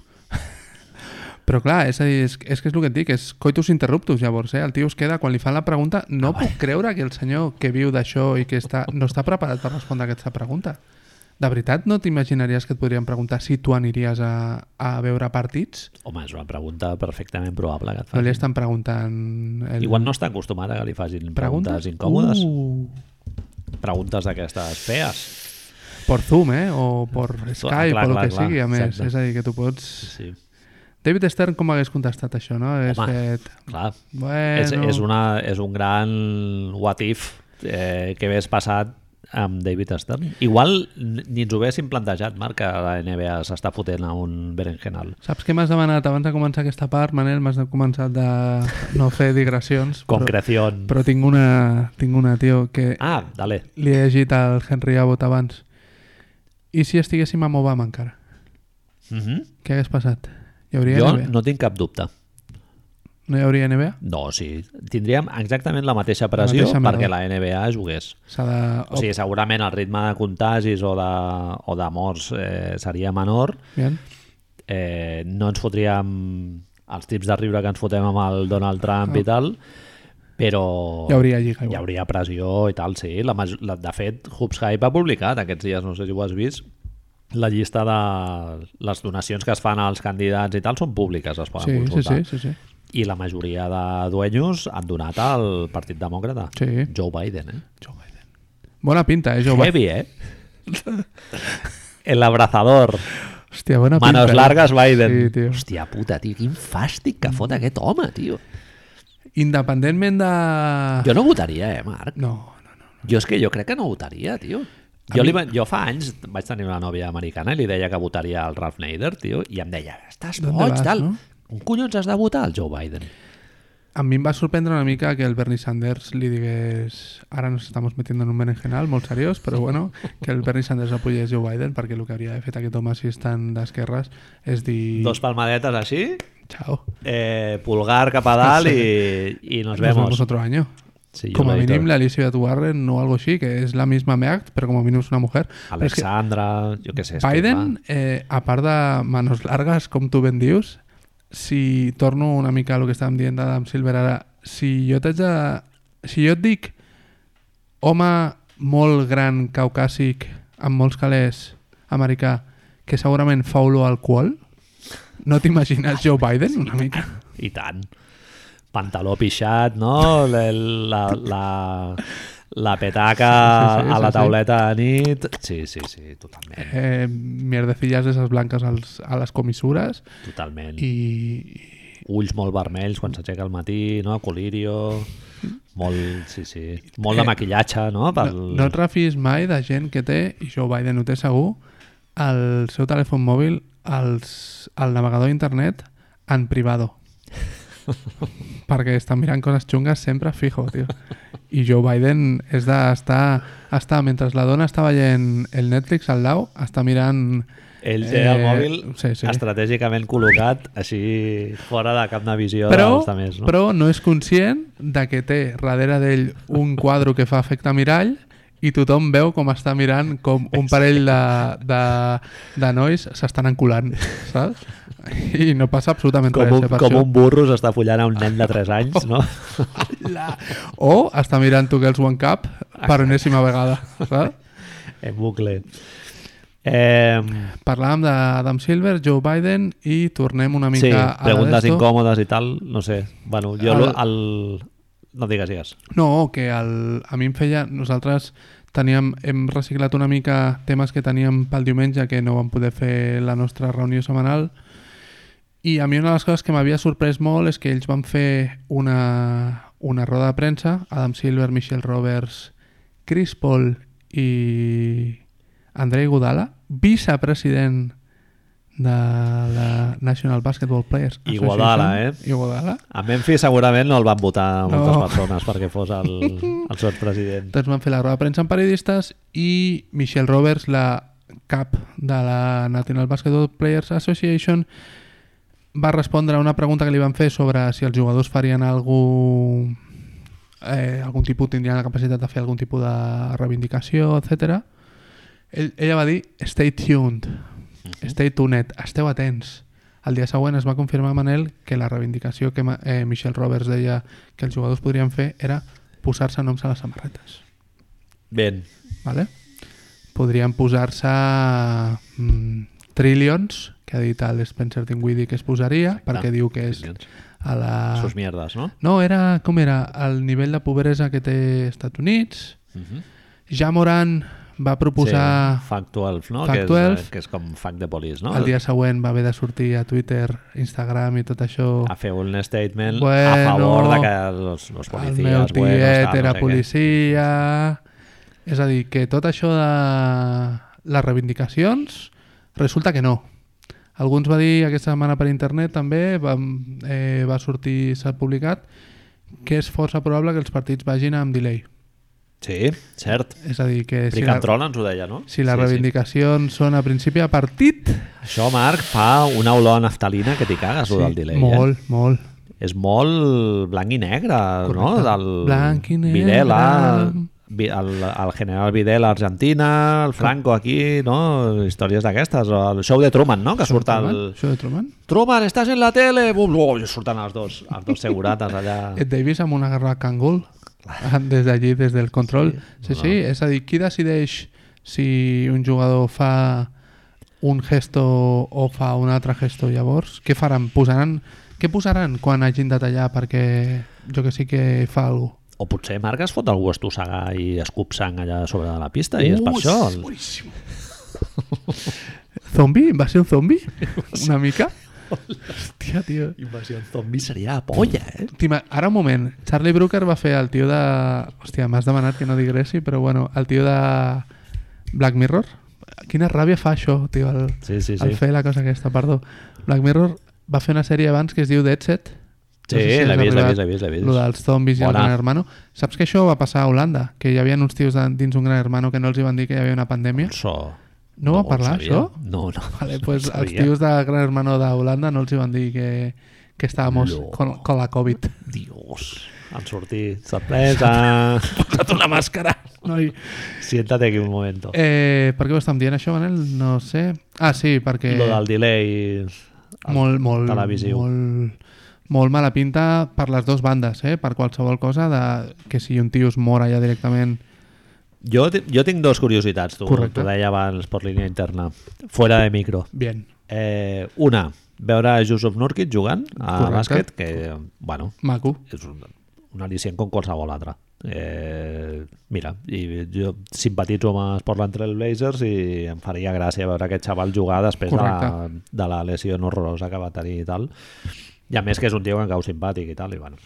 [SPEAKER 2] Però clar, és, a dir, és, és que és el que et dic, és coitus interruptus, llavors, eh? El tio es queda, quan li fan la pregunta, no
[SPEAKER 1] Ah,
[SPEAKER 2] puc creure que el senyor que viu d'això i que està, no està preparat per respondre a aquesta pregunta. De veritat, no t'imaginaries que et podrien preguntar si tu aniries a, a veure partits?
[SPEAKER 1] Home, és una pregunta perfectament probable que et
[SPEAKER 2] No
[SPEAKER 1] fan.
[SPEAKER 2] li estan preguntant... El...
[SPEAKER 1] Igual no està acostumada a que li facin
[SPEAKER 2] pregunta?
[SPEAKER 1] preguntes incòmodes,
[SPEAKER 2] Uh.
[SPEAKER 1] preguntes d'aquestes fees.
[SPEAKER 2] Por Zoom, eh? O por Skype,
[SPEAKER 1] clar,
[SPEAKER 2] o el
[SPEAKER 1] clar,
[SPEAKER 2] que
[SPEAKER 1] clar,
[SPEAKER 2] sigui, a més.
[SPEAKER 1] exacte.
[SPEAKER 2] És a dir, que tu pots...
[SPEAKER 1] Sí.
[SPEAKER 2] David Stern com hagués contestat això, no? Hagués
[SPEAKER 1] Home.
[SPEAKER 2] fet...
[SPEAKER 1] Clar,
[SPEAKER 2] Bueno...
[SPEAKER 1] és, és, una, és un gran what if eh, que hagués passat amb David Stern. Igual n- ni ens ho haguéssim plantejat, Marc, que la NBA s'està fotent a un berenjenal.
[SPEAKER 2] Saps què m'has demanat abans de començar aquesta part, Manel? M'has de- començat de no fer digressions. però,
[SPEAKER 1] Concreció.
[SPEAKER 2] però tinc una, tinc una, tio, que
[SPEAKER 1] Ah, dale.
[SPEAKER 2] li he llegit al Henry Abbott abans. I si estiguéssim amb Obama encara?
[SPEAKER 1] Mhm.
[SPEAKER 2] Què hagués passat? Hi hauria
[SPEAKER 1] Jo
[SPEAKER 2] NBA?
[SPEAKER 1] no tinc cap dubte.
[SPEAKER 2] no hi hauria NBA?
[SPEAKER 1] No, sí. Tindríem exactament la mateixa pressió
[SPEAKER 2] mateixa merda.
[SPEAKER 1] perquè la NBA jugués.
[SPEAKER 2] S'ha de...
[SPEAKER 1] O sigui, segurament el ritme de contagis o de, o de morts eh, seria menor.
[SPEAKER 2] Bien.
[SPEAKER 1] Eh, no ens fotríem els tips de riure que ens fotem amb el Donald Trump i tal, però
[SPEAKER 2] Ah. Hi hauria lliga
[SPEAKER 1] hi
[SPEAKER 2] igual.
[SPEAKER 1] hauria pressió i tal, sí. La, maj- la, de fet, Hoops Hype ha publicat aquests dies, no sé si ho has vist, la llista de les donacions que es fan als candidats i tal són públiques, es poden
[SPEAKER 2] Sí, sí,
[SPEAKER 1] consultar.
[SPEAKER 2] sí, sí, sí.
[SPEAKER 1] I la majoria de dueños han donat al Partit Demòcrata.
[SPEAKER 2] Sí.
[SPEAKER 1] Joe Biden, eh?
[SPEAKER 2] Joe Biden. Bona pinta, eh, Joe Biden.
[SPEAKER 1] Heavy,
[SPEAKER 2] [laughs]
[SPEAKER 1] eh? El abrazador.
[SPEAKER 2] Hòstia, bona
[SPEAKER 1] Manos
[SPEAKER 2] pinta. eh?
[SPEAKER 1] largas, Biden.
[SPEAKER 2] Sí, tio.
[SPEAKER 1] Hòstia puta, tio, quin fàstic que fot aquest home, tio.
[SPEAKER 2] Independentment de...
[SPEAKER 1] Jo no votaria, eh, Marc?
[SPEAKER 2] No, no, no.
[SPEAKER 1] Jo és que jo crec que no votaria, tio. Jo, li, va- jo fa anys vaig tenir una nòvia americana i li deia que votaria al Ralph Nader, tio, i em deia, estàs
[SPEAKER 2] D'on
[SPEAKER 1] boig,
[SPEAKER 2] vas,
[SPEAKER 1] tal.
[SPEAKER 2] no?"
[SPEAKER 1] Un collons has de votar al Joe Biden.
[SPEAKER 2] A mi em va sorprendre una mica que el Bernie Sanders li digués ara nos estamos metiendo en un berenjenal molt seriós, però bueno, que el Bernie Sanders apoyés Joe Biden, perquè el que hauria de fet aquest home si és tan d'esquerres és dir...
[SPEAKER 1] Dos palmadetes així,
[SPEAKER 2] Chao.
[SPEAKER 1] eh, pulgar cap a dalt i, i nos vemos.
[SPEAKER 2] otro año.
[SPEAKER 1] Sí, yo
[SPEAKER 2] como
[SPEAKER 1] lo he dicho.
[SPEAKER 2] mínimo la Elizabeth Warren o algo así, que es la misma MEACT, pero como mínimo es una mujer. Però és que
[SPEAKER 1] Alexandra, jo què sé. és que,
[SPEAKER 2] Biden, eh, a part de manos largas, com tu ben dius, si torno una mica a lo que estàvem dient d'Adam Silver ara, si jo t'haig de... Si jo et dic home molt gran, caucàsic, amb molts calés, americà, que segurament fa olor a alcohol, no t'imagines Joe Biden una mica?
[SPEAKER 1] clar, I tant. Pantaló pixat, no? La, la, la, la petaca
[SPEAKER 2] Sí, sí, sí,
[SPEAKER 1] a la
[SPEAKER 2] sí, sí.
[SPEAKER 1] tauleta de nit. Sí, sí, sí, totalment.
[SPEAKER 2] Eh, mierdecillas esas blanques als, a les comissures
[SPEAKER 1] totalment. I...
[SPEAKER 2] i,
[SPEAKER 1] Ulls molt vermells quan s'aixeca al matí, no? Colirio... Molt, sí, sí. Molt de maquillatge, Eh, no? Pel...
[SPEAKER 2] No, no et refiïs mai de gent que té, i Joe Biden ho té segur, el seu telèfon mòbil, els, el navegador d'internet en privado. Perquè estan mirant coses xungues sempre fijo, tio. I Joe Biden és d'estar... Està, mentre la dona està veient el Netflix al lau, està mirant...
[SPEAKER 1] Ell té el
[SPEAKER 2] eh,
[SPEAKER 1] mòbil
[SPEAKER 2] sí, sí.
[SPEAKER 1] estratègicament col·locat així fora de cap de visió
[SPEAKER 2] Però,
[SPEAKER 1] dels altres, no?
[SPEAKER 2] però no és conscient de que té darrere d'ell un quadro que fa efecte mirall i tothom veu com està mirant com un parell de, de, de nois s'estan enculant, saps? I no passa absolutament
[SPEAKER 1] com,
[SPEAKER 2] res.
[SPEAKER 1] un,
[SPEAKER 2] eh, per
[SPEAKER 1] com
[SPEAKER 2] això.
[SPEAKER 1] un burro s'està follant a un nen de [laughs] 3 anys, no?
[SPEAKER 2] La... O està mirant tu Girls One Cup per enèsima vegada, saps?
[SPEAKER 1] en bucle. Eh,
[SPEAKER 2] Parlàvem d'Adam Silver, Joe Biden i tornem una mica
[SPEAKER 1] sí,
[SPEAKER 2] a la
[SPEAKER 1] preguntes
[SPEAKER 2] d'esto.
[SPEAKER 1] incòmodes i tal, no sé. Bueno, jo
[SPEAKER 2] El-
[SPEAKER 1] el... el... No digues, digues.
[SPEAKER 2] No, que el, a mi em feia... Nosaltres teníem, hem reciclat una mica temes que teníem pel diumenge que no vam poder fer la nostra reunió setmanal i a mi una de les coses que m'havia sorprès molt és que ells van fer una, una roda de premsa Adam Silver, Michelle Roberts, Chris Paul i Andrei Godala, vicepresident de la National Basketball Players
[SPEAKER 1] I Godala, eh?
[SPEAKER 2] Association. I Godala.
[SPEAKER 1] A Memphis segurament no el van votar moltes
[SPEAKER 2] No.
[SPEAKER 1] persones perquè fos el,
[SPEAKER 2] [laughs]
[SPEAKER 1] el seu president.
[SPEAKER 2] Doncs van fer la roda de premsa amb periodistes i Michelle Roberts, la cap de la National Basketball Players Association, va respondre a una pregunta que li van fer sobre si els jugadors farien algú, eh, algun tipus, tindrien la capacitat de fer algun tipus de reivindicació, etc. Ell, ella va dir, stay tuned, stay tuned, esteu atents. El dia següent es va confirmar, Manel, que la reivindicació que ma- eh, Michelle Roberts deia que els jugadors podrien fer era posar-se noms a les samarretes.
[SPEAKER 1] Ben,
[SPEAKER 2] Vale? Podrien posar-se mm, Trillions, que ha dit el Spencer Dinwiddie que es posaria, perquè diu que és a la...
[SPEAKER 1] Sus mierdes, no?
[SPEAKER 2] No, era, com era? El nivell de pobresa que té Estats Units.
[SPEAKER 1] Uh -huh.
[SPEAKER 2] Ja Moran va proposar...
[SPEAKER 1] Sí, Fact 12, no?
[SPEAKER 2] Fact
[SPEAKER 1] que, és, eh,
[SPEAKER 2] 12.
[SPEAKER 1] que és com Fact de Police, no?
[SPEAKER 2] El dia següent va haver de sortir a Twitter, Instagram i tot això.
[SPEAKER 1] A fer un statement a
[SPEAKER 2] Bueno,
[SPEAKER 1] favor de que els, els
[SPEAKER 2] El
[SPEAKER 1] policies...
[SPEAKER 2] meu tiet
[SPEAKER 1] buenos, tal, no
[SPEAKER 2] era
[SPEAKER 1] sé què.
[SPEAKER 2] policia... És a dir, que tot això de les reivindicacions resulta que no. Alguns va dir aquesta setmana per internet també, va, eh, va sortir, s'ha publicat, que és força probable que els partits vagin amb delay.
[SPEAKER 1] Sí, cert.
[SPEAKER 2] És a dir, que si,
[SPEAKER 1] Brick
[SPEAKER 2] la,
[SPEAKER 1] and Troll ens ho deia, no?
[SPEAKER 2] si les reivindicacions són a principi de partit...
[SPEAKER 1] Sí. Això, Marc, fa una olor a naftalina que t'hi cagues, sí, del delay.
[SPEAKER 2] molt, eh? molt.
[SPEAKER 1] Eh? És molt blanc i negre, no?
[SPEAKER 2] Correcte.
[SPEAKER 1] Del
[SPEAKER 2] Blanc i negre.
[SPEAKER 1] Videla, vi- el, el general Videla a Argentina, el Franco aquí, no? Històries d'aquestes. o El show de Truman, no? Que surt
[SPEAKER 2] Truman?
[SPEAKER 1] el...
[SPEAKER 2] Això de Truman?
[SPEAKER 1] Truman, estàs en la tele! Bum, bum, surten els dos, els dos segurates
[SPEAKER 2] [laughs]
[SPEAKER 1] allà.
[SPEAKER 2] Ed Eh, Davis amb una garra cangul [laughs] des d'allí, des del control sí, sí, és a dir, qui decideix si un jugador fa un gesto o fa un altre gesto llavors, què faran? Posaran, què posaran quan hagin de tallar perquè jo que sí que fa alguna
[SPEAKER 1] O potser Marc es fot algú a estossegar i escup sang allà sobre de la pista i és per això. El...
[SPEAKER 2] Zombi? Va ser un zombi? [laughs] Una mica? [laughs] Hòstia, tio.
[SPEAKER 1] Invasió zombi seria la polla, eh?
[SPEAKER 2] T'ima- Ara un moment, Charlie Brooker va fer el tio de... Hòstia, m'has demanat que no digressi, però bueno, el tio de Black Mirror. Quina ràbia fa això, tio, el,
[SPEAKER 1] Sí, sí, sí.
[SPEAKER 2] el fer la cosa aquesta, perdó. Black Mirror va fer una sèrie abans que es diu Dead Set.
[SPEAKER 1] Sí, l'he
[SPEAKER 2] has
[SPEAKER 1] vist, l'he
[SPEAKER 2] arribat,
[SPEAKER 1] vist, l'he vist, l'he vist.
[SPEAKER 2] Lo dels zombis i el
[SPEAKER 1] Bona.
[SPEAKER 2] Gran Hermano. Saps que això va passar a Holanda? Que hi havia uns tios de- dins un Gran Hermano que no els hi van dir que hi havia una pandèmia?
[SPEAKER 1] So,
[SPEAKER 2] No, va
[SPEAKER 1] ho
[SPEAKER 2] parlar,
[SPEAKER 1] sabia.
[SPEAKER 2] això?
[SPEAKER 1] No, no.
[SPEAKER 2] [laughs] Vale, pues
[SPEAKER 1] no ho
[SPEAKER 2] els
[SPEAKER 1] sabia.
[SPEAKER 2] tios de Gran Hermano d'Holanda no els hi van dir que, que estàvamos
[SPEAKER 1] No.
[SPEAKER 2] con, con la Covid.
[SPEAKER 1] Dios, han sortit. Sorpresa. Posa't una màscara.
[SPEAKER 2] Noi,
[SPEAKER 1] Siéntate aquí un moment. Eh,
[SPEAKER 2] Eh, per què ho estem dient això, Manel? No sé. Ah, sí, perquè...
[SPEAKER 1] Lo del delay...
[SPEAKER 2] eh, Molt, molt,
[SPEAKER 1] televisiu.
[SPEAKER 2] Molt, molt mala pinta per les dues bandes, eh? Per qualsevol cosa de... que si un tio es mor allà directament...
[SPEAKER 1] Jo, ti- jo tinc dues curiositats, tu.
[SPEAKER 2] Correcte.
[SPEAKER 1] T'ho deia abans per línia interna. Fora de micro.
[SPEAKER 2] Bien.
[SPEAKER 1] Eh, una, veure Jusuf Nurkic jugant a
[SPEAKER 2] Correcte.
[SPEAKER 1] bàsquet, que, bueno,
[SPEAKER 2] Maco.
[SPEAKER 1] és un, un al·licient com qualsevol altre. Eh, mira, i jo simpatitzo amb els Portland Trail Blazers i em faria gràcia veure aquest xaval jugar després de la,
[SPEAKER 2] Correcte.
[SPEAKER 1] de la lesió horrorosa que va tenir i tal. I a més que és un tio que em cau simpàtic i tal. I, bueno.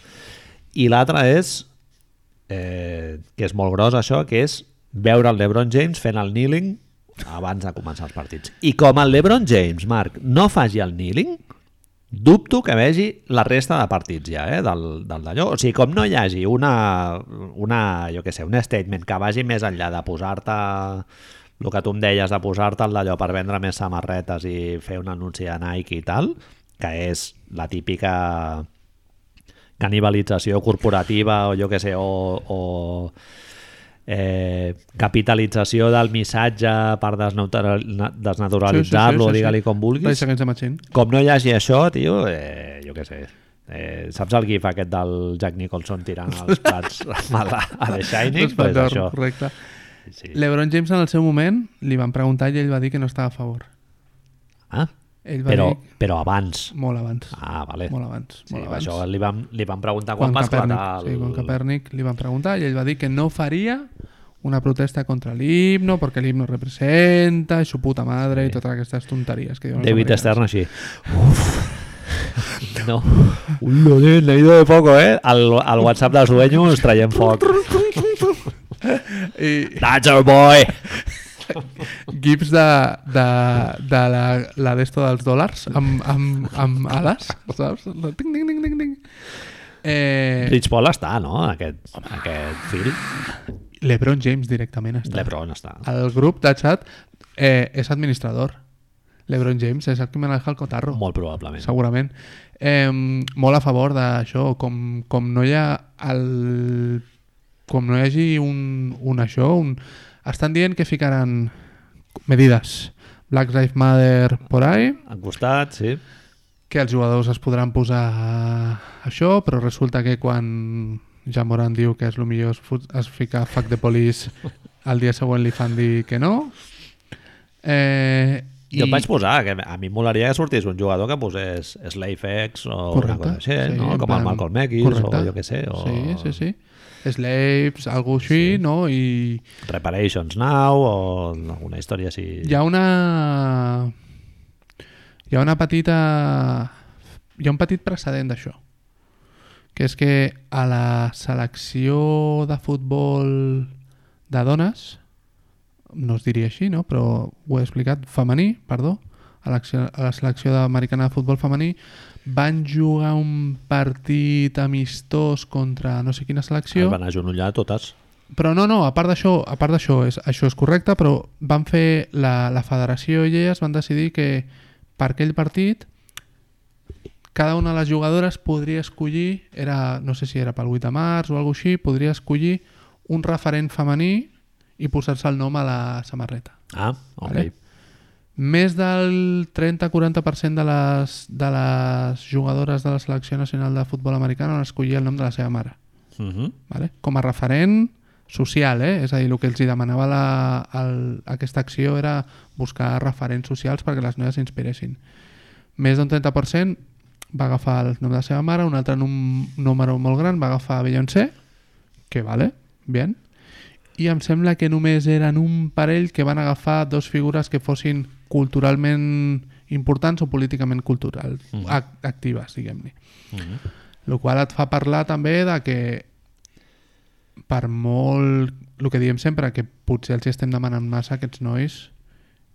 [SPEAKER 1] I l'altre és, eh, que és molt gros això, que és veure el LeBron James fent el kneeling abans de començar els partits. I com el LeBron James, Marc, no faci el kneeling, Dubto que vegi la resta de partits ja, eh, del, del d'allò. O sigui, com no hi hagi una, una jo què sé, un statement que vagi més enllà de posar-te el que tu em deies de posar-te el d'allò per vendre més samarretes i fer un anunci de Nike i tal, que és la típica canibalització corporativa o jo que sé, o, o eh, capitalització del missatge per desnautra- desnaturalitzar-lo, sí, sí, sí, sí, digue-li com vulguis
[SPEAKER 2] Ray Against the Machine.
[SPEAKER 1] com no hi hagi això, tio, eh, jo què sé, eh, saps el gif aquest del Jack Nicholson tirant els
[SPEAKER 2] [laughs]
[SPEAKER 1] plats a, la, a The Shining?
[SPEAKER 2] Doncs
[SPEAKER 1] Pues
[SPEAKER 2] Pandor,
[SPEAKER 1] això.
[SPEAKER 2] Correcte.
[SPEAKER 1] Sí.
[SPEAKER 2] LeBron James en el seu moment li van preguntar i ell va dir que no estava a favor.
[SPEAKER 1] Ah,
[SPEAKER 2] Ell va
[SPEAKER 1] però,
[SPEAKER 2] dir
[SPEAKER 1] però abans.
[SPEAKER 2] molt abans.
[SPEAKER 1] Ah, vale.
[SPEAKER 2] Molt abans.
[SPEAKER 1] Sí,
[SPEAKER 2] molt abans.
[SPEAKER 1] Això li van, li van preguntar quan, va esclatar
[SPEAKER 2] Kaepernick,
[SPEAKER 1] el...
[SPEAKER 2] Sí, quan Kaepernick li van preguntar i ell va dir que no faria una protesta contra l'himno perquè l'himno representa i su puta madre i totes aquestes tonteries que diuen els
[SPEAKER 1] David
[SPEAKER 2] americans.
[SPEAKER 1] Stern així.
[SPEAKER 2] [laughs]
[SPEAKER 1] No. Un lodín, le he ido de poco, eh? Al, al WhatsApp dels dueños traient foc.
[SPEAKER 2] I
[SPEAKER 1] That's our boy!
[SPEAKER 2] Eh. gifs de, de, de la, la d'esto dels dòlars amb, amb, amb ales, saps? Ting, ting, ting, ting, ting. Eh,
[SPEAKER 1] Rich Paul està, no? Aquest, aquest fill.
[SPEAKER 2] Lebron James directament està.
[SPEAKER 1] Lebron està.
[SPEAKER 2] El grup de chat eh, és administrador. Lebron James és el que maneja el cotarro.
[SPEAKER 1] Molt probablement.
[SPEAKER 2] segurament. Eh, molt a favor d'això, com, com no hi ha el, com no hi hagi un, un això, un... estan dient que ficaran medides Black Lives Matter por ahí,
[SPEAKER 1] Al costat, sí.
[SPEAKER 2] que els jugadors es podran posar això, però resulta que quan ja Moran diu que és el millor es, fot- es ficar fuck de police el dia següent li fan dir que no eh,
[SPEAKER 1] I... Jo em vaig posar, que a mi em molaria que sortís un jugador que posés Slave X o Correcte, una cosa així, sí, no?
[SPEAKER 2] en
[SPEAKER 1] com
[SPEAKER 2] plan-
[SPEAKER 1] el Malcolm X
[SPEAKER 2] correcte.
[SPEAKER 1] o jo què sé. O...
[SPEAKER 2] Sí, sí, sí. Slaves, algo així, no? I
[SPEAKER 1] Reparations Now o alguna història així.
[SPEAKER 2] hi ha una... Hi ha una petita... Hi ha un petit precedent d'això. Que és que a la selecció de futbol de dones, no es diria així, no? però ho he explicat, femení, perdó, a l'acció- a la selecció americana de futbol femení, van jugar un partit amistós contra no sé quina
[SPEAKER 1] Es
[SPEAKER 2] selecció.
[SPEAKER 1] van agenollar totes.
[SPEAKER 2] Però no, no, a part d'això, a part d'això, és, això és correcte, però van fer la, la federació i elles van decidir que per aquell partit cada una de les jugadores podria escollir, era, no sé si era pel 8 de març o alguna així, podria escollir un referent femení i posar-se el nom a la samarreta.
[SPEAKER 1] Ah, ok.
[SPEAKER 2] Vale. Més del 30-40% de les, de les jugadores de la selecció nacional de futbol americana van escollir el nom de la seva mare
[SPEAKER 1] Mhm.
[SPEAKER 2] vale? com a referent social, eh? és a dir, el que els hi demanava la, el, aquesta acció era buscar referents socials perquè les noies s'inspiressin. Més d'un 30% va agafar el nom de la seva mare, un altre num, número molt gran va agafar Beyoncé, que vale, bien, i em sembla que només eren un parell que van agafar dos figures que fossin culturalment importants o políticament culturals,
[SPEAKER 1] Mhm.
[SPEAKER 2] ac actives, diguem-ne.
[SPEAKER 1] Mhm.
[SPEAKER 2] El qual et fa parlar també de que per molt el que diem sempre, que potser els hi estem demanant massa a aquests nois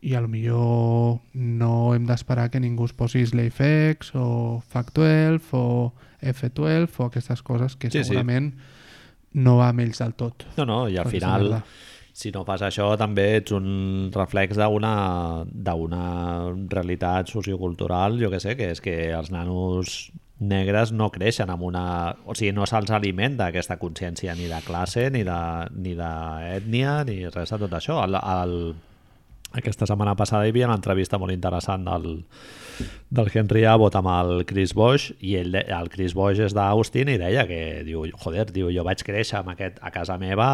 [SPEAKER 2] i a lo millor no hem d'esperar que ningú es posi SlaveX o FAC12 o F12 o aquestes coses que
[SPEAKER 1] Sí, sí.
[SPEAKER 2] segurament no va amb ells del tot.
[SPEAKER 1] No, no, i al
[SPEAKER 2] Perquè és
[SPEAKER 1] final,
[SPEAKER 2] merda.
[SPEAKER 1] si no fas això, també ets un reflex d'una d'una realitat sociocultural, jo que sé, que és que els nanos negres no creixen amb una... O sigui, no se'ls alimenta aquesta consciència ni de classe, ni de, ni de ètnia, ni res de tot això. El, el, aquesta setmana passada hi havia una entrevista molt interessant del, del Henry Abbott amb el Chris Bosch i ell, de- el Chris Bosch és d'Austin i deia que, diu, joder, diu, jo vaig créixer amb aquest, a casa meva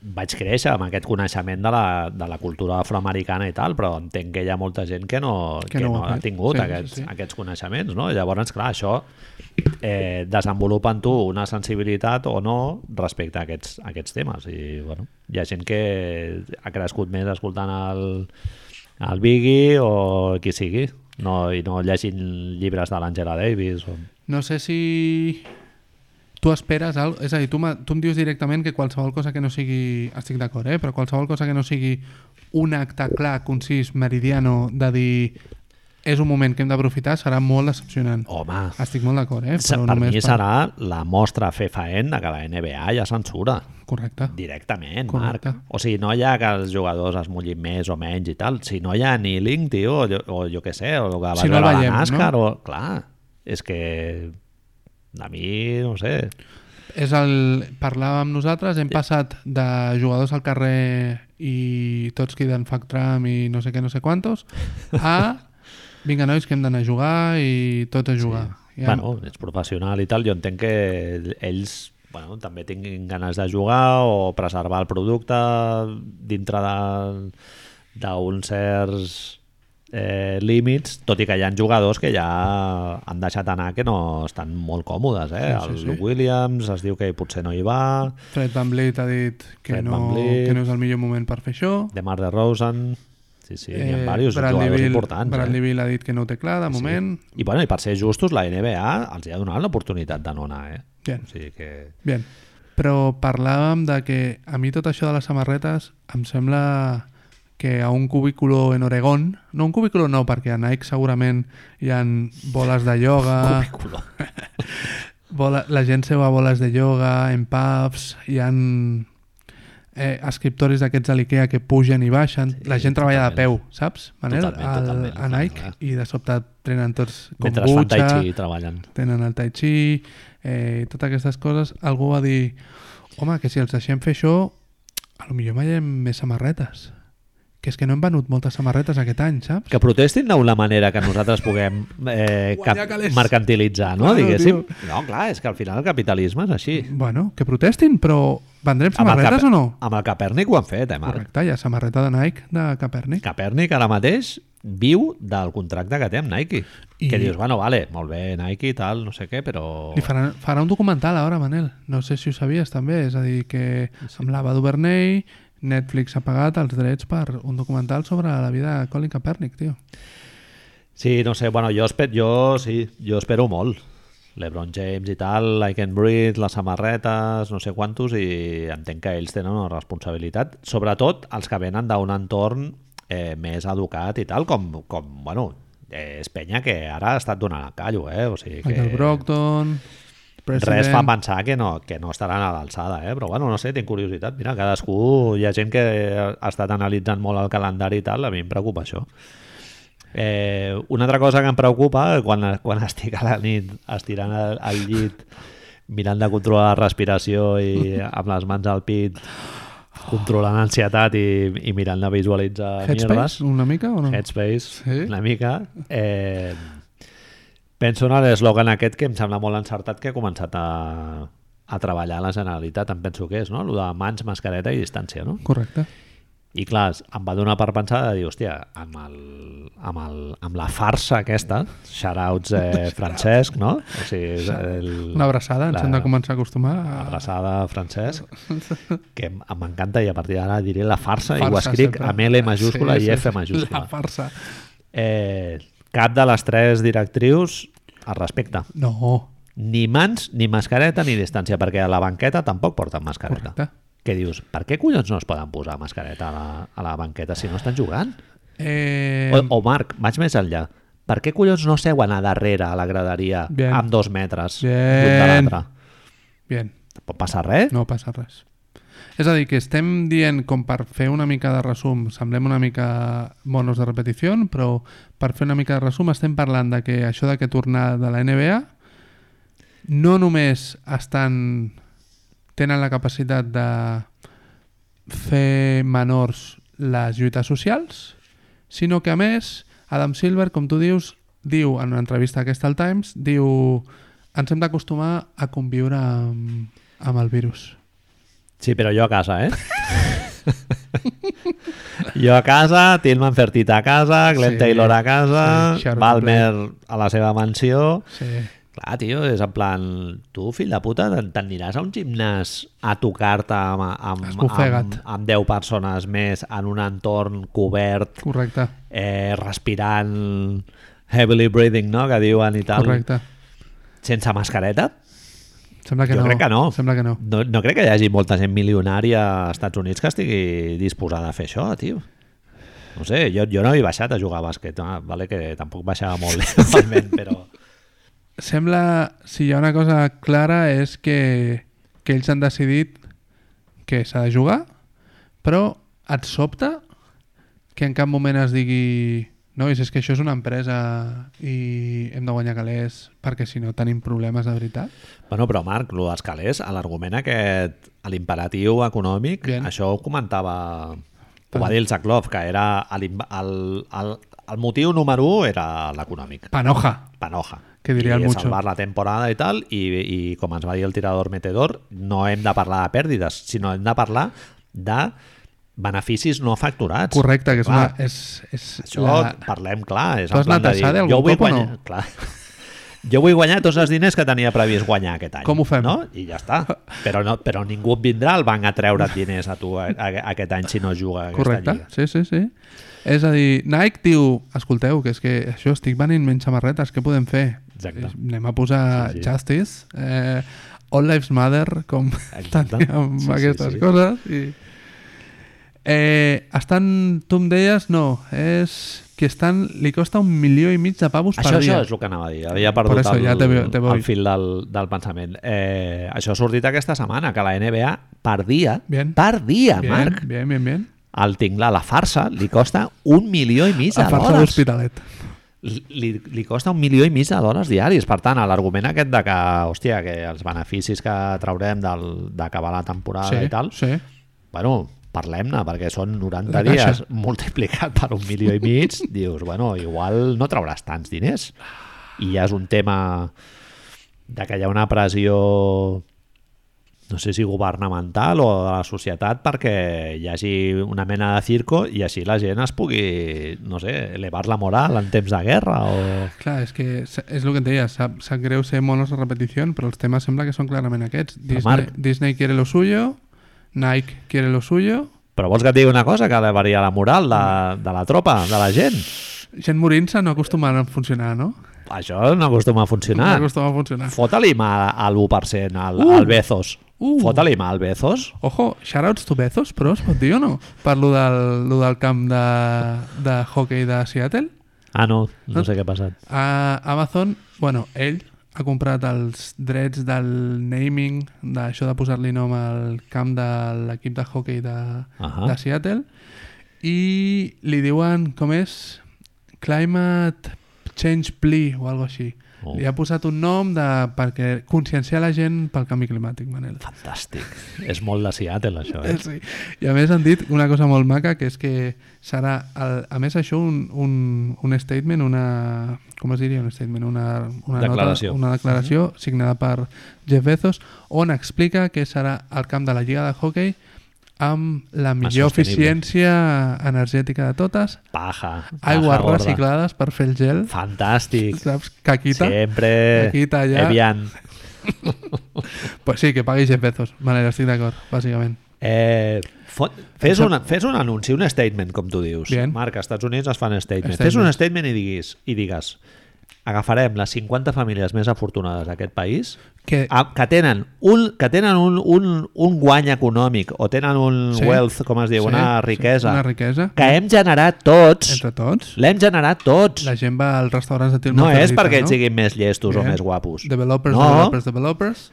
[SPEAKER 1] vaig créixer amb aquest coneixement de la, de la cultura afroamericana i tal, però entenc que hi ha molta gent que no, que
[SPEAKER 2] Que
[SPEAKER 1] no,
[SPEAKER 2] no ho
[SPEAKER 1] ha
[SPEAKER 2] ha fet.
[SPEAKER 1] tingut
[SPEAKER 2] Sí, sí,
[SPEAKER 1] aquests,
[SPEAKER 2] sí.
[SPEAKER 1] aquests coneixements, no? Llavors, clar, això eh, desenvolupa en tu una sensibilitat o no respecte a aquests, a aquests temes. I, bueno, hi ha gent que ha crescut més escoltant el, el Biggie o qui sigui, no, i no llegint llibres de l'Angela Davis. O...
[SPEAKER 2] No sé si tu esperes... Al... És a dir, tu, me- tu em dius directament que qualsevol cosa que no sigui... Estic d'acord, eh? Però qualsevol cosa que no sigui un acte clar, concís, meridiano, de dir és un moment que hem d'aprofitar, serà molt decepcionant.
[SPEAKER 1] Home,
[SPEAKER 2] Estic molt d'acord, eh?
[SPEAKER 1] se- Oh. per mi serà la mostra fefaent de que la NBA ja censura.
[SPEAKER 2] Correcte.
[SPEAKER 1] Directament, Correcte.
[SPEAKER 2] Correcte.
[SPEAKER 1] Marc. O sigui, no hi ha que els jugadors es mullin més o menys i tal. Si no hi ha ni link, tio, o, jo- o jo què sé, o el que va
[SPEAKER 2] Si no
[SPEAKER 1] veure
[SPEAKER 2] veiem,
[SPEAKER 1] la
[SPEAKER 2] no?
[SPEAKER 1] NASCAR, o... Clar, és que a mi, no sé...
[SPEAKER 2] És el... Parlàvem nosaltres, hem passat de jugadors al carrer i tots criden fuck Trump i no sé què, no sé quantos, a... Vinga, nois, que hem d'anar a jugar i tots a jugar.
[SPEAKER 1] Ja.
[SPEAKER 2] I amb-
[SPEAKER 1] Bueno, ets professional i tal, jo entenc que ells bueno, també tinguin ganes de jugar o preservar el producte dintre de- d'uns certs eh, límits, tot i que hi ha jugadors que ja han deixat anar que no estan molt còmodes. Eh?
[SPEAKER 2] Sí,
[SPEAKER 1] Sí,
[SPEAKER 2] sí,
[SPEAKER 1] sí, el
[SPEAKER 2] sí.
[SPEAKER 1] Williams es diu que potser no hi va,
[SPEAKER 2] Fred Van Vliet ha dit que,
[SPEAKER 1] Fred Van
[SPEAKER 2] no,
[SPEAKER 1] Vliet.
[SPEAKER 2] que no és el millor moment per fer això.
[SPEAKER 1] DeMar DeRozan... Sí, sí, eh, hi ha diversos
[SPEAKER 2] Bradley
[SPEAKER 1] jugadors
[SPEAKER 2] Beal-
[SPEAKER 1] importants. eh?
[SPEAKER 2] Bradley Beal ha dit que no ho té clar, de moment.
[SPEAKER 1] I, bueno, I per ser justos, la NBA els hi ha donat l'oportunitat de no anar. Eh?
[SPEAKER 2] Bien,
[SPEAKER 1] O sigui que... [laughs]
[SPEAKER 2] bien. Però parlàvem de que a mi tot això de les samarretes em sembla que a un cubículo en Oregón, no un cubículo no, perquè a Nike segurament hi han boles de ioga,
[SPEAKER 1] Currículum.
[SPEAKER 2] bola, la gent seu a boles de ioga, en pubs, hi han eh, escriptoris d'aquests de l'IKEA que pugen i baixen,
[SPEAKER 1] Sí,
[SPEAKER 2] la gent treballa de peu,
[SPEAKER 1] totalment.
[SPEAKER 2] saps? Manel,
[SPEAKER 1] Totalment, totalment,
[SPEAKER 2] a Nike,
[SPEAKER 1] clar.
[SPEAKER 2] i de sobte trenen tots
[SPEAKER 1] Mentre es fan tai
[SPEAKER 2] kombucha,
[SPEAKER 1] chi treballen.
[SPEAKER 2] tenen el tai chi, eh, totes aquestes coses, algú va dir, home, que si els deixem fer això, a lo millor veiem més samarretes. Que és que no hem venut moltes samarretes aquest any, saps?
[SPEAKER 1] Que protestin d'una manera que nosaltres puguem eh,
[SPEAKER 2] Guanyar
[SPEAKER 1] cap,
[SPEAKER 2] calés.
[SPEAKER 1] mercantilitzar, no?
[SPEAKER 2] Claro,
[SPEAKER 1] Diguéssim.
[SPEAKER 2] tio.
[SPEAKER 1] No, clar, és que al final el capitalisme és així.
[SPEAKER 2] Bueno, que protestin, però vendrem
[SPEAKER 1] Amb el,
[SPEAKER 2] samarretes o no?
[SPEAKER 1] amb el Capèrnic ho han fet, eh, Marc?
[SPEAKER 2] Correcte, hi ha samarreta de Nike de Capernic.
[SPEAKER 1] Capèrnic ara mateix viu del contracte que té amb Nike.
[SPEAKER 2] I-
[SPEAKER 1] Que dius, bueno, vale, molt bé, Nike i tal, no sé què, però...
[SPEAKER 2] Li farà, farà un documental ara, Manel. No sé si ho sabies també. És a dir, que amb l'Ava Duvernay Netflix ha pagat els drets per un documental sobre la vida de Colin Kaepernick, tio.
[SPEAKER 1] Sí, no sé, bueno, jo, esper jo, sí, jo espero molt. LeBron James i tal, I Can Breathe, les samarretes, no sé quantos, i entenc que ells tenen una responsabilitat, sobretot els que venen d'un entorn eh, més educat i tal, com, com bueno, eh, és penya que ara ha estat donant el callo, eh? O sigui que...
[SPEAKER 2] Michael Brockton, President...
[SPEAKER 1] Res fa pensar que no, que no estaran a l'alçada, eh? però bueno, no sé, tinc curiositat. Mira, cadascú, hi ha gent que ha estat analitzant molt el calendari i tal, a mi em preocupa això. Eh, una altra cosa que em preocupa quan, quan estic a la nit estirant el, el llit mirant de controlar la respiració i amb les mans al pit controlant ansietat i, i mirant de visualitzar mierdes
[SPEAKER 2] Headspace, una mica o no?
[SPEAKER 1] Headspace,
[SPEAKER 2] Mm. Sí.
[SPEAKER 1] una mica. Eh, penso en l'eslògan aquest que em sembla molt encertat que ha començat a, a treballar a la Generalitat, em penso que és, no? Lo de mans, mascareta i distància, no?
[SPEAKER 2] Correcte.
[SPEAKER 1] I clar, em va donar per pensar de dir, hòstia, amb, el, amb, el, amb la farsa aquesta, shoutouts eh, Francesc, no? O sigui, és el,
[SPEAKER 2] Una abraçada, ens hem de començar a acostumar a...
[SPEAKER 1] abraçada
[SPEAKER 2] [laughs]
[SPEAKER 1] Francesc que em- m'encanta i a partir d'ara diré la farsa, Ah, i ho
[SPEAKER 2] farsa
[SPEAKER 1] escric
[SPEAKER 2] sempre.
[SPEAKER 1] amb L majúscula
[SPEAKER 2] Sí,
[SPEAKER 1] i
[SPEAKER 2] sí,
[SPEAKER 1] F
[SPEAKER 2] sí.
[SPEAKER 1] majúscula
[SPEAKER 2] La farsa.
[SPEAKER 1] Eh, cap de les tres directrius al respecte.
[SPEAKER 2] No,
[SPEAKER 1] Ni mans, ni mascareta, ni distància, perquè a la banqueta tampoc porten mascareta.
[SPEAKER 2] correcte.
[SPEAKER 1] Què dius? Per què collons no es poden posar mascareta a la, a la banqueta si no estan jugant?
[SPEAKER 2] Eh,
[SPEAKER 1] O, o Marc, vaig més enllà. Per què collons no seuen a darrere a la graderia
[SPEAKER 2] Bien.
[SPEAKER 1] amb dos metres l'un de
[SPEAKER 2] Bien.
[SPEAKER 1] l'altre?
[SPEAKER 2] Bien,
[SPEAKER 1] Pot passar res?
[SPEAKER 2] no passa res. És a dir, que estem dient, com per fer una mica de resum, semblem una mica monos de repetició, però per fer una mica de resum estem parlant de que això de que tornar de la NBA no només estan tenen la capacitat de fer menors les lluites socials, sinó que a més Adam Silver, com tu dius, diu en una entrevista aquesta al Times, diu ens hem d'acostumar a conviure amb, amb el virus.
[SPEAKER 1] Sí, però jo a casa, eh? jo a casa, Tillman Fertitta a casa, Glenn
[SPEAKER 2] Sí,
[SPEAKER 1] Taylor a casa,
[SPEAKER 2] sí, Sharon
[SPEAKER 1] Balmer a la seva mansió...
[SPEAKER 2] Sí.
[SPEAKER 1] Clar, tio, és en plan... Tu, fill de puta, te- t'aniràs a un gimnàs a tocar-te amb, amb, amb,
[SPEAKER 2] Esbufegat.
[SPEAKER 1] amb 10 persones més en un entorn cobert,
[SPEAKER 2] Correcte,
[SPEAKER 1] eh, respirant heavily breathing, no?, que diuen i tal,
[SPEAKER 2] correcte.
[SPEAKER 1] sense mascareta?
[SPEAKER 2] Sembla que
[SPEAKER 1] Jo
[SPEAKER 2] no.
[SPEAKER 1] crec que no.
[SPEAKER 2] Sembla que no.
[SPEAKER 1] No, no crec que hi hagi molta gent milionària als Estats Units que estigui disposada a fer això, tio. No sé, jo, jo no he baixat a jugar a bàsquet, ah, vale, que tampoc baixava molt normalment, però...
[SPEAKER 2] Sembla, si hi ha una cosa clara, és que, que ells han decidit que s'ha de jugar, però et sobta que en cap moment es digui nois, és que això és una empresa i hem de guanyar calés perquè si no tenim problemes de veritat.
[SPEAKER 1] Bueno, però Marc, lo dels calés, a l'argument aquest, a l'imperatiu econòmic,
[SPEAKER 2] Bien.
[SPEAKER 1] això ho comentava... Ho va dir el Zaklov, que era a l'im- el, el, el motiu número 1 era l'econòmic.
[SPEAKER 2] Panoja.
[SPEAKER 1] Panoja.
[SPEAKER 2] Que diria el
[SPEAKER 1] I
[SPEAKER 2] Mucho.
[SPEAKER 1] salvar la temporada i tal, i, i com ens va dir el tirador metedor, no hem de parlar de pèrdues, sinó hem de parlar de beneficis no facturats.
[SPEAKER 2] Correcte, que és
[SPEAKER 1] Clar,
[SPEAKER 2] una... És, és
[SPEAKER 1] Això
[SPEAKER 2] la...
[SPEAKER 1] parlem, clar. És
[SPEAKER 2] Tu has
[SPEAKER 1] en plan
[SPEAKER 2] anat a
[SPEAKER 1] de
[SPEAKER 2] Sade
[SPEAKER 1] dir,
[SPEAKER 2] algun
[SPEAKER 1] jo vull
[SPEAKER 2] cop o
[SPEAKER 1] guanyar,
[SPEAKER 2] no?
[SPEAKER 1] clar, [laughs] jo vull guanyar tots els diners que tenia previst guanyar aquest any.
[SPEAKER 2] Com ho fem?
[SPEAKER 1] No? I ja està. Però, no, però ningú et vindrà al banc a treure't diners a tu a, a, aquest any si no juga a aquesta
[SPEAKER 2] Correcte,
[SPEAKER 1] lliga.
[SPEAKER 2] sí, sí, sí. És a dir, Nike diu, escolteu, que és que això estic venint menys samarretes, què podem fer?
[SPEAKER 1] Exacte.
[SPEAKER 2] Anem a posar
[SPEAKER 1] Sí,
[SPEAKER 2] sí,
[SPEAKER 1] sí.
[SPEAKER 2] sí. Justice, eh, All Lives Matter, com
[SPEAKER 1] Exacte.
[SPEAKER 2] [laughs] teníem
[SPEAKER 1] Sí,
[SPEAKER 2] sí,
[SPEAKER 1] sí,
[SPEAKER 2] aquestes
[SPEAKER 1] sí.
[SPEAKER 2] sí, sí. coses. I... Eh, estan, tu em deies, no, és que estan, li costa un milió i mig de pavos
[SPEAKER 1] Això,
[SPEAKER 2] per
[SPEAKER 1] això
[SPEAKER 2] dia.
[SPEAKER 1] és el que anava a dir. Havia perdut
[SPEAKER 2] eso,
[SPEAKER 1] el,
[SPEAKER 2] ja te veo- te voy.
[SPEAKER 1] el fil del, del pensament. Eh, això ha sortit aquesta setmana, que la NBA per dia,
[SPEAKER 2] Bien.
[SPEAKER 1] per dia,
[SPEAKER 2] bien,
[SPEAKER 1] Marc,
[SPEAKER 2] Bien, bien, bien.
[SPEAKER 1] el tinglà, la farsa, li costa un milió i mig de
[SPEAKER 2] A farsa
[SPEAKER 1] dòlars.
[SPEAKER 2] d'Hospitalet.
[SPEAKER 1] Li, li- li costa un milió i mig de dòlars diaris. Per tant, l'argument aquest de que, hòstia, que els beneficis que traurem del- d'acabar la temporada
[SPEAKER 2] sí,
[SPEAKER 1] i tal,
[SPEAKER 2] sí.
[SPEAKER 1] bueno, parlem-ne, perquè són 90
[SPEAKER 2] La
[SPEAKER 1] dies
[SPEAKER 2] caixa.
[SPEAKER 1] multiplicat per un milió i mig, dius, bueno, igual no trauràs tants diners. I ja és un tema de que hi ha una pressió no sé si governamental o de la societat perquè hi hagi una mena de circo i així la gent es pugui, no sé, elevar la moral en temps de guerra o...
[SPEAKER 2] Clar, és que s- és el que et deia, sap, sap greu ser monos a repetició, però els temes sembla que són clarament aquests. Disney,
[SPEAKER 1] Marc-
[SPEAKER 2] Disney quiere lo suyo, Nike quiere lo suyo,
[SPEAKER 1] Però vols que et digui una cosa que elevaria la moral de, de la tropa, de la gent?
[SPEAKER 2] gent morint-se no acostumen a funcionar, no?
[SPEAKER 1] Això no acostuma a funcionar.
[SPEAKER 2] No acostuma a funcionar.
[SPEAKER 1] Fota-li mà al 1% al,
[SPEAKER 2] Uh!
[SPEAKER 1] al Bezos.
[SPEAKER 2] Uh!
[SPEAKER 1] Fota-li mà al Bezos.
[SPEAKER 2] Ojo, shoutouts to Bezos, però es pot dir o no? Per lo del, lo del camp de, de hockey de Seattle.
[SPEAKER 1] Ah, no, no sé què ha passat.
[SPEAKER 2] A Amazon, bueno, ell ha comprat els drets del naming, d'això de posar-li nom al camp de l'equip de hockey de,
[SPEAKER 1] Ahà.
[SPEAKER 2] de Seattle, i li diuen, com és, Climate Change Plea o alguna així.
[SPEAKER 1] Oh.
[SPEAKER 2] Li ha posat un nom de, perquè conscienciar la gent pel canvi climàtic, Manel.
[SPEAKER 1] Fantàstic. És molt de Seattle, això, eh?
[SPEAKER 2] Sí. I a més han dit una cosa molt maca, que és que serà, el, a més això, un, un, un statement, una... Com es diria un statement? Una, una
[SPEAKER 1] Declaració. Mhm.
[SPEAKER 2] Nota, una declaració signada per Jeff Bezos, on explica que serà el camp de la Lliga de Hockey amb la millor
[SPEAKER 1] sostenible.
[SPEAKER 2] eficiència energètica de totes,
[SPEAKER 1] Paja. paja
[SPEAKER 2] aigües
[SPEAKER 1] gorda.
[SPEAKER 2] reciclades per fer el gel,
[SPEAKER 1] Fantàstic.
[SPEAKER 2] saps? Caquita.
[SPEAKER 1] Sempre...
[SPEAKER 2] Aquí, allà.
[SPEAKER 1] Evian.
[SPEAKER 2] Pues sí, que pagui Jeff Bezos. Vale, estic d'acord, bàsicament.
[SPEAKER 1] Eh, fot- fes, un, fes un anunci, un statement, com tu dius.
[SPEAKER 2] Bien.
[SPEAKER 1] Marc, als Estats Units es fan statements.
[SPEAKER 2] Statements.
[SPEAKER 1] Fes un statement i diguis, i digues agafarem les 50 famílies més afortunades d'aquest país
[SPEAKER 2] Que,
[SPEAKER 1] a- Ah, que tenen, un, que tenen un, un, un guany econòmic o tenen un
[SPEAKER 2] Sí.
[SPEAKER 1] wealth, com es diu,
[SPEAKER 2] Sí,
[SPEAKER 1] una
[SPEAKER 2] sí,
[SPEAKER 1] riquesa,
[SPEAKER 2] una riquesa.
[SPEAKER 1] que hem generat tots,
[SPEAKER 2] entre tots,
[SPEAKER 1] l'hem generat tots.
[SPEAKER 2] La gent va als restaurants de tir
[SPEAKER 1] No és
[SPEAKER 2] margarita,
[SPEAKER 1] perquè
[SPEAKER 2] no?
[SPEAKER 1] siguin més llestos o
[SPEAKER 2] Bien.
[SPEAKER 1] més guapos.
[SPEAKER 2] Developers,
[SPEAKER 1] no,
[SPEAKER 2] developers, developers.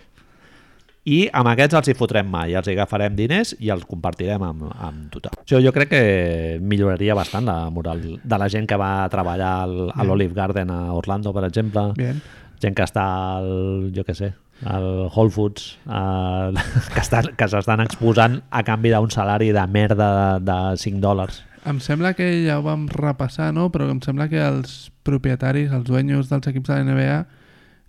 [SPEAKER 1] i amb aquests els hi fotrem mà i els hi agafarem diners i els compartirem amb, amb tothom. Això jo crec que milloraria bastant la moral de la gent que va a treballar al, a l'Olive Garden a Orlando, per exemple.
[SPEAKER 2] Bien.
[SPEAKER 1] Gent que està al, jo què sé, al Whole Foods, al, [laughs] que estan- que s'estan exposant a canvi d'un salari de merda de, de 5 dòlars.
[SPEAKER 2] Em sembla que ja ho vam repassar, no? Però em sembla que els propietaris, els dueños dels equips de la NBA,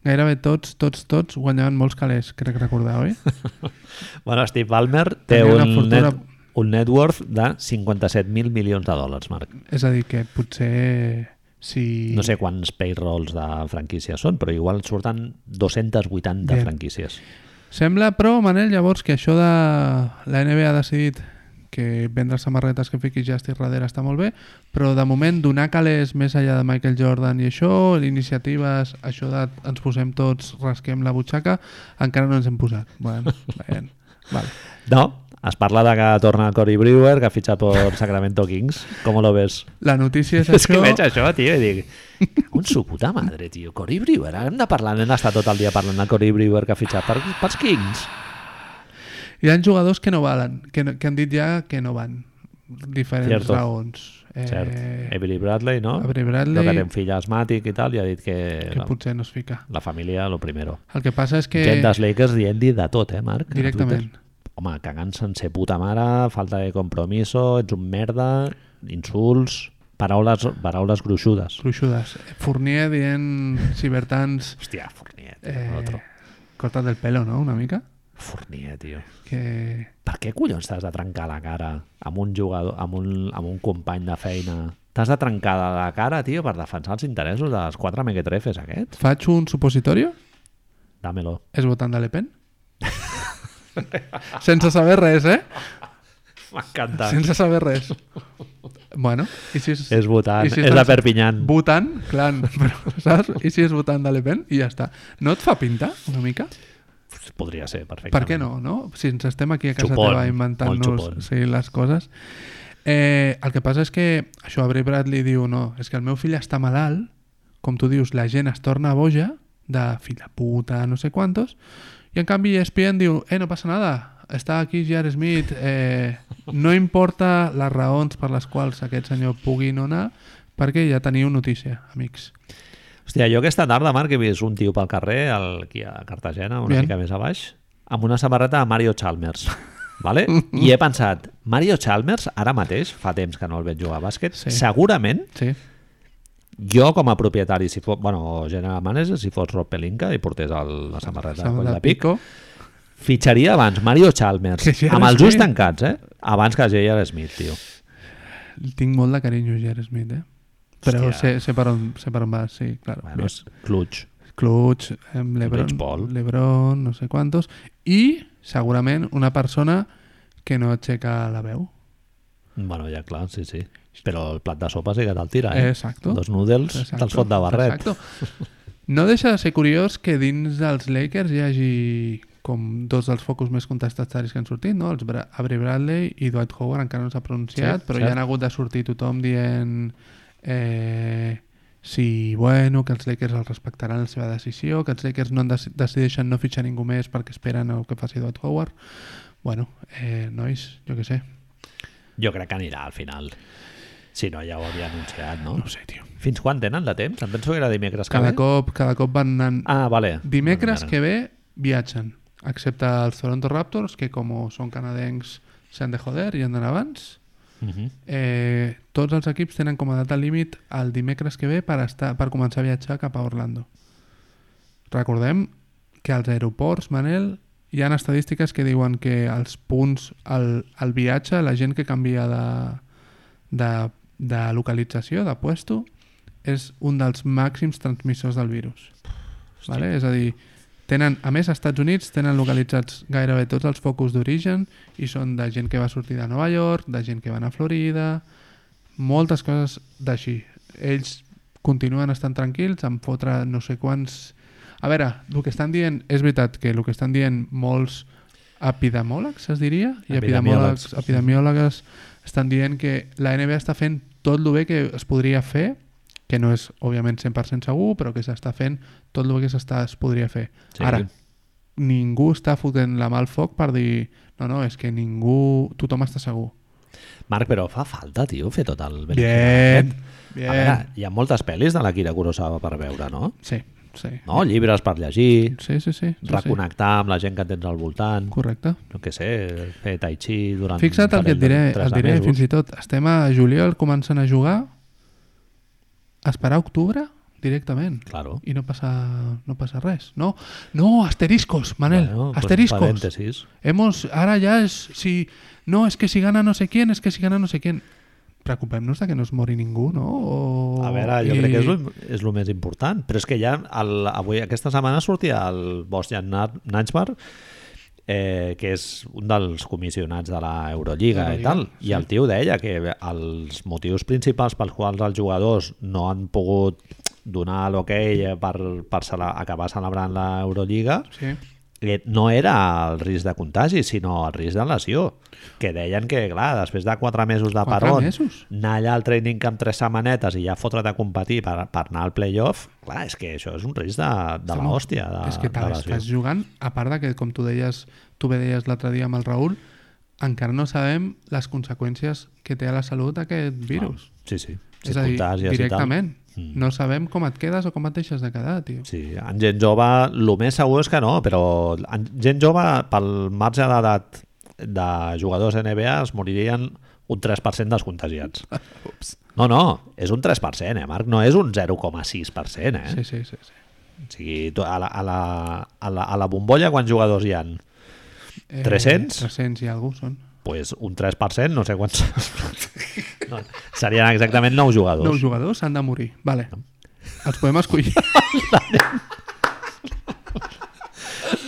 [SPEAKER 2] gairebé tots, tots, tots, guanyaven molts calés, crec recordar,
[SPEAKER 1] [laughs]
[SPEAKER 2] oi?
[SPEAKER 1] Bueno, Steve Ballmer té
[SPEAKER 2] Tenia una
[SPEAKER 1] un,
[SPEAKER 2] fortuna-
[SPEAKER 1] net, un net worth de 57.000 milions de dòlars, Marc.
[SPEAKER 2] És a dir, que potser si...
[SPEAKER 1] No sé quants payrolls de franquícies són, però igual surten 280
[SPEAKER 2] Bé.
[SPEAKER 1] franquícies.
[SPEAKER 2] Sembla, però, Manel, llavors, que això de... La NBA ha decidit que vendre samarretes que fiquis Justice darrere està molt bé, però de moment donar calés més enllà de Michael Jordan i això, iniciatives, això de ens posem tots, rasquem la butxaca, encara no ens hem posat. Bueno, [laughs] ben, vale.
[SPEAKER 1] No, es parla de que torna Cory Brewer, que ha fitxat per Sacramento Kings. Com lo ves?
[SPEAKER 2] La notícia
[SPEAKER 1] [laughs]
[SPEAKER 2] és,
[SPEAKER 1] És que
[SPEAKER 2] això...
[SPEAKER 1] veig això, tio, i dic... Un
[SPEAKER 2] [laughs]
[SPEAKER 1] su puta madre, tio. Cory Brewer, ara hem de parlar, hem d'estar tot el dia parlant de Cory Brewer que ha fitxat per, pels Kings.
[SPEAKER 2] Hi ha jugadors que no valen, que, no, que han dit ja que no van. Diferents
[SPEAKER 1] Cierto.
[SPEAKER 2] raons. Eh,
[SPEAKER 1] Cert. Emily Bradley, no?
[SPEAKER 2] Avery
[SPEAKER 1] No,
[SPEAKER 2] Bradley,
[SPEAKER 1] que té un fill asmàtic i tal, i ha dit que,
[SPEAKER 2] que
[SPEAKER 1] la,
[SPEAKER 2] potser no es fica.
[SPEAKER 1] la família, lo primero.
[SPEAKER 2] El que passa és que...
[SPEAKER 1] Que... Gent dels Lakers dient-li de tot, eh, Marc? a
[SPEAKER 2] Directament.
[SPEAKER 1] Twitter. Home, cagant sense puta mare, falta de compromiso, ets un merda, insults, paraules, paraules gruixudes.
[SPEAKER 2] Cruixudes. Fournier dient cibertans
[SPEAKER 1] Hòstia, Fournier, tio,
[SPEAKER 2] eh,
[SPEAKER 1] eh... otro.
[SPEAKER 2] cortat del pelo, no? Una mica.
[SPEAKER 1] Fournier, tio.
[SPEAKER 2] Que...
[SPEAKER 1] Per què collons t'has de trencar la cara amb un jugador, amb un, amb un company de feina? T'has de trencar la cara, tio, per defensar els interessos dels quatre mequetrefes aquests?
[SPEAKER 2] Faig un supositorio?
[SPEAKER 1] Dámelo.
[SPEAKER 2] És votant de Le
[SPEAKER 1] [laughs]
[SPEAKER 2] Pen? Sense saber res, eh?
[SPEAKER 1] M'encanta.
[SPEAKER 2] Sense saber res. Bueno, i si és...
[SPEAKER 1] Ah. És votant,
[SPEAKER 2] i
[SPEAKER 1] és
[SPEAKER 2] estan-
[SPEAKER 1] de Perpinyán.
[SPEAKER 2] Votant, clar, [laughs] però, saps? I si és votant de Le Pen? I ja està. No et fa pinta, una mica?
[SPEAKER 1] Podria ser, perfectament.
[SPEAKER 2] Per què no, no? Si ens estem aquí a casa
[SPEAKER 1] Xupon,
[SPEAKER 2] teva
[SPEAKER 1] molt xupon.
[SPEAKER 2] inventant-nos sí, les coses. Eh, el que passa és que això Avery Bradley diu no, és que el meu fill està malalt, com tu dius, la gent es torna boja de fill de puta, no sé quantos, i en canvi ESPN diu, eh, no passa nada, està aquí Jared Smith, eh, no importa les raons per les quals aquest senyor pugui no anar, perquè ja teniu notícia, amics.
[SPEAKER 1] Hòstia, jo aquesta tarda, Marc, he vist un tio pel carrer, al, aquí a Cartagena, una Bien.
[SPEAKER 2] Bien.
[SPEAKER 1] mica més a baix, amb una samarreta de Mario
[SPEAKER 2] [laughs]
[SPEAKER 1] Chalmers. Vale? I he pensat, Mario Chalmers, ara mateix, fa temps que no el veig jugar a bàsquet,
[SPEAKER 2] Sí.
[SPEAKER 1] sí. segurament
[SPEAKER 2] Sí,
[SPEAKER 1] jo com a propietari, si fos, bueno, o general manager, si fos Rob Pelinka i portés el, la samarreta de coll de pic,
[SPEAKER 2] Pico.
[SPEAKER 1] Fitxaria abans Mario Chalmers,
[SPEAKER 2] Que J.R.
[SPEAKER 1] amb els ulls
[SPEAKER 2] Smith.
[SPEAKER 1] tancats, eh? Abans que J.R. Smith, tio.
[SPEAKER 2] Tinc molt de carinyo a Jared Smith, eh? Però
[SPEAKER 1] Hòstia.
[SPEAKER 2] sé, sé, per on, sé per on va, sí, claro.
[SPEAKER 1] Bueno, és clutch.
[SPEAKER 2] Clutch, em, Lebron,
[SPEAKER 1] Rich Paul.
[SPEAKER 2] Lebron, no sé quantos, i segurament una persona que no aixeca la veu.
[SPEAKER 1] Bueno, ja clar, sí, sí. Però el plat de sopa sí que te'l tira, eh?
[SPEAKER 2] Exacto.
[SPEAKER 1] Dos noodles
[SPEAKER 2] Exacto,
[SPEAKER 1] te'ls fot de barret.
[SPEAKER 2] Exacto. No deixa de ser curiós que dins dels Lakers hi hagi com dos dels focus més contestataris que han sortit, no? Els Bra Avery Bradley i Dwight Howard encara no s'ha pronunciat,
[SPEAKER 1] Sí,
[SPEAKER 2] però
[SPEAKER 1] cert.
[SPEAKER 2] ja han hagut de sortir tothom dient eh, sí, bueno, que els Lakers els respectaran la seva decisió, que els Lakers no en deci- decideixen no fitxar ningú més perquè esperen el que faci Dwight Howard. Bueno, eh, nois, jo què sé.
[SPEAKER 1] Jo crec que anirà al final. Si no, ja ho Eh? havia anunciat, no?
[SPEAKER 2] No ho sé, tio.
[SPEAKER 1] Fins quan tenen de temps? Em penso que era dimecres que
[SPEAKER 2] Cada
[SPEAKER 1] ve.
[SPEAKER 2] cop, cada cop van anant,
[SPEAKER 1] Ah, vale.
[SPEAKER 2] Dimecres
[SPEAKER 1] Vale,
[SPEAKER 2] que ve viatgen, excepte els Toronto Raptors, que com són canadencs s'han de joder i han d'anar abans.
[SPEAKER 1] vale. Mhm.
[SPEAKER 2] Eh, tots els equips tenen com a data límit el dimecres que ve per, estar, per començar a viatjar cap a Orlando. Recordem que als aeroports, Manel, hi han estadístiques que diuen que els punts, el, el viatge, la gent que canvia de, de, de localització, de puesto, és un dels màxims transmissors del virus. Vale? És a dir, tenen, a més, als Estats Units tenen localitzats gairebé tots els focus d'origen i són de gent que va sortir de Nova York, de gent que va anar a Florida, moltes coses d'així. Ells continuen estant tranquils, en fotre no sé quants... A veure, el que estan dient, és veritat que el que estan dient molts epidemòlegs, es diria, i
[SPEAKER 1] Epidemiòlegs.
[SPEAKER 2] epidemòlegs, epidemiòlegs estan dient que la NBA està fent tot el bé que es podria fer, que no és, òbviament, 100% segur, però que s'està fent tot el que s'està es podria fer.
[SPEAKER 1] Sí.
[SPEAKER 2] Ara, ningú està fotent la mà al foc per dir no, no, és que ningú... Tothom està segur.
[SPEAKER 1] Marc, però fa falta, tio, fer tot el...
[SPEAKER 2] Bien, bien.
[SPEAKER 1] A veure, hi ha moltes pel·lis de l'Akira Kurosawa per veure, no?
[SPEAKER 2] Sí, sí.
[SPEAKER 1] No, llibres per llegir,
[SPEAKER 2] Sí, sí, Mm. sí. sí, sí.
[SPEAKER 1] reconnectar amb la gent que tens al voltant,
[SPEAKER 2] Correcte.
[SPEAKER 1] no què sé, fer tai chi durant...
[SPEAKER 2] Fixa't el que et diré, et diré fins i tot. Estem a juliol, comencen a jugar, esperar octubre directament.
[SPEAKER 1] Claro.
[SPEAKER 2] I no passa, no passa res. No, no asteriscos, Manel,
[SPEAKER 1] Bueno, pues,
[SPEAKER 2] asteriscos.
[SPEAKER 1] paréntesis.
[SPEAKER 2] Hemos, ahora ya es, si, no, es que si gana no sé quién, es que si gana no sé quién. Preocupem-nos de que no es mori ningú, no? O...
[SPEAKER 1] A veure, jo I... crec que és
[SPEAKER 2] I-
[SPEAKER 1] lo, és lo més important. Però és que ja el, avui, aquesta setmana sortia el Bosnian Najbar, eh, que és un dels comissionats de la Eurolliga i
[SPEAKER 2] Euroliga,
[SPEAKER 1] tal, i el tio deia que els motius principals pels quals els jugadors no han pogut donar l'hoquei okay per, per cele acabar celebrant la Eurolliga
[SPEAKER 2] Sí.
[SPEAKER 1] eh, no era el risc de contagi, sinó el risc de lesió. Que deien que, clar, després de quatre mesos de
[SPEAKER 2] Quatre
[SPEAKER 1] parón,
[SPEAKER 2] mesos?
[SPEAKER 1] anar allà al training camp tres setmanetes i ja fotre't a competir per, per anar al playoff, clar, és que això és un risc de, de la hòstia, de,
[SPEAKER 2] és que
[SPEAKER 1] de
[SPEAKER 2] tal,
[SPEAKER 1] lesió.
[SPEAKER 2] estàs jugant, a part de que, com tu deies, tu bé deies l'altre dia amb el Raül, encara no sabem les conseqüències que té a la salut aquest virus.
[SPEAKER 1] Ah, sí, sí. Si
[SPEAKER 2] és a dir,
[SPEAKER 1] contàgies i tal. mm.
[SPEAKER 2] directament. No sabem com et quedes o com et deixes de quedar, tio.
[SPEAKER 1] Sí, en gent jove el més segur és que no, però en gent jove pel marge d'edat de jugadors NBA es moririen un 3% dels contagiats. No, no, és un 3%, eh, Marc? No és un 0,6%, eh?
[SPEAKER 2] Sí, sí, sí. sí.
[SPEAKER 1] O sigui, tu, a la, a, la, a, la, a la bombolla quants jugadors hi han?
[SPEAKER 2] Eh,
[SPEAKER 1] 300?
[SPEAKER 2] 300 i alguna són.
[SPEAKER 1] pues un 3%, no sé quants... [laughs] No, serien exactament 9
[SPEAKER 2] Nou
[SPEAKER 1] jugadors.
[SPEAKER 2] jugadors han de morir. Vale. Els podem
[SPEAKER 1] [laughs]
[SPEAKER 2] escollir.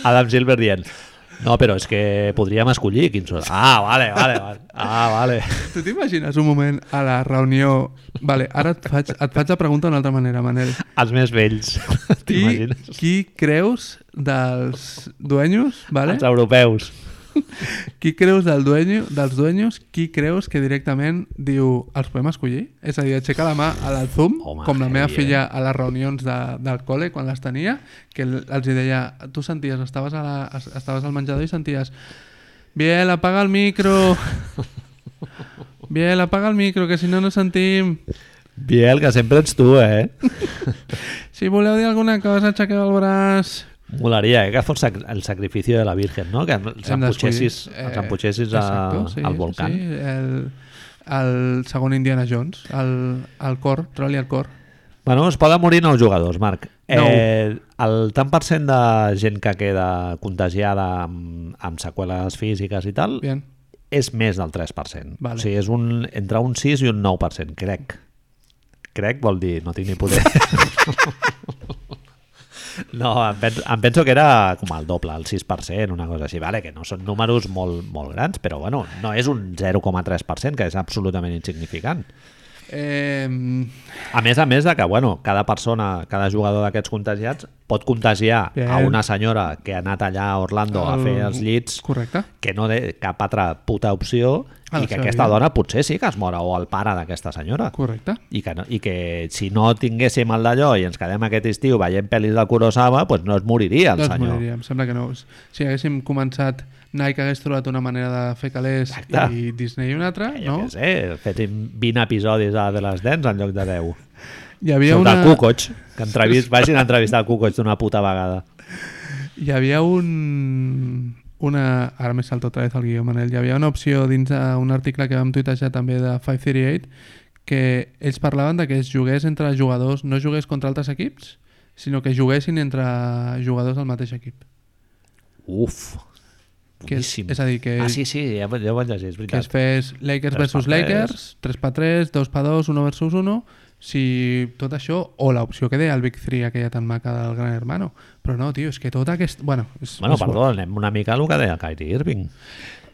[SPEAKER 1] Adam Silver dient... No, però és que podríem escollir quins són. Ah, vale, vale, vale. Ah, vale.
[SPEAKER 2] Tu t'imagines un moment a la reunió... Vale, ara et faig, et faig la pregunta d'una altra manera, Manel.
[SPEAKER 1] Els més vells, [laughs]
[SPEAKER 2] Qui,
[SPEAKER 1] t'imagines?
[SPEAKER 2] qui creus dels dueños, vale?
[SPEAKER 1] Els europeus.
[SPEAKER 2] Qui creus del dueño, dels dueños, qui creus que directament diu els podem escollir? És a dir, aixeca la mà al Zoom,
[SPEAKER 1] Home,
[SPEAKER 2] com la meva
[SPEAKER 1] heavy, eh?
[SPEAKER 2] filla a les reunions de, del col·le quan les tenia, que l- els hi deia, tu senties, estaves, a la, es- estaves al menjador i senties Biel, apaga el micro! [laughs] Biel, apaga el micro, que si no no sentim.
[SPEAKER 1] Biel, que sempre ets tu, eh?
[SPEAKER 2] Si voleu dir alguna cosa, aixequeu el braç.
[SPEAKER 1] Molaria, eh? Que fos sac- el sacrifici de la Virgen, no? Que ens
[SPEAKER 2] Hem d'escollir.
[SPEAKER 1] emputxessis, ens emputxessis a,
[SPEAKER 2] Eh, exacto, sí,
[SPEAKER 1] al
[SPEAKER 2] sí,
[SPEAKER 1] volcán.
[SPEAKER 2] Sí, el, el segon Indiana Jones, el, el cor, troli el cor.
[SPEAKER 1] Bueno, es poden morir nous jugadors, Marc.
[SPEAKER 2] Nou.
[SPEAKER 1] Eh, el tant per cent de gent que queda contagiada amb, amb seqüeles físiques i tal
[SPEAKER 2] Bien.
[SPEAKER 1] és més del 3%.
[SPEAKER 2] Vale.
[SPEAKER 1] O sigui, és un, entre un 6 i un 9%, crec. Crec vol dir, no tinc ni poder.
[SPEAKER 2] [laughs]
[SPEAKER 1] no, em penso, em penso que era com el doble, el 6%, una cosa així. Vale, que no són números molt, molt grans, però bueno, no és un 0,3%, que és absolutament insignificant.
[SPEAKER 2] Eh,
[SPEAKER 1] A més a més de que, bueno, cada persona, cada jugador d'aquests contagiats pot contagiar Bien. a
[SPEAKER 2] Bien.
[SPEAKER 1] una senyora que ha anat allà a Orlando a
[SPEAKER 2] El-
[SPEAKER 1] fer els llits
[SPEAKER 2] correcte.
[SPEAKER 1] que no té cap altra puta opció
[SPEAKER 2] A la
[SPEAKER 1] i que
[SPEAKER 2] seva
[SPEAKER 1] aquesta
[SPEAKER 2] vida.
[SPEAKER 1] dona potser sí que es mora o el pare d'aquesta senyora.
[SPEAKER 2] Correcte.
[SPEAKER 1] I que, no, I que si no tinguéssim el d'allò i ens quedem aquest estiu veient pel·lis del Kurosawa, doncs no es moriria el
[SPEAKER 2] doncs
[SPEAKER 1] senyor.
[SPEAKER 2] moriria, em sembla que no. Si haguéssim començat, Nike hagués trobat una manera de fer calés
[SPEAKER 1] Exacte.
[SPEAKER 2] i Disney una altra,
[SPEAKER 1] Eh, Jo
[SPEAKER 2] no?
[SPEAKER 1] què sé, féssim 20 episodis a The Last Dance en lloc de 10.
[SPEAKER 2] Hi havia,
[SPEAKER 1] Sobre
[SPEAKER 2] una,
[SPEAKER 1] el Kukoc, que entrevist, vagin a entrevistar el Kukoc d'una puta vegada.
[SPEAKER 2] hi havia un... Una, ara m'he saltat otra vez al guió, Manel. Hi havia una opció dins d'un article que vam tuitejar també de 538 que ells parlaven de que es jugués entre jugadors, no jugués contra altres equips, sinó que juguessin entre jugadors del mateix equip.
[SPEAKER 1] Uf,
[SPEAKER 2] Que és,
[SPEAKER 1] boníssim.
[SPEAKER 2] és a dir, que,
[SPEAKER 1] Ah, sí, sí, ja, ja ho vaig llegir, és
[SPEAKER 2] que es
[SPEAKER 1] veritat.
[SPEAKER 2] fes Lakers
[SPEAKER 1] Tres
[SPEAKER 2] versus
[SPEAKER 1] per tres.
[SPEAKER 2] Lakers, 3x3, 2x2, 1 versus 1, si tot això, o l'opció que deia el Big 3 aquella tan maca del Gran Hermano. Però no, tio, és que tot aquest... Bueno, és,
[SPEAKER 1] Bueno,
[SPEAKER 2] és
[SPEAKER 1] perdó, anem una mica al que deia Kyrie Irving.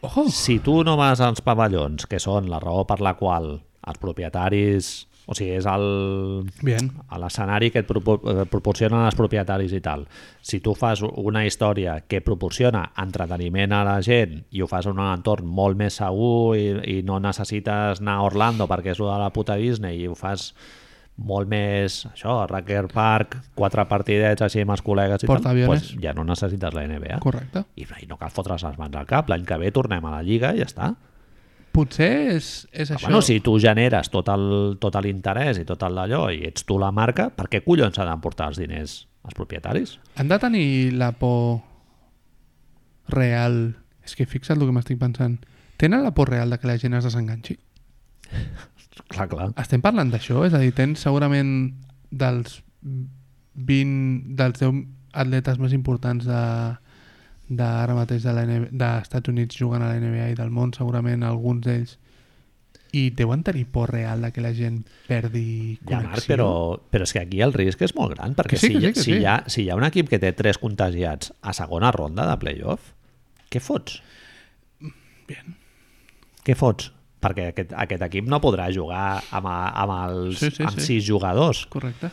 [SPEAKER 2] Ojo!
[SPEAKER 1] Si tu no vas als pavellons, que són la raó per la qual els propietaris... O sigui, és el
[SPEAKER 2] Bien.
[SPEAKER 1] a l'escenari que et propo- eh, proporcionen els propietaris i tal. Si tu fas una història que proporciona entreteniment a la gent i ho fas en un entorn molt més segur i, i no necessites anar a Orlando perquè és lo de la puta Disney i ho fas molt més, això, Racker Park, quatre partidets així amb els col·legues i tal, doncs
[SPEAKER 2] Portaaviones.
[SPEAKER 1] ja no necessites la NBA.
[SPEAKER 2] Correcte.
[SPEAKER 1] I, I no cal fotre's les mans al cap. L'any que ve tornem a la Lliga i ja està.
[SPEAKER 2] Potser és, és
[SPEAKER 1] Això...
[SPEAKER 2] això.
[SPEAKER 1] Ah, Bueno, si tu generes tot el- tot l'interès i tot el d'allò i ets tu la marca, per què collons han d'emportar els diners als propietaris?
[SPEAKER 2] Han de tenir la por real. És que fixa't el que m'estic pensant. Tenen la por real de que la gent es desenganxi?
[SPEAKER 1] Clar, clar.
[SPEAKER 2] Estem parlant d'això? És a dir, tens segurament dels 20, dels 10 atletes més importants de d'ara mateix de la NBA d'Estats Units jugant a la NBA i del món segurament alguns d'ells i deuen tenir por real de que la gent perdi
[SPEAKER 1] Ja,
[SPEAKER 2] connexió
[SPEAKER 1] Marc, però, però és que aquí el risc és molt gran, perquè
[SPEAKER 2] Que sí,
[SPEAKER 1] si,
[SPEAKER 2] que sí, que
[SPEAKER 1] si,
[SPEAKER 2] sí.
[SPEAKER 1] Hi ha, si hi ha un equip que té tres contagiats a segona ronda de playoff, què fots?
[SPEAKER 2] Bien.
[SPEAKER 1] Què fots? Perquè aquest, aquest equip no podrà jugar amb, a- amb, els,
[SPEAKER 2] Sí, sí,
[SPEAKER 1] amb
[SPEAKER 2] sí.
[SPEAKER 1] sis jugadors.
[SPEAKER 2] correcte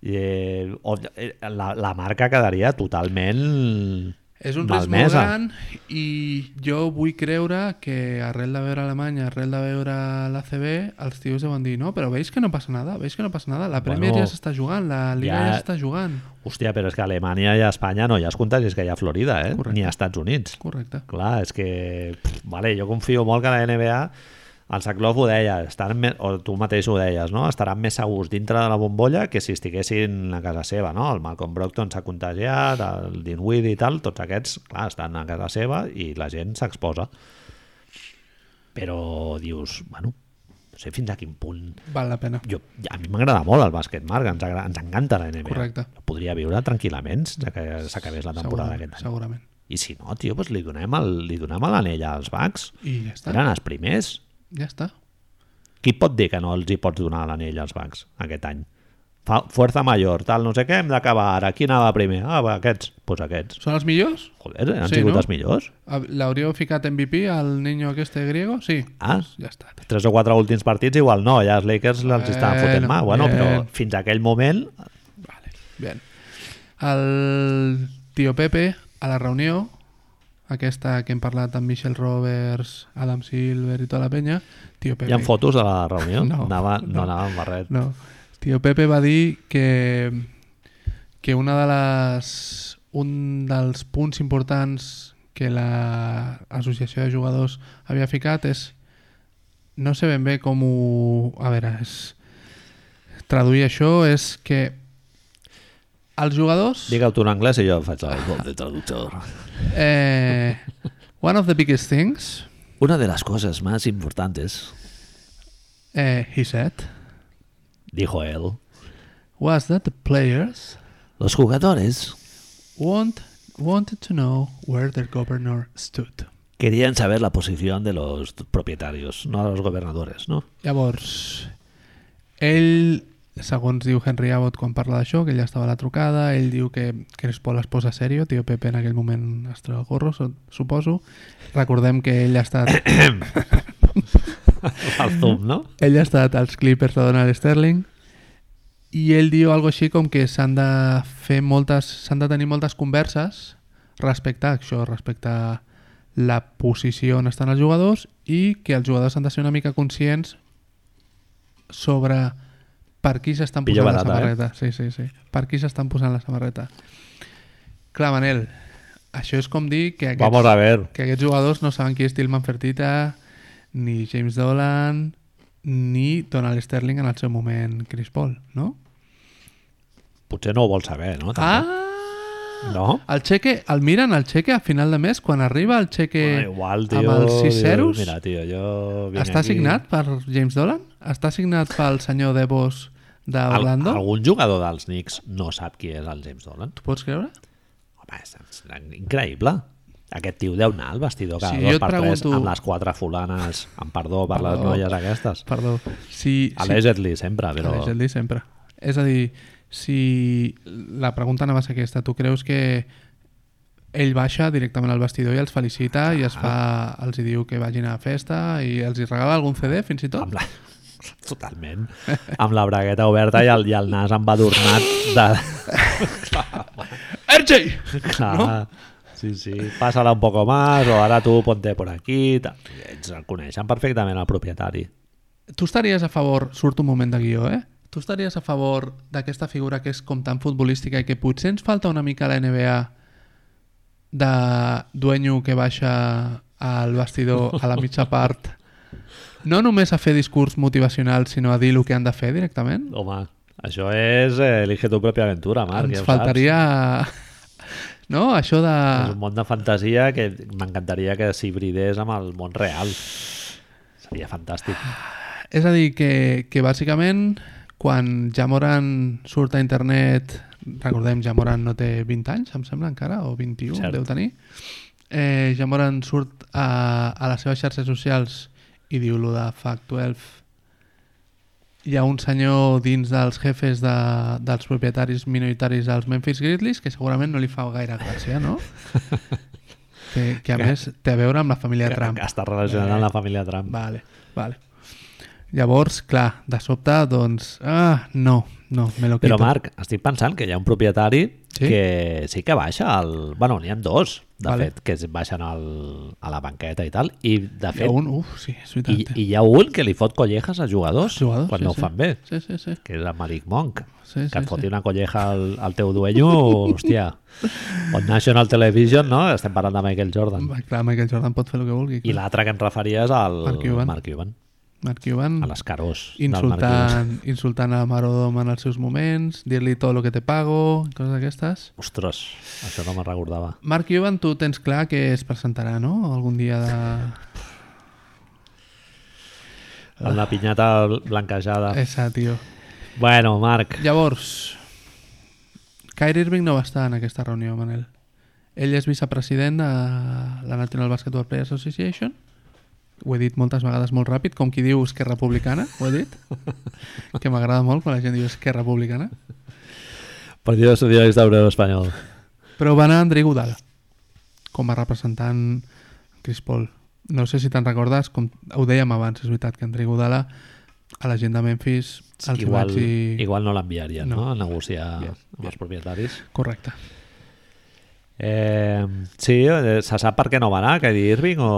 [SPEAKER 1] I, eh, o- eh, la, la marca quedaria totalment
[SPEAKER 2] És un risc molt
[SPEAKER 1] malmesa.
[SPEAKER 2] gran i jo vull creure que arrel de veure Alemanya, arrel de veure l'ACB, els tios deuen dir no, però veus que no passa nada, veus que no passa nada, la Premier
[SPEAKER 1] Bueno,
[SPEAKER 2] ja s'està jugant, la Liga ja,
[SPEAKER 1] ja-
[SPEAKER 2] s'està jugant.
[SPEAKER 1] Hòstia, però és que a Alemanya i a Espanya no hi ha contagis que hi ha a Florida, eh?
[SPEAKER 2] Correcte.
[SPEAKER 1] ni a Estats Units.
[SPEAKER 2] Correcte.
[SPEAKER 1] Clar, és que... Pff, vale, jo confio molt que la NBA el Saclov ho deia, estaran me... o tu mateix ho deies, no? estaran més segurs dintre de la bombolla que si estiguessin a casa seva. No? El Malcolm Brogdon s'ha contagiat, el Dinwiddie i tal, tots aquests clar, estan a casa seva i la gent s'exposa. Però dius, bueno, no sé fins a quin punt
[SPEAKER 2] Val la pena.
[SPEAKER 1] jo, a mi m'agrada molt el bàsquet, Marc, ens, agra, ens encanta la NBA.
[SPEAKER 2] Correcte.
[SPEAKER 1] Jo podria viure tranquil·lament ja que s'acabés la temporada d'aquest
[SPEAKER 2] Segurament,
[SPEAKER 1] any.
[SPEAKER 2] segurament.
[SPEAKER 1] I si no, tio, doncs li donem el- li donem l'anell als Bucks.
[SPEAKER 2] I ja està.
[SPEAKER 1] Eren els primers.
[SPEAKER 2] Ja està.
[SPEAKER 1] Qui pot dir que no els hi pots donar l'anell als Bucks aquest any? Fa, fuerza major, tal, no sé què, hem d'acabar ara. Qui anava primer? Ah, va, aquests. Doncs pues aquests.
[SPEAKER 2] Són els millors?
[SPEAKER 1] Joder, han
[SPEAKER 2] Sí,
[SPEAKER 1] sí, sigut
[SPEAKER 2] no?
[SPEAKER 1] els millors.
[SPEAKER 2] A- L'hauríeu ficat MVP al niño este griego? Sí.
[SPEAKER 1] Ah,
[SPEAKER 2] Ja està. tio.
[SPEAKER 1] tres o quatre últims partits igual no, ja els Lakers els estaven fotent mà. Bueno, però
[SPEAKER 2] Bueno.
[SPEAKER 1] fins a aquell moment
[SPEAKER 2] Vale. Bien. El tio Pepe, a la reunió, aquesta que hem parlat amb Michelle Roberts, Adam Silver i tota la penya, tio Pepe...
[SPEAKER 1] hi ha fotos de la reunió. [laughs]
[SPEAKER 2] No,
[SPEAKER 1] no, anava,
[SPEAKER 2] no.
[SPEAKER 1] no, anava amb barret.
[SPEAKER 2] No. Tio Pepe va dir que, que una de les, un dels punts importants que l'associació de jugadors havia ficat és no sé ben bé com ho... A veure, és... traduir això és que els jugadors...
[SPEAKER 1] Digue-ho tu en anglès i jo faig el cop de [laughs] traductor.
[SPEAKER 2] Eh, one of the biggest things,
[SPEAKER 1] Una de las cosas más importantes,
[SPEAKER 2] uh, eh, he said,
[SPEAKER 1] dijo él,
[SPEAKER 2] was that the players
[SPEAKER 1] Los jugadores
[SPEAKER 2] want, wanted to know where their governor stood.
[SPEAKER 1] querían saber la posición de los propietarios, no de los gobernadores,
[SPEAKER 2] [laughs]
[SPEAKER 1] ¿no?
[SPEAKER 2] Llavors, ell, segons diu Henry Abbott quan parla d'això, que ell ja estava a la trucada, ell diu que Crespo les posa serio, tio Pepe en aquell moment es treu el gorro, so- suposo. Recordem que ell ha estat,
[SPEAKER 1] Al Zoom, no?
[SPEAKER 2] ell ha estat als Clippers de Donald Sterling i ell diu algo així com que s'han de fer moltes, s'han de tenir moltes converses respecte a això, respecte a la posició on estan els jugadors i que els jugadors han de ser una mica conscients sobre per qui s'estan
[SPEAKER 1] Pillo
[SPEAKER 2] posant la
[SPEAKER 1] barata, eh?
[SPEAKER 2] samarreta. Sí, sí, sí. Per qui s'estan posant la samarreta. Clar, Manel, això és com dir que aquests,
[SPEAKER 1] Vamos a ver.
[SPEAKER 2] que aquests jugadors no saben qui és Tillman Fertitta, ni James Dolan, ni Donald Sterling en el seu moment Chris Paul, no?
[SPEAKER 1] Potser no ho vols saber, no? Tampoc.
[SPEAKER 2] Ah!
[SPEAKER 1] No?
[SPEAKER 2] El xeque, el miren el xeque a final de mes, quan arriba el xeque
[SPEAKER 1] Bueno, igual, tio.
[SPEAKER 2] amb els sis
[SPEAKER 1] dius,
[SPEAKER 2] zeros,
[SPEAKER 1] Mira, tio, jo... vinc
[SPEAKER 2] està
[SPEAKER 1] aquí.
[SPEAKER 2] signat per James Dolan? Està signat pel senyor de Vos
[SPEAKER 1] Al,
[SPEAKER 2] d'Orlando?
[SPEAKER 1] algun jugador dels Knicks no sap qui és el James Dolan.
[SPEAKER 2] Tu pots creure?
[SPEAKER 1] Home, és, és increïble. Aquest tio deu anar al vestidor cada
[SPEAKER 2] Si
[SPEAKER 1] sí,
[SPEAKER 2] jo
[SPEAKER 1] dos
[SPEAKER 2] et
[SPEAKER 1] per tres
[SPEAKER 2] pregunto-
[SPEAKER 1] amb les quatre fulanes, amb perdó per les
[SPEAKER 2] Perdó.
[SPEAKER 1] noies aquestes.
[SPEAKER 2] Perdó. Si,
[SPEAKER 1] A
[SPEAKER 2] si-
[SPEAKER 1] l'Egerly sempre, però...
[SPEAKER 2] Aleix Geldi sempre. És a dir, si la pregunta anava a ser aquesta, tu creus que ell baixa directament al vestidor i els felicita i es
[SPEAKER 1] Ah.
[SPEAKER 2] fa, els hi diu que vagin a la festa i els hi regala algun CD fins i tot?
[SPEAKER 1] Amb la... [laughs] Totalment. Amb la bragueta oberta i el, i el nas embadurnat de...
[SPEAKER 2] [laughs] RJ!
[SPEAKER 1] Clar, sí, sí. Passa-la un poco más o ara tu ponte por aquí. tal. Ells el coneixen perfectament, el propietari.
[SPEAKER 2] Tu estaries a favor, surt un moment de guió, eh? Tu estaries a favor d'aquesta figura que és com tan futbolística i que potser ens falta una mica a la NBA de duenyo que baixa al vestidor a la mitja part no només a fer discurs motivacional sinó a dir el que han de fer directament
[SPEAKER 1] Home, això és eh, elige tu pròpia aventura, Marc. ja
[SPEAKER 2] ens
[SPEAKER 1] ho
[SPEAKER 2] faltaria no? això
[SPEAKER 1] Saps. És un
[SPEAKER 2] de
[SPEAKER 1] món de fantasia que m'encantaria que s'hibridés amb el món real. Seria fantàstic.
[SPEAKER 2] és a dir que, que bàsicament quan ja Moran surt a internet recordem ja Moran no té 20 anys em sembla encara o 21
[SPEAKER 1] Cert.
[SPEAKER 2] Cert. deu tenir eh, ja Moran surt a, a les seves xarxes socials i diu lo de Fact 12 hi ha un senyor dins dels jefes de, dels propietaris minoritaris dels Memphis Grizzlies que segurament no li fa gaire gràcia,
[SPEAKER 1] [laughs]
[SPEAKER 2] no? Que, que a més té a veure amb la família Trump.
[SPEAKER 1] Que està relacionat amb la família Trump.
[SPEAKER 2] Vale, vale. Llavors, clar, de sobte, doncs... Ah, no, no, me lo quito.
[SPEAKER 1] Però Marc, estic pensant que hi ha un propietari
[SPEAKER 2] Sí?
[SPEAKER 1] sí? que sí que baixa al... Bueno, n'hi ha dos, de
[SPEAKER 2] Vale.
[SPEAKER 1] vale. fet, que es baixen al, a la banqueta i tal, i de
[SPEAKER 2] Hi ha
[SPEAKER 1] fet
[SPEAKER 2] un... Uf, sí, és
[SPEAKER 1] i,
[SPEAKER 2] veritat. eh.
[SPEAKER 1] i hi ha un que li fot collejas als jugadors,
[SPEAKER 2] Jugadors,
[SPEAKER 1] quan
[SPEAKER 2] sí,
[SPEAKER 1] no ho
[SPEAKER 2] sí.
[SPEAKER 1] fan bé,
[SPEAKER 2] Sí, sí, sí.
[SPEAKER 1] que és el Malik Monk.
[SPEAKER 2] Sí,
[SPEAKER 1] que
[SPEAKER 2] sí,
[SPEAKER 1] et foti
[SPEAKER 2] sí.
[SPEAKER 1] una colleja al, al teu dueño, hòstia. On National Television, no? Estem parlant de Michael Jordan.
[SPEAKER 2] Va, clar, Michael Jordan pot fer el que vulgui.
[SPEAKER 1] I
[SPEAKER 2] clar.
[SPEAKER 1] l'altre que em referia és al
[SPEAKER 2] Mark Cuban.
[SPEAKER 1] Mark Cuban
[SPEAKER 2] Mark Cuban
[SPEAKER 1] a les carós del Mark Cuban.
[SPEAKER 2] insultant, insultant a Marodom en els seus moments, dir-li tot el que te pago, coses d'aquestes.
[SPEAKER 1] Ostres, això no me'n recordava.
[SPEAKER 2] Mark Cuban, tu tens clar que es presentarà, no? Algun dia de...
[SPEAKER 1] Amb la pinyata blanquejada.
[SPEAKER 2] Esa, tio.
[SPEAKER 1] Bueno, Marc,
[SPEAKER 2] Llavors, Kyrie Irving no va estar en aquesta reunió, Manel. Ell és vicepresident de la National Basketball Players Association. Ho he dit moltes vegades molt ràpid, com qui diu Esquerra Republicana, ho he
[SPEAKER 1] [laughs]
[SPEAKER 2] dit. que m'agrada molt quan la gent diu Esquerra Republicana.
[SPEAKER 1] Partido Socialista Obrero Espanyol.
[SPEAKER 2] Però va anar André Godal com a representant Chris Paul. No sé si te'n recordes, com ho dèiem abans, és veritat que André Godala a la gent de Memphis els hi
[SPEAKER 1] Igual,
[SPEAKER 2] vaig dir...
[SPEAKER 1] igual no l'enviarien, no.
[SPEAKER 2] No.
[SPEAKER 1] no? A negociar
[SPEAKER 2] Yes,
[SPEAKER 1] amb els propietaris.
[SPEAKER 2] Correcte.
[SPEAKER 1] Eh, sí, eh, se sap per què no va anar, que Irving o...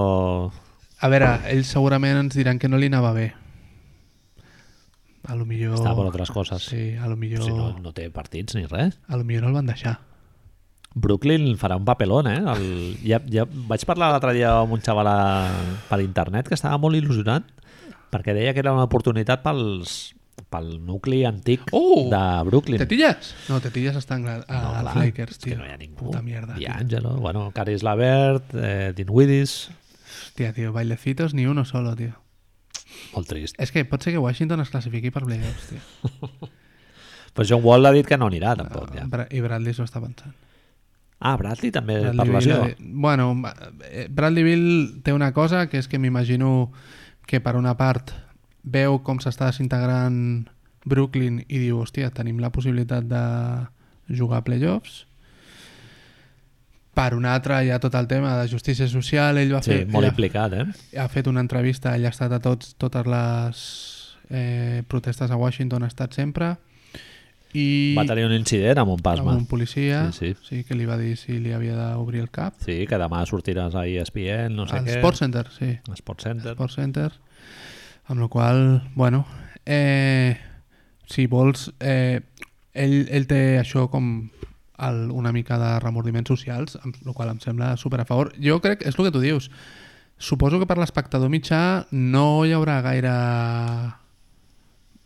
[SPEAKER 2] A veure, ells segurament ens diran que no li anava bé. A lo millor...
[SPEAKER 1] Estava per altres coses.
[SPEAKER 2] Sí, a lo millor...
[SPEAKER 1] Si no, no té partits ni res.
[SPEAKER 2] A lo millor no el van deixar.
[SPEAKER 1] Brooklyn farà un papelón, eh? El, ja, ja vaig parlar l'altre dia amb un xaval a, per internet que estava molt il·lusionat perquè deia que era una oportunitat pels, pel nucli antic
[SPEAKER 2] Oh!
[SPEAKER 1] de Brooklyn.
[SPEAKER 2] Tetillas? No, Tetillas estan a,
[SPEAKER 1] No,
[SPEAKER 2] a als
[SPEAKER 1] clar,
[SPEAKER 2] Ah, Lakers,
[SPEAKER 1] és que
[SPEAKER 2] tio.
[SPEAKER 1] no hi ha ningú.
[SPEAKER 2] Puta mierda.
[SPEAKER 1] Di
[SPEAKER 2] tio.
[SPEAKER 1] Angelo, bueno, Caris Labert, eh, Dinwiddie,
[SPEAKER 2] Hòstia, tio, bailecitos ni uno solo, tio.
[SPEAKER 1] molt trist.
[SPEAKER 2] És que pot ser que Washington es classifiqui per playoffs, tio.
[SPEAKER 1] Però John Wall ha dit que no anirà, tampoc. Ja.
[SPEAKER 2] Bra- I Bradley s'ho està pensant.
[SPEAKER 1] Ah, Bradley també per
[SPEAKER 2] Bradley
[SPEAKER 1] lesió.
[SPEAKER 2] Beal, eh, bueno, va- eh, Bradley Bill té una cosa que és que m'imagino que per una part veu com s'està desintegrant Brooklyn i diu, hòstia, tenim la possibilitat de jugar a playoffs. Per una altra hi ha tot el tema de justícia social, ell va
[SPEAKER 1] Sí,
[SPEAKER 2] fer...
[SPEAKER 1] molt
[SPEAKER 2] ell ha-
[SPEAKER 1] implicat, eh?
[SPEAKER 2] ha fet una entrevista, ell ha estat a tots, totes les eh, protestes a Washington, ha estat sempre. I
[SPEAKER 1] Va tenir un incident amb un
[SPEAKER 2] amb
[SPEAKER 1] pasma.
[SPEAKER 2] un policia
[SPEAKER 1] Sí, sí.
[SPEAKER 2] sí, que li va dir si li havia d'obrir el cap.
[SPEAKER 1] Sí, que demà sortiràs a E ESPN, no sé
[SPEAKER 2] Al
[SPEAKER 1] què.
[SPEAKER 2] Sport Center, sí.
[SPEAKER 1] Sport Center.
[SPEAKER 2] Sport Center. Amb la qual bueno, eh, si vols, eh, ell, ell té això com el, una mica de remordiments socials, amb la qual em sembla super a favor. Jo crec, és el que tu dius, suposo que per l'espectador mitjà no hi haurà gaire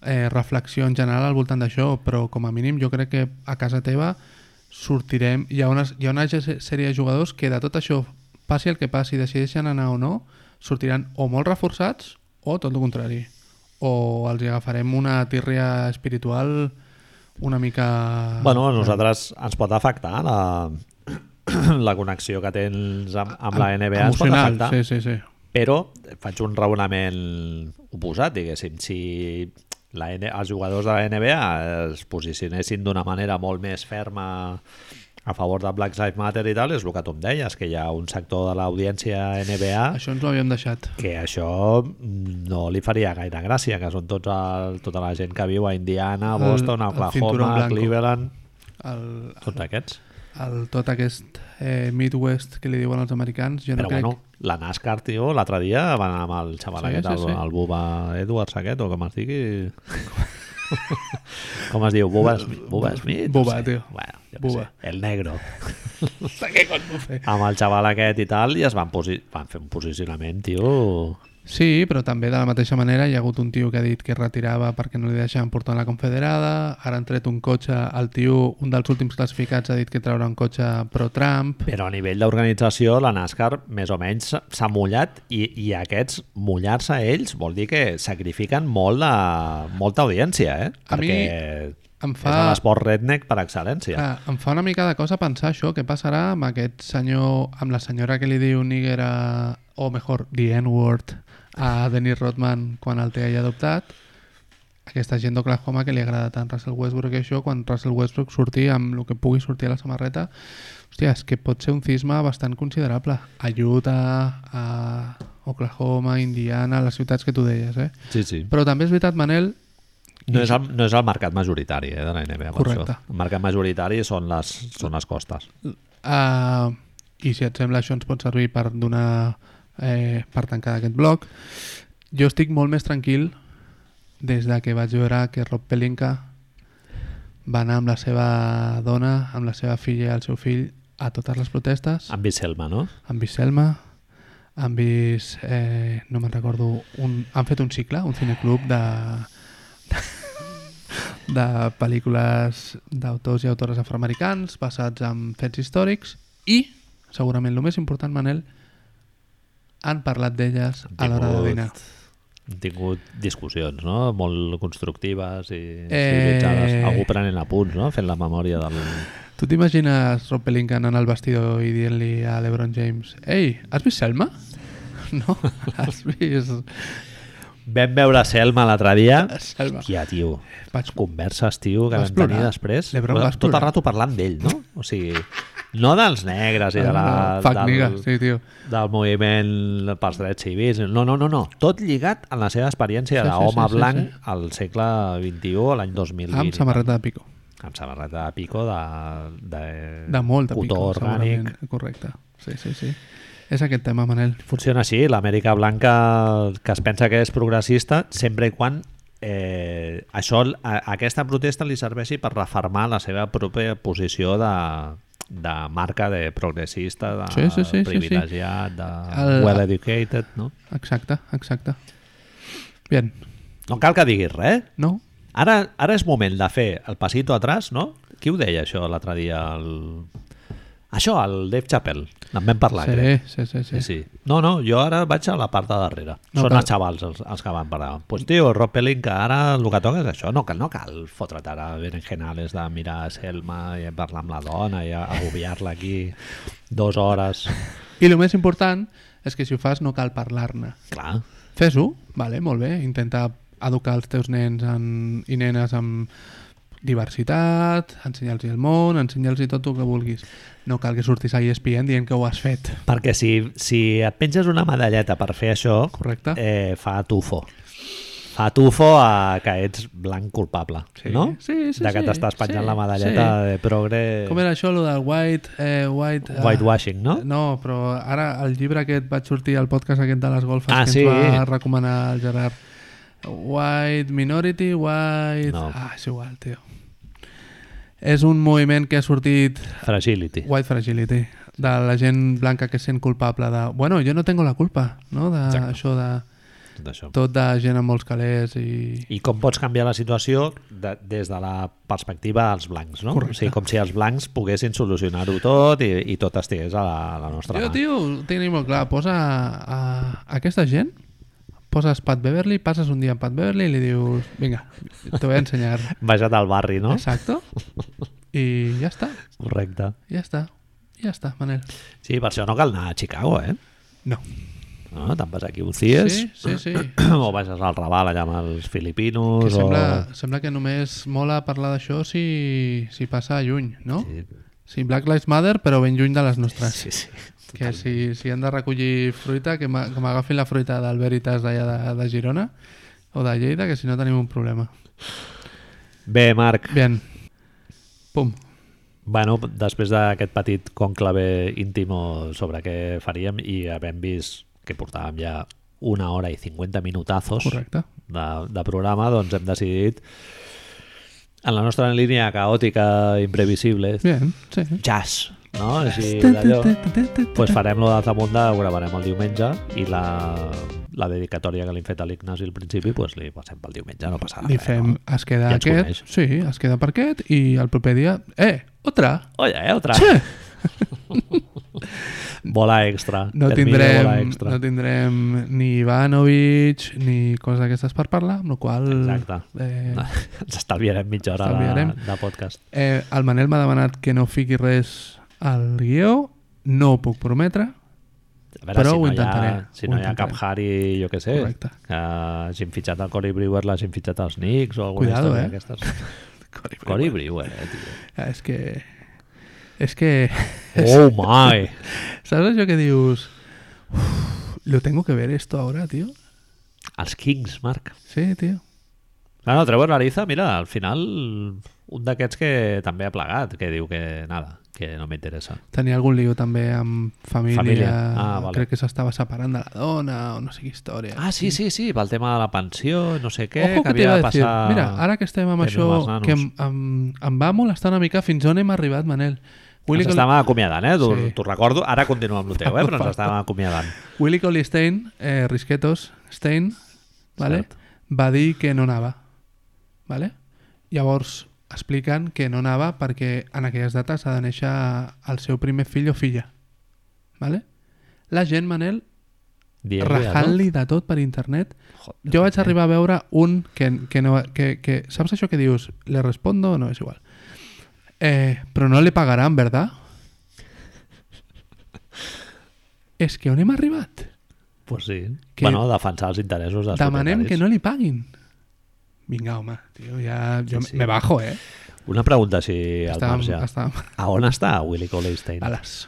[SPEAKER 2] eh, reflexió en general al voltant d'això, però com a mínim jo crec que a casa teva sortirem... Hi ha una, hi ha una ge- sèrie de jugadors que de tot això, passi el que passi, decideixen anar o no, sortiran o molt reforçats o tot el contrari. O els hi agafarem una tirria espiritual una mica...
[SPEAKER 1] Bueno, a nosaltres ens pot afectar la, [clears throat] la connexió que tens amb, amb la NBA. Ens pot
[SPEAKER 2] Emocional,
[SPEAKER 1] afectar.
[SPEAKER 2] sí, sí, sí.
[SPEAKER 1] Però faig un raonament oposat, diguéssim. Si la N els jugadors de la NBA es posicionessin d'una manera molt més ferma a favor de Black Lives Matter i tal, és el que tu em deies, que hi ha un sector de l'audiència NBA
[SPEAKER 2] Això ens ho havíem deixat.
[SPEAKER 1] que això no li faria gaire gràcia, que són tots el, tota la gent que viu a Indiana,
[SPEAKER 2] El-
[SPEAKER 1] Boston,
[SPEAKER 2] el cinturón
[SPEAKER 1] Oklahoma,
[SPEAKER 2] blanco.
[SPEAKER 1] Cleveland,
[SPEAKER 2] El,
[SPEAKER 1] tots aquests.
[SPEAKER 2] el, tot aquest eh, Midwest que li diuen els americans, jo
[SPEAKER 1] Però
[SPEAKER 2] no crec... [laughs]
[SPEAKER 1] bueno, la NASCAR, tio, l'altre dia van anar amb el xaval
[SPEAKER 2] Sí,
[SPEAKER 1] aquest,
[SPEAKER 2] sí,
[SPEAKER 1] el,
[SPEAKER 2] sí.
[SPEAKER 1] el Bubba Edwards aquest, o com es digui... com es diu? Bubba, Sm- Bubba Smith?
[SPEAKER 2] Bubba, tio.
[SPEAKER 1] Bueno, jo què
[SPEAKER 2] Bubba.
[SPEAKER 1] Sé, el negro.
[SPEAKER 2] Què cony puc fer?
[SPEAKER 1] Amb el xaval aquest i tal, i es van, posi van fer un posicionament, tio...
[SPEAKER 2] Sí, però també de la mateixa manera hi ha hagut un tio que ha dit que es retirava perquè no li deixaven portar la confederada, ara han tret un cotxe, el tio, un dels últims classificats, ha dit que traurà un cotxe pro-Trump.
[SPEAKER 1] Però a nivell d'organització, la NASCAR més o menys s'ha- s'ha mullat i, i aquests mullar-se ells vol dir que sacrifiquen molt de, molta audiència, eh?
[SPEAKER 2] A mi Em
[SPEAKER 1] Fa... És
[SPEAKER 2] fa,
[SPEAKER 1] l'esport redneck per excel·lència.
[SPEAKER 2] clar, em fa una mica de cosa pensar això, què passarà amb aquest senyor, amb la senyora que li diu nigger a, o mejor, the N-word a Dennis Rodman quan el té allà adoptat, aquesta gent d'Oklahoma que li agrada tant Russell Westbrook i això, quan Russell Westbrook surti amb el que pugui sortir a la samarreta, hòstia, és que pot ser un cisma bastant considerable. A Utah, a Oklahoma, Indiana, les ciutats que tu deies, eh?
[SPEAKER 1] Sí, sí.
[SPEAKER 2] Però també és veritat, Manel,
[SPEAKER 1] No és, el, no és el mercat majoritari eh, de la NBA. per
[SPEAKER 2] Correcte.
[SPEAKER 1] Això. El mercat majoritari són les, són les costes.
[SPEAKER 2] Uh, I si et sembla, això ens pot servir per donar eh, per tancar aquest bloc. Jo estic molt més tranquil des de que vaig veure que Rob Pelinka va anar amb la seva dona, amb la seva filla i el seu fill a totes les protestes.
[SPEAKER 1] Amb Vicelma, no?
[SPEAKER 2] Han vist Selma, han vist, eh, no me'n recordo, un, han fet un cicle, un cineclub de, de, de pel·lícules d'autors i autores afroamericans basats en fets històrics i, segurament el més important, Manel, han parlat d'elles a l'hora de dinar.
[SPEAKER 1] Hem tingut discussions, no? Molt constructives i
[SPEAKER 2] Eh.
[SPEAKER 1] civilitzades. Algú prenent apunts, no? Fent la memòria del...
[SPEAKER 2] Tu t'imagines Rob Pelinka anant al vestidor i dient-li a l'Ebron James «Ei, has vist Selma?» [laughs] No, has vist
[SPEAKER 1] Vam veure Selma l'altre dia.
[SPEAKER 2] Selma.
[SPEAKER 1] Hòstia, tio.
[SPEAKER 2] Vaig
[SPEAKER 1] Converses, tio, que
[SPEAKER 2] Vas
[SPEAKER 1] vam tenir
[SPEAKER 2] plorar.
[SPEAKER 1] després.
[SPEAKER 2] Lebron, vas
[SPEAKER 1] Tot el
[SPEAKER 2] plorar.
[SPEAKER 1] rato parlant d'ell, no? O sigui, no dels negres i de la...
[SPEAKER 2] Fuck
[SPEAKER 1] del-
[SPEAKER 2] nigga, sí, tio.
[SPEAKER 1] del moviment pels drets civils. No, no, no, no. Tot lligat a la seva experiència sí,
[SPEAKER 2] Sí, sí,
[SPEAKER 1] d'home
[SPEAKER 2] sí,
[SPEAKER 1] sí,
[SPEAKER 2] sí,
[SPEAKER 1] blanc
[SPEAKER 2] sí.
[SPEAKER 1] sí, sí. al segle XXI, a l'any 2020.
[SPEAKER 2] Amb samarreta de pico.
[SPEAKER 1] Amb samarreta de pico de... De,
[SPEAKER 2] De molt de
[SPEAKER 1] cotó
[SPEAKER 2] pico,
[SPEAKER 1] orgànic.
[SPEAKER 2] segurament. Correcte. Sí, sí, sí. És aquest tema, Manel.
[SPEAKER 1] Funciona així, l'Amèrica Blanca que es pensa que és progressista sempre i quan eh, això, a, aquesta protesta li serveixi per refermar la seva pròpia posició de, de marca de progressista, de
[SPEAKER 2] Sí, sí, sí, sí, sí.
[SPEAKER 1] privilegiat, de
[SPEAKER 2] El-
[SPEAKER 1] well-educated, no?
[SPEAKER 2] Exacte, exacte. Bien.
[SPEAKER 1] No cal que diguis res,
[SPEAKER 2] No?
[SPEAKER 1] Ara, ara és moment de fer el passito atrás, no? Qui ho deia això l'altre dia? El... Això, el Dave Chappell, en vam parlar, crec.
[SPEAKER 2] Sí, sí, sí,
[SPEAKER 1] Sí,
[SPEAKER 2] sí.
[SPEAKER 1] sí. No, no, jo ara vaig a la part de darrere.
[SPEAKER 2] No
[SPEAKER 1] Són
[SPEAKER 2] cal.
[SPEAKER 1] els xavals els, els que van parar. Doncs pues, tio, Rob Pelling, que ara el que toca és això. No, cal, no cal fotre't ara berenjenales de mirar Selma i parlar amb la dona i agobiar-la aquí dues hores.
[SPEAKER 2] I el més important és que si ho fas no cal parlar-ne.
[SPEAKER 1] Clar,
[SPEAKER 2] Fes-ho, vale, molt bé, intenta educar els teus nens en, i nenes amb diversitat, ensenyar-los el món, ensenyar-los tot el que vulguis. No cal que surtis a ESPN dient que ho has fet,
[SPEAKER 1] perquè si, si et penges una medalleta per fer això,
[SPEAKER 2] correcte? Eh,
[SPEAKER 1] eh, fa tufo. Fa tufo a que ets blanc culpable,
[SPEAKER 2] Sí,
[SPEAKER 1] no?
[SPEAKER 2] sí, sí,
[SPEAKER 1] De que
[SPEAKER 2] sí,
[SPEAKER 1] t'estàs penjant
[SPEAKER 2] sí,
[SPEAKER 1] la medalleta
[SPEAKER 2] sí.
[SPEAKER 1] de progre...
[SPEAKER 2] Com era això, lo del white... Eh, white eh,
[SPEAKER 1] Whitewashing, no?
[SPEAKER 2] No, però ara el llibre aquest vaig sortir al podcast aquest de les golfes
[SPEAKER 1] Ah,
[SPEAKER 2] que
[SPEAKER 1] sí.
[SPEAKER 2] ens va recomanar el Gerard. White Minority, White...
[SPEAKER 1] No.
[SPEAKER 2] Ah, és igual, tio. És un moviment que ha sortit
[SPEAKER 1] Fragility.
[SPEAKER 2] White Fragility, de la gent blanca que es sent culpable de... Bueno, jo no tengo la culpa, no? De,
[SPEAKER 1] Exacte.
[SPEAKER 2] això de...
[SPEAKER 1] Tot això.
[SPEAKER 2] Tot de gent amb molts calés i...
[SPEAKER 1] I com pots canviar la situació de, des de la perspectiva dels blancs, no?
[SPEAKER 2] Correcte.
[SPEAKER 1] O sigui, com si els blancs poguessin solucionar-ho tot i, i tot estigués a la, a la nostra
[SPEAKER 2] Jo,
[SPEAKER 1] mà.
[SPEAKER 2] tio, ho tinc molt clar. Posa a, a aquesta gent, poses Pat Beverly, passes un dia amb Pat Beverly i li dius... Vinga, te voy a ensenyar.
[SPEAKER 1] Vejat al barri, [laughs] no?
[SPEAKER 2] Exacto. I ja està,
[SPEAKER 1] Correcte.
[SPEAKER 2] ja està. Ja està, Manel.
[SPEAKER 1] Sí, per això no cal anar a Chicago, eh?
[SPEAKER 2] No.
[SPEAKER 1] No? Te'n vas aquí un dies
[SPEAKER 2] Sí, sí, sí.
[SPEAKER 1] [clears throat] o baixes al Raval allà amb els
[SPEAKER 2] Que
[SPEAKER 1] filipinos o...
[SPEAKER 2] sembla, sembla que només mola parlar d'això si, si passa lluny, no?
[SPEAKER 1] Sí,
[SPEAKER 2] Sí, Black Lives Matter, però ben lluny de les nostres.
[SPEAKER 1] sí, sí.
[SPEAKER 2] Que si, si han de recollir fruita, que m'a- que m'agafin la fruita del Veritas d'allà de, de Girona o de Lleida, que si no tenim un problema.
[SPEAKER 1] Bé, Marc,
[SPEAKER 2] Bien. Pum.
[SPEAKER 1] bueno, després d'aquest petit conclave íntimo sobre què faríem i havent vist que portàvem ja una hora i 50 minutazos
[SPEAKER 2] Correcte.
[SPEAKER 1] de, de programa, doncs hem decidit en la nostra línia caòtica, imprevisible,
[SPEAKER 2] Bien, sí.
[SPEAKER 1] jazz, no? Així Eh, d'allò. Pues farem lo de Zamunda, ho gravarem el diumenge i la, la dedicatòria que li hem fet a l'Ignasi al principi, pues li passem pel diumenge, no passarà
[SPEAKER 2] Li
[SPEAKER 1] res.
[SPEAKER 2] fem,
[SPEAKER 1] No?
[SPEAKER 2] es queda
[SPEAKER 1] Ja ens
[SPEAKER 2] aquest, sí, es queda per aquest i el proper dia, eh, otra,
[SPEAKER 1] Oye, eh, otra.
[SPEAKER 2] che,
[SPEAKER 1] Bola extra.
[SPEAKER 2] no
[SPEAKER 1] Termina Bola
[SPEAKER 2] tindrem,
[SPEAKER 1] extra.
[SPEAKER 2] no tindrem ni Ivanovic ni coses d'aquestes per parlar, amb la qual
[SPEAKER 1] Exacte. Ah.
[SPEAKER 2] Eh,
[SPEAKER 1] [laughs] Ens estalviarem mitja hora de,
[SPEAKER 2] Estalviarem.
[SPEAKER 1] de podcast.
[SPEAKER 2] Eh, el Manel m'ha demanat que no fiqui res al guió, no ho puc prometre,
[SPEAKER 1] A veure,
[SPEAKER 2] Però
[SPEAKER 1] si
[SPEAKER 2] ho
[SPEAKER 1] no Hi ha,
[SPEAKER 2] intentaré,
[SPEAKER 1] si
[SPEAKER 2] ho
[SPEAKER 1] no hi ha cap
[SPEAKER 2] intentaré.
[SPEAKER 1] Harry, jo què sé,
[SPEAKER 2] Correcte.
[SPEAKER 1] que hagin fitxat el Cory Brewer, l'hagin fitxat els Knicks o alguna
[SPEAKER 2] Cuidado,
[SPEAKER 1] història
[SPEAKER 2] eh?
[SPEAKER 1] d'aquestes.
[SPEAKER 2] [laughs] Cory Brewer.
[SPEAKER 1] Cory Brewer, eh,
[SPEAKER 2] [laughs]
[SPEAKER 1] tio.
[SPEAKER 2] Ah, és que... És que... [laughs]
[SPEAKER 1] Oh my!
[SPEAKER 2] Saps això que dius... "Uf, Lo tengo que ver esto ahora, tío.
[SPEAKER 1] Els Kings, Marc.
[SPEAKER 2] Sí, tío.
[SPEAKER 1] No, no, Trevor Ariza, mira, al final un d'aquests que també ha plegat, que diu que nada, que no m'interessa.
[SPEAKER 2] Tenia algun lío també amb família.
[SPEAKER 1] Família. Ah, vale.
[SPEAKER 2] Crec que s'estava separant de la dona o no sé quina història.
[SPEAKER 1] Ah, sí, sí, sí, pel tema de la pensió, no sé què,
[SPEAKER 2] Ojo que,
[SPEAKER 1] que
[SPEAKER 2] t'he
[SPEAKER 1] havia de
[SPEAKER 2] de dir,
[SPEAKER 1] passar...
[SPEAKER 2] mira, ara que estem amb
[SPEAKER 1] Tenim els
[SPEAKER 2] això,
[SPEAKER 1] nanos.
[SPEAKER 2] que em, em, em va molestar una mica fins on hem arribat, Manel. Willy,
[SPEAKER 1] Ens estàvem acomiadant, eh? T'ho
[SPEAKER 2] Sí.
[SPEAKER 1] t'ho recordo. Ara continuem amb el teu, eh? Però ens
[SPEAKER 2] Perdó.
[SPEAKER 1] estàvem acomiadant.
[SPEAKER 2] Willy Coley Stein, eh, Risquetos, Stein, vale?
[SPEAKER 1] Cert.
[SPEAKER 2] va dir que no anava. Vale? Llavors expliquen que no anava perquè en aquelles dates ha de néixer el seu primer fill o filla. Vale? La gent, Manel,
[SPEAKER 1] Dient-li,
[SPEAKER 2] rajant-li de tot per internet.
[SPEAKER 1] no? ah, Joder,
[SPEAKER 2] Jo vaig arribar a veure un que, que no... Que, que, saps això que dius? Le respondo? No, és igual. Eh, però no le
[SPEAKER 1] [laughs]
[SPEAKER 2] pagaran, ¿verdad? És que on hem arribat?
[SPEAKER 1] Pues sí.
[SPEAKER 2] Que-
[SPEAKER 1] Bueno, defensar els interessos dels
[SPEAKER 2] Demanem que
[SPEAKER 1] propietaris.
[SPEAKER 2] no li paguin. Vinga, home, tio, ja... Jo
[SPEAKER 1] Sí, sí.
[SPEAKER 2] me bajo, eh?
[SPEAKER 1] Una pregunta així al
[SPEAKER 2] Estàvem,
[SPEAKER 1] marge.
[SPEAKER 2] estàvem
[SPEAKER 1] A on està Willy Cole-Stein?
[SPEAKER 2] a les...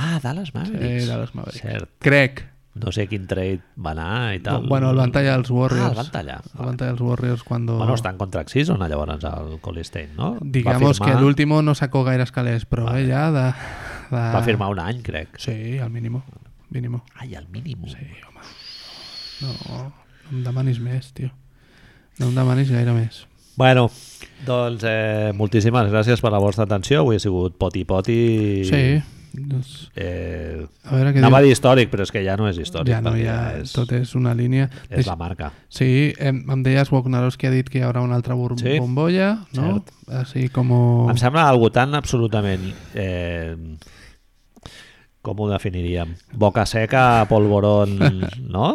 [SPEAKER 1] Ah, Dallas Mavericks.
[SPEAKER 2] Sí, Dallas Mavericks.
[SPEAKER 1] Cert.
[SPEAKER 2] Crec.
[SPEAKER 1] No sé quin trade va anar i tal.
[SPEAKER 2] Bueno, el van tallar els
[SPEAKER 1] Ah,
[SPEAKER 2] Warriors.
[SPEAKER 1] el van tallar.
[SPEAKER 2] El van tallar els Warriors quan...
[SPEAKER 1] Bueno, està en contract season, llavors, el Cole-Stein, no? Va
[SPEAKER 2] Digamos que
[SPEAKER 1] firmar-
[SPEAKER 2] l'último no sacó gaires calés, però eh, ja de, de...
[SPEAKER 1] Va firmar un any, crec.
[SPEAKER 2] Sí, al mínimo. Mínimo.
[SPEAKER 1] Ai, al mínim.
[SPEAKER 2] Sí, home. No, no em demanis més, tio. No em demanis gaire més.
[SPEAKER 1] Bueno, doncs eh, moltíssimes gràcies per la vostra atenció. Avui ha sigut poti-poti.
[SPEAKER 2] Sí. Doncs,
[SPEAKER 1] Eh,
[SPEAKER 2] a veure què
[SPEAKER 1] anava a
[SPEAKER 2] diu.
[SPEAKER 1] dir històric, però és que ja no és històric.
[SPEAKER 2] Ja no,
[SPEAKER 1] perquè
[SPEAKER 2] ja,
[SPEAKER 1] és,
[SPEAKER 2] tot és una línia.
[SPEAKER 1] és la marca.
[SPEAKER 2] Sí, em, em deies Woknaros que ha dit que hi haurà una altra bur-
[SPEAKER 1] Sí. Ah,
[SPEAKER 2] bombolla, no?
[SPEAKER 1] Cert.
[SPEAKER 2] Així com...
[SPEAKER 1] Em sembla algo tan absolutament eh, Com ho definiríem? Boca seca,
[SPEAKER 2] [laughs]
[SPEAKER 1] polvorón, no?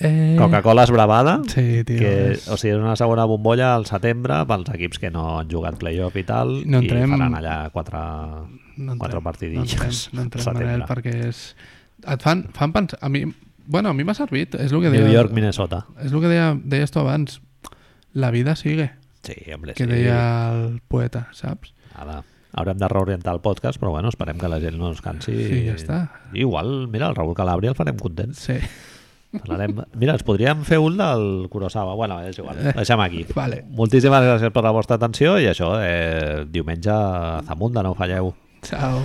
[SPEAKER 2] Eh,
[SPEAKER 1] Coca-Cola esbravada.
[SPEAKER 2] Sí, tio.
[SPEAKER 1] que,
[SPEAKER 2] és-
[SPEAKER 1] o sigui, és una segona bombolla al setembre pels equips que no han jugat playoff i tal
[SPEAKER 2] No entrem-
[SPEAKER 1] i faran allà quatre,
[SPEAKER 2] no entrem,
[SPEAKER 1] quatre
[SPEAKER 2] no entrem,
[SPEAKER 1] partidilles [laughs]
[SPEAKER 2] no entrem
[SPEAKER 1] al
[SPEAKER 2] Manel,
[SPEAKER 1] setembre.
[SPEAKER 2] perquè és... Et fan, fan pensar... A mi, bueno, a mi m'ha servit. És el que deia,
[SPEAKER 1] New York, Minnesota.
[SPEAKER 2] és el que deia, deies tu abans. La vida sigue,
[SPEAKER 1] Sí, hombre,
[SPEAKER 2] que
[SPEAKER 1] sí.
[SPEAKER 2] deia el poeta, saps?
[SPEAKER 1] Ara, haurem de reorientar el podcast, però bueno, esperem que la gent no es cansi.
[SPEAKER 2] Sí, ja està.
[SPEAKER 1] Igual, mira, el Raül Calabria el farem content.
[SPEAKER 2] Sí. [laughs]
[SPEAKER 1] Parlarem... Mira, ens podríem fer un del Kurosawa. Bueno, és igual, deixem aquí.
[SPEAKER 2] Vale.
[SPEAKER 1] Moltíssimes gràcies per la vostra atenció i això, eh, diumenge a Zamunda, no falleu.
[SPEAKER 2] Ciao.